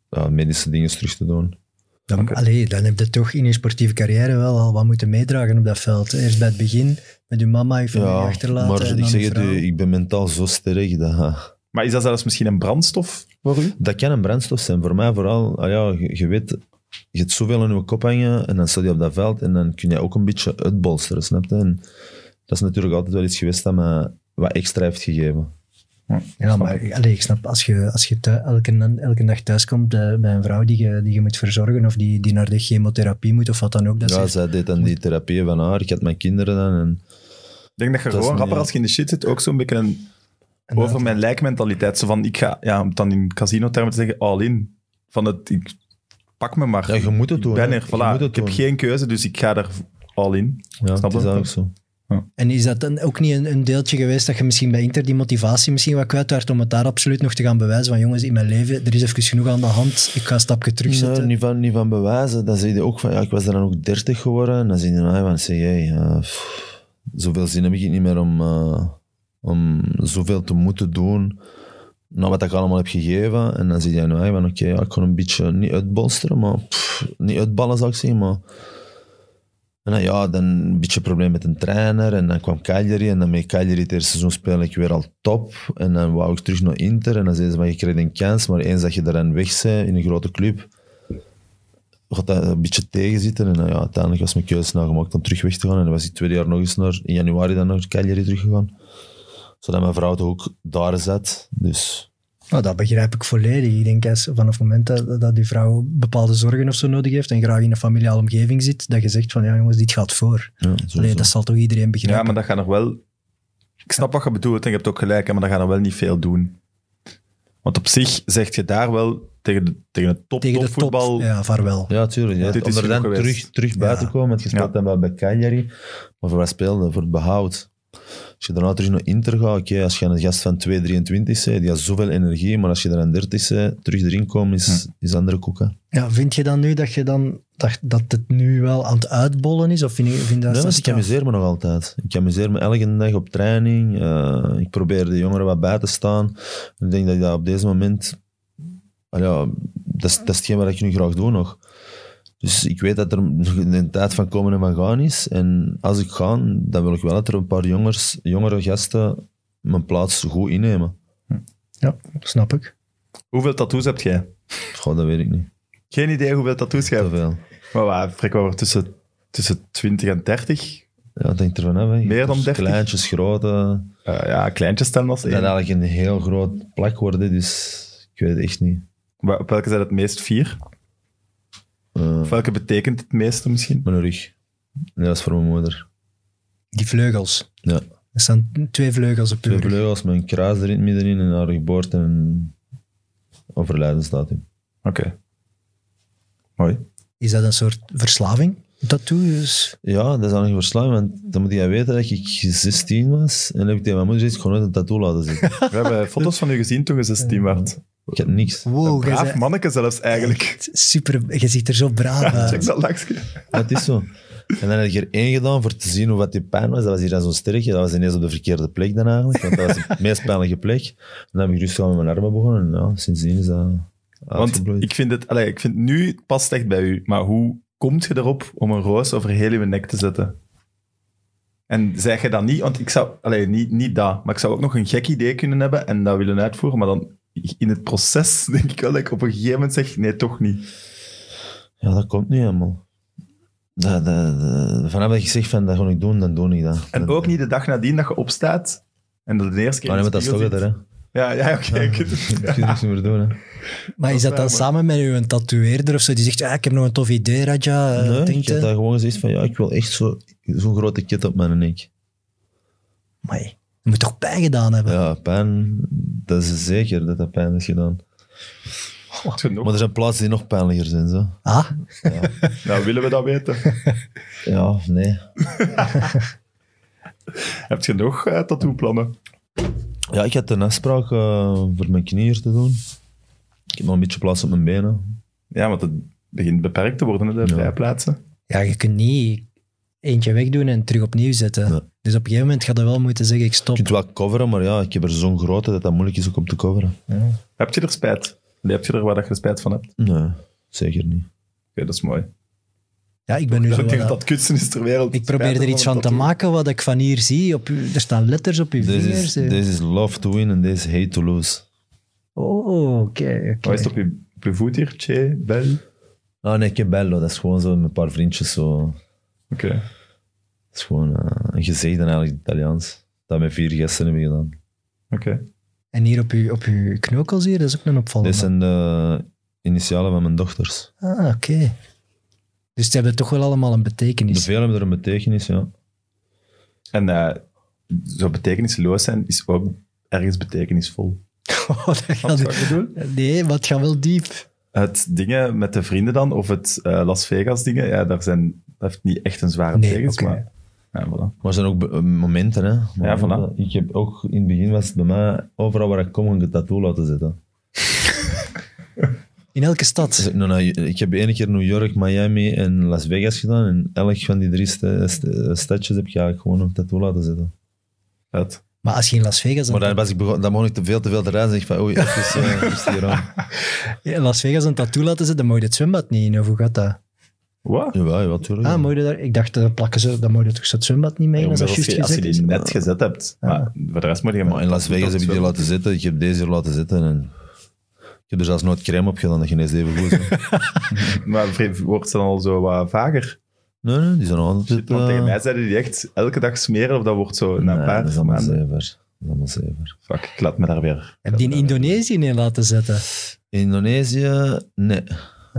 D: ja, medische dingen terug te doen.
B: Dan,
A: Oké.
B: allee, dan heb je toch in je sportieve carrière wel al wat moeten meedragen op dat veld. Eerst bij het begin, met je mama, je familie achterlaten.
D: maar
B: en
D: ik
B: dan
D: zeg
B: je
D: het
B: vrouw.
D: u, ik ben mentaal zo sterk dat...
A: Maar is dat zelfs misschien een brandstof voor u?
D: Dat kan een brandstof zijn. Voor mij vooral, ah ja, je, je weet, je hebt zoveel in je kop hangen en dan sta je op dat veld en dan kun je ook een beetje uitbolsteren, snap je? En dat is natuurlijk altijd wel iets geweest dat me wat extra heeft gegeven.
B: Ja, maar allee, ik snap, als je, als je thui- elke, elke dag thuiskomt eh, bij een vrouw die je, die je moet verzorgen of die, die naar de chemotherapie moet of wat dan ook, dat
D: ja,
B: is
D: zij deed dan die therapieën van haar, ik had mijn kinderen dan en...
A: Ik denk dat je
D: Dat is
A: gewoon
D: niet-
A: rapper als je in de shit zit ook zo'n beetje een
B: een
A: over mijn lijkmentaliteit. Zo van, ik ga, ja, om het dan in casino-termen te zeggen, all in. Van het, ik pak me maar.
D: Ja, je moet het
A: ik
D: doen,
A: ben
D: hè.
A: er,
D: Je
A: voilà.
D: moet het
A: ik heb
D: doen.
A: geen keuze, dus ik ga er all in.
D: Ja,
A: Snap
D: dat is
A: je?
D: ook zo.
B: En is dat dan ook niet een, een deeltje geweest dat je misschien bij Inter die motivatie misschien wat kwijt werd om het daar absoluut nog te gaan bewijzen van jongens, in mijn leven, er is even genoeg aan de hand, ik ga een stapje terugzetten.
D: Nee, niet van, niet van bewijzen. Dan zie je ook van, ja, ik was dan ook 30 geworden. En dan zie je nou van, zeg jij, eh, pff, zoveel zin heb ik niet meer om, eh, om zoveel te moeten doen. Nou, wat ik allemaal heb gegeven. En dan zie je nou van, oké, ja, ik kon een beetje niet uitbolsteren, maar pff, niet uitballen zou ik zeggen, maar... En dan, ja, dan een beetje probleem met een trainer. En dan kwam Cagliari. En dan met Cagliari het eerste seizoen speelde ik weer al top. En dan wou ik terug naar Inter. En dan zeiden ze, maar je kreeg een kans. Maar eens dat je daar aan weg bent, in een grote club, gaat dat een beetje tegenzitten. En eh, ja, uiteindelijk was mijn keuze nou gemaakt om terug weg te gaan. En dan was ik tweede jaar nog eens naar, in januari dan naar Cagliari teruggegaan. Zodat mijn vrouw toch ook daar zat. Dus
B: Nou, dat begrijp ik volledig. Ik denk, als vanaf het moment dat, dat die vrouw bepaalde zorgen of zo nodig heeft en graag in een familiale omgeving zit, dat je zegt van, ja jongens, dit gaat voor.
D: ja,
B: Allee,
D: sowieso.
B: dat zal toch iedereen begrijpen?
A: Ja, maar dat gaat nog wel... Ik snap wat je bedoelt en je hebt ook gelijk, hè, maar dat gaat nog wel niet veel doen. Want op zich zeg je daar wel tegen, de, tegen het top,
B: Tegen de
A: topvoetbal...
B: top, ja, vaarwel.
D: Ja, tuurlijk. Ja.
A: Dit is
D: Om er
A: genoeg
D: dan
A: geweest.
D: terug, terug bij
B: Ja.
D: te komen, want je speelt
A: Ja.
D: dan wel bij Cagliari. Maar voor wat speelde? Voor het behoud. Als je daarna terug naar Inter gaat, oké, als je een gast van 2,23 bent, die heeft zoveel energie, maar als je er aan 30 bent, terug erin komen,
A: Hm.
D: is, is andere koeken.
B: Ja, vind je dan nu dat, je dan, dat, dat het nu wel aan het uitbollen is? Of vind je vind je dat
D: Nee, want ik
B: straf?
D: amuseer me nog altijd. Ik amuseer me elke dag op training. eh, ik probeer de jongeren wat bij te staan. Ik denk dat ik dat op deze moment... ah ja, dat, is, dat is hetgeen wat ik nu graag doe nog. Dus ik weet dat er een tijd van komen en van gaan is. En als ik ga, dan wil ik wel dat er een paar jongers, jongere gasten mijn plaats goed innemen.
B: Ja, snap ik.
A: Hoeveel tattoos heb jij?
D: Goh, dat weet ik niet.
A: Geen idee hoeveel tattoos jij
D: Te
A: hebt.
D: veel.
A: Maar waar, Freek, waar we tussen, tussen 20 en 30?
D: Ja, dat hangt er vanaf. hè. Je
A: Meer
D: hebt
A: dan
D: dus
A: 30?
D: Kleintjes, grote.
A: Eh, ja, kleintjes staan als
D: Dat kan
A: één.
D: eigenlijk een heel groot plak worden, dus ik weet het echt niet.
A: Wa- Op welke zijn het meest vier?
D: Eh,
A: Of welke betekent het meeste misschien?
D: Mijn rug. Nee, dat is voor mijn moeder.
B: Die vleugels.
D: Ja.
B: Er staan twee vleugels op
D: Twee
B: uw rug.
D: vleugels, mijn kruis er in het middenin en haar geboorte en overlijdensdatum.
A: Oké. Mooi.
B: Is dat een soort verslaving? Tattoos?
D: Ja, dat is dan nog verslaan, want dan moet jij weten dat ik 16 was en heb ik tegen mijn moeder gezegd, ik ga nooit een tattoo laten zitten. (laughs)
A: We hebben foto's van u gezien toen je 16 werd.
D: ik heb niks.
A: Een
B: Wow, Oh, jij
A: braaf
B: bent
A: manneke zelfs eigenlijk.
B: echt super... Je ziet er zo braaf
A: Check
B: uit.
A: dat lachje.
D: Dat is zo. En dan heb ik er één gedaan voor te zien hoe wat die pijn was. Dat was hier dan zo'n sterretje. Dat was ineens op de verkeerde plek dan eigenlijk, want dat was de meest pijnlijke plek. En dan heb ik rustig aan met mijn armen begonnen en ja, sindsdien is dat
A: Want
D: uitgebloeid.
A: ik vind het, allee, ik vind nu het past echt bij u. Maar hoe komt je erop om een roos over heel uw nek te zetten? En zeg je dat niet? Want ik zou, allee, niet, niet dat, maar ik zou ook nog een gek idee kunnen hebben en dat willen uitvoeren. Maar dan in het proces (laughs) denk ik wel dat ik op een gegeven moment zeg: nee, toch niet.
D: Ja, dat komt niet helemaal. Dat, dat, dat- vanaf dat ik zeg van dat ga ik doen, dan doe ik dat.
A: En ook niet de dag nadien dat je opstaat en dat de eerste keer.
B: Ah,
D: Maar
A: in
D: dan
A: de
D: moet dat
A: spiegel
D: stokken er, hè.
A: ziet. Ja, ja oké. ik-
D: Ik kan niks meer doen, hè.
B: Maar is dat dan
A: Ja, maar-
B: samen met uw tatoeëerder of zo? Die zegt, ah, ik heb nog een tof idee, Raja.
D: Nee,
B: eh,
D: ik
B: denkt
D: heb
B: hè?
D: daar gewoon gezegd van, ja, ik wil echt zo- zo'n grote kit op mijn nek.
B: Amai, je moet toch pijn gedaan hebben?
D: Ja, pijn, dat is zeker dat dat pijn is gedaan.
A: Genoeg.
D: Maar er zijn plaatsen die nog pijnlijker zijn, zo.
B: Ah,
A: Nou, willen we dat weten?
D: Ja, of nee.
A: Heb je nog eh, tattoo-plannen?
D: Ja, ik had een afspraak eh, voor mijn knieën te doen. Ik heb nog een beetje plaats op mijn benen.
A: Ja, want het begint beperkt te worden, hè, de
D: Ja.
A: vrijplaatsen.
B: ja, je kunt niet eentje wegdoen en terug opnieuw zetten.
D: Nee.
B: Dus op een gegeven moment gaat je wel moeten zeggen, ik
D: Je
B: stop.
D: kunt het wel coveren, maar ja, ik heb er zo'n grote dat dat moeilijk is ook om te coveren.
A: Heb je er spijt? Nee, heb je er waar dat je spijt van hebt? Oké,
D: Nee, zeker niet.
A: dat is mooi.
B: Ja, ik ben nu
A: Ik
B: zo
A: denk (laughs) dat
B: wat-
A: dat kutsen is ter wereld.
B: Ik probeer er
A: Spijt
B: iets van te
A: dat doen.
B: maken wat ik van hier zie. Op, uw- er staan letters op uw
D: This
B: vingers.
D: is,
B: eh.
D: this is love to win and this is hate to lose.
B: Oh, oké. oké.
A: Wat is het op je, op je voet hier? Che, bel? Oké.
D: Ah nee, que bello. Dat is gewoon zo met een paar vriendjes zo. Dat is gewoon eh, een gezegde eigenlijk Italiaans. Dat met vier gasten hebben we gedaan.
A: Oké.
B: En hier op uw, op uw knokkels hier, dat is ook een
D: Dit
B: opvallende.
D: zijn de initialen van mijn dochters.
B: Ah, oké. Dus ze hebben toch wel allemaal een
D: De
B: (laughs) betekenis.
D: velen hebben er een betekenis, ja.
A: En eh, zo betekenisloos zijn is ook ergens betekenisvol.
B: Oh, dat
A: Wat
B: gaat-
A: zou je doen?
B: nee, wat gaat wel diep.
A: Het dingen met de vrienden dan, of het eh, Las Vegas dingen, ja, daar zijn, dat heeft niet echt een zware
B: Nee,
A: betekenis,
B: oké.
A: maar... Ja, voilà.
D: Maar er zijn ook be- eh, momenten, hè.
A: Ja, voilà.
D: Momenten. Ik heb ook, in het begin was het bij mij, overal waar ik kom, een tattoo laten zetten.
B: In elke stad.
D: Dus ik, nou, nou, ik heb één keer New York, Miami en Las Vegas gedaan. En elk van die drie sta- sta- stadjes heb ik eigenlijk gewoon een tattoo laten zetten.
A: Dat.
B: Maar als je in Las Vegas...
D: Maar dan,
B: Een,
D: was ik begon, dan mocht ik te veel te veel te reizen. Ik van, oei, even eh,
A: (laughs)
D: rustig aan.
B: in Las Vegas een tattoo laten zetten, dan mag je het zwembad niet in. Of hoe gaat dat?
A: Wat?
D: Jawel, jawel, tuurlijk.
B: Ah, mag je daar... Ik dacht, dat plakken ze, dan mag je toch het zwembad niet mee in.
A: Ja,
B: als dat
A: omdat
B: juist
A: als, je, als je
B: gezet is.
A: die net gezet hebt. Maar voor de rest moet je
D: Maar in Las Vegas heb ik die laten zitten. Ik heb deze hier laten zitten. En ik heb er zelfs nooit crème op gedaan, dat geneest even goed.
A: (laughs)
D: hè.
A: Maar vri- wordt ze dan al zo wat vager?
D: nee, nee, die zijn al altijd...
A: Want
D: eh,
A: tegen mij zeiden die echt elke dag smeren of dat wordt zo na een
D: nee,
A: paar
D: dat is allemaal
A: maanden.
D: zever. Dat is allemaal zever.
A: Fuck, ik laat me daar weer.
B: Heb die in Indonesië neer laten zetten?
D: Indonesië, nee.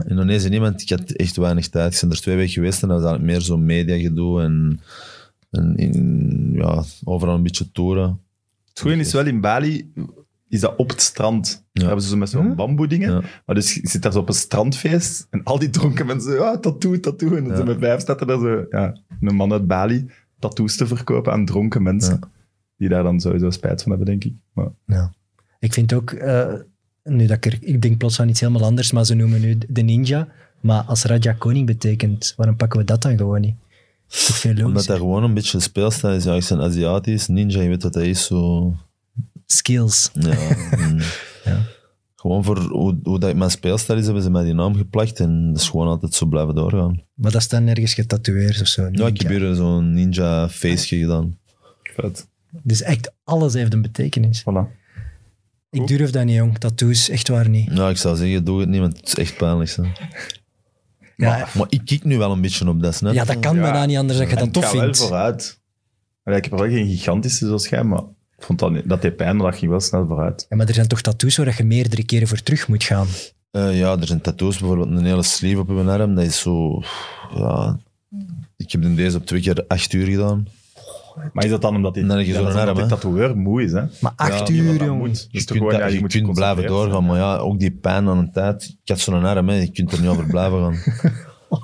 D: Indonesië niemand. Ik had echt weinig tijd. Ik ben er twee weken geweest en dat was eigenlijk meer zo'n mediagedoe en, en in, ja, overal een beetje toeren.
A: Het goede is wel, in Bali is dat op het strand. Daar hebben ze zo met zo'n
B: Hm?
A: bamboe dingen.
D: Ja.
A: Maar dus je zit daar zo op een strandfeest en al die dronken mensen, ja, tattoo, tattoo. En dan
D: Ja.
A: zo met vijf staat er daar zo, ja, een man uit Bali tattoos te verkopen aan dronken mensen. Die daar dan sowieso spijt van hebben, denk ik. Maar
B: Ik vind ook, eh, nu dat ik er, ik denk plots aan iets helemaal anders, maar ze noemen nu de ninja. Maar als Raja koning betekent, waarom pakken we dat dan gewoon niet? Dat is toch veel
D: Omdat
B: logischer?
D: daar gewoon een beetje speelstijl is. Ja, ik ben Aziatisch, ninja, je weet wat dat is. Zo,
B: Skills.
D: ja, (laughs) mm. Gewoon voor hoe, hoe dat mijn speelstijl is, hebben ze mij die naam geplakt en dat is gewoon altijd zo blijven doorgaan.
B: Maar dat is dan ergens getatoeëerd of zo.
D: Ja, ik
B: ninja.
D: heb hier zo'n ninja feestje gedaan.
A: vet,
B: Dus echt alles heeft een betekenis.
A: voilà.
B: Ik durf dat niet, jong. Tattoos, echt waar niet.
D: Nou, ik zou zeggen, doe het niet, want het is echt pijnlijk. Zo.
B: Ja,
D: Maar ik kijk nu wel een beetje op dat, snap je?
B: ja dat kan
A: Ja.
B: bijna niet anders dat je
A: En
B: dat tof
A: het gaat wel
B: vindt.
A: vooruit. Allee, ik heb er wel geen gigantische zoals jij, maar ik vond dat, niet- dat deed pijn, maar dat ging wel snel vooruit.
B: Ja, maar er zijn toch tattoos waar je meerdere keren voor terug moet gaan.
D: Eh, ja, er zijn tattoos, bijvoorbeeld een hele sleeve op mijn arm. Dat is zo... Ja, ik heb hem deze op twee keer acht uur gedaan.
A: Maar is dat dan omdat die,
D: En dan heb je
A: ja,
D: zo'n
A: dat is omdat
D: arm,
A: die
D: hè?
A: tatoeëur moe is, hè?
B: Maar acht
A: die
B: uur,
A: dat
B: jong.
A: moet.
D: Je
A: Dus
D: kunt,
A: toch gewoon,
D: dat-
A: ja,
D: je
A: moet
D: kunt blijven
A: geconcentreerd
D: doorgaan, maar ja, ook die pijn aan een tijd. Ik had zo'n arm, hè, je kunt er niet over blijven gaan.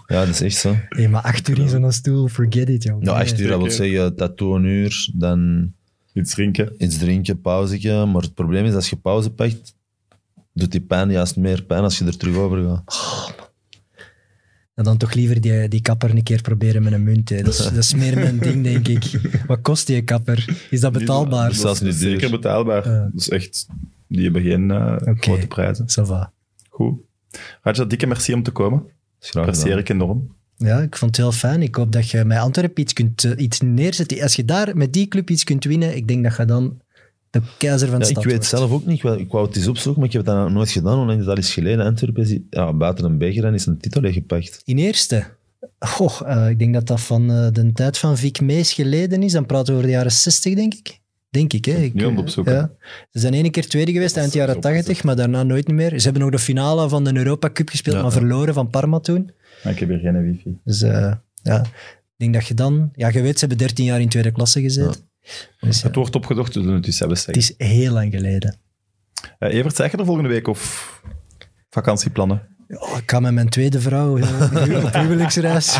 D: Ja, dat is echt zo. Nou,
B: Hé, maar acht uur in zo'n stoel, forget it, jong.
D: Ja, acht
B: Nee.
D: uur, dat wil zeggen tattoo een uur, dan
A: zijn. Iets drinken.
D: iets drinken, pauzetje. Maar het probleem is, als je pauze pakt, doet die pijn juist meer pijn als je er terug over gaat.
B: En dan toch liever die, die kapper een keer proberen met een munt. Hè. Dat, is, dat is meer mijn ding, denk ik. Wat kost die kapper? Is dat betaalbaar?
D: Dat is zelfs niet duur.
A: Zeker betaalbaar.
B: Ja.
A: Dat is echt... Die hebben geen eh, grote prijzen.
B: Ça va.
A: Goed. Raja, dikke merci om te komen.
D: Dat is graag
A: Apprecieer
D: gedaan.
A: ik enorm.
B: Ja, ik vond het heel fijn. Ik hoop dat je met Antwerpen iets kunt eh, iets neerzetten. Als je daar met die club iets kunt winnen, ik denk dat je dan de keizer van de
D: Ja,
B: stad
D: ik weet
B: wordt.
D: zelf ook niet. wel- Ik wou het eens opzoeken, maar ik heb dat nog nooit gedaan. Onlangs dat is geleden. Antwerpen is, ja, buiten een beker en is een titel gepakt.
B: In eerste. Goh, eh, ik denk dat dat van eh, de tijd van Vic Mees geleden is. Dan praten we over de jaren 60, denk ik. Denk ik, hè? Ik,
A: nu aan het
B: eh,
A: opzoeken.
B: ja. Ze zijn ene keer tweede geweest eind jaren 80, maar daarna nooit meer. Ze hebben nog de finale van de Europa Cup gespeeld,
D: Ja,
B: maar
D: ja.
B: verloren van Parma toen.
A: Maar Ah, ik heb hier geen wifi.
B: Dus eh, ja, ik denk dat je dan... Ja, je weet, ze hebben 13 jaar in tweede klasse gezeten. Dus, ja,
A: Het wordt opgezocht, we doen het dus hebben
B: het is heel lang geleden.
A: Eh, Evert, zeg je er volgende week of vakantieplannen?
B: Oh, ik ga met mijn tweede vrouw eh, op huwelijksreis. (laughs)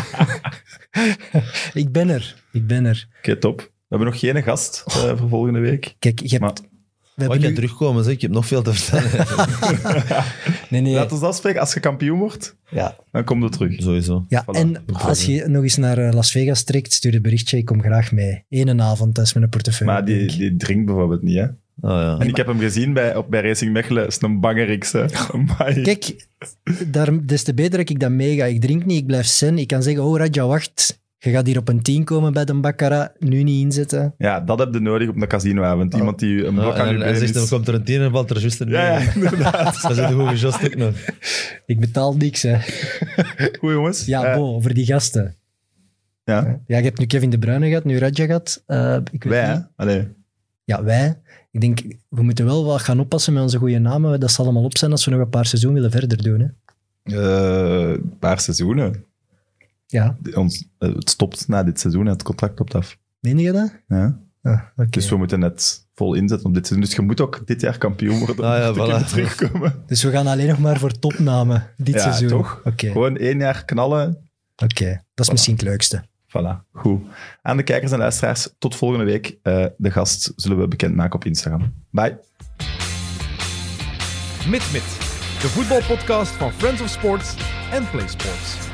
B: ik ben er, ik ben er.
A: Oké, top. We hebben nog geen gast eh, voor volgende week.
B: Kijk, je hebt...
A: Maar-
B: we
D: Wat ik
B: hebben
D: kan
B: nu-
D: terugkomen, zeg. ik heb nog veel te
B: (laughs)
D: vertellen.
B: Nee, nee.
A: Laten we afspreken. Als je kampioen wordt,
B: Ja,
A: dan kom je terug.
D: Sowieso.
B: ja
A: Voilà.
B: en als je nog eens naar eh, Las Vegas trekt, stuur een berichtje. Ik kom graag mee. Eén avond, dat is mijn portefeuille.
A: Maar die,
B: denk ik.
A: die drinkt bijvoorbeeld niet, hè?
D: Ah, ja.
A: En ik heb hem gezien bij, op, bij Racing Mechelen. is een bangeriks, hè? (laughs) Amai.
B: (laughs) Kijk, daar, des te beter dat ik dat meega. Ik drink niet, ik blijf zen. Ik kan zeggen, oh Raja, wacht. Je gaat hier op een 10 komen bij de Baccara. Nu niet inzetten.
A: Ja, dat heb je nodig op een casinoavond. Iemand die je een
D: Ja,
A: blok aan je
D: Oh. en, en
A: been
D: zegt, dan
A: is.
D: komt er een tien en valt er juist een
A: Ja, ja, inderdaad.
D: Dat is een goede gast ook nog.
B: Ik betaal niks, hè.
A: Goed, jongens.
B: Ja,
A: Eh,
B: bo, over die gasten.
A: ja.
B: Ja, je hebt nu Kevin De Bruyne gehad, nu Raja gehad. Eh, ik weet
A: Wij, hè?
B: niet.
A: Allee.
B: Ja, wij. Ik denk, we moeten wel wat gaan oppassen met onze goede namen. Dat zal allemaal op zijn als we nog een paar seizoenen willen verder doen, hè.
A: Eh, een paar seizoenen.
B: Ja,
A: Ons, eh, het stopt na dit seizoen en het contract loopt af.
B: meen je dat?
A: Ja?
B: Ah, oké.
A: Dus we moeten net vol inzetten op dit seizoen. Dus je moet ook dit jaar kampioen worden om
D: Ah, ja,
A: te kunnen
D: voilà. (laughs)
A: terugkomen.
B: Dus we gaan alleen nog maar voor topnamen dit
A: Ja,
B: seizoen.
A: toch?
B: Oké, oké.
A: Gewoon één jaar knallen.
B: dat is misschien het leukste.
A: Voilà, goed. Aan de kijkers en luisteraars, tot volgende week. Eh, de gast zullen we bekendmaken op Instagram. Bye.
C: Mit Mit, de voetbalpodcast van Friends of Sports en Play Sports.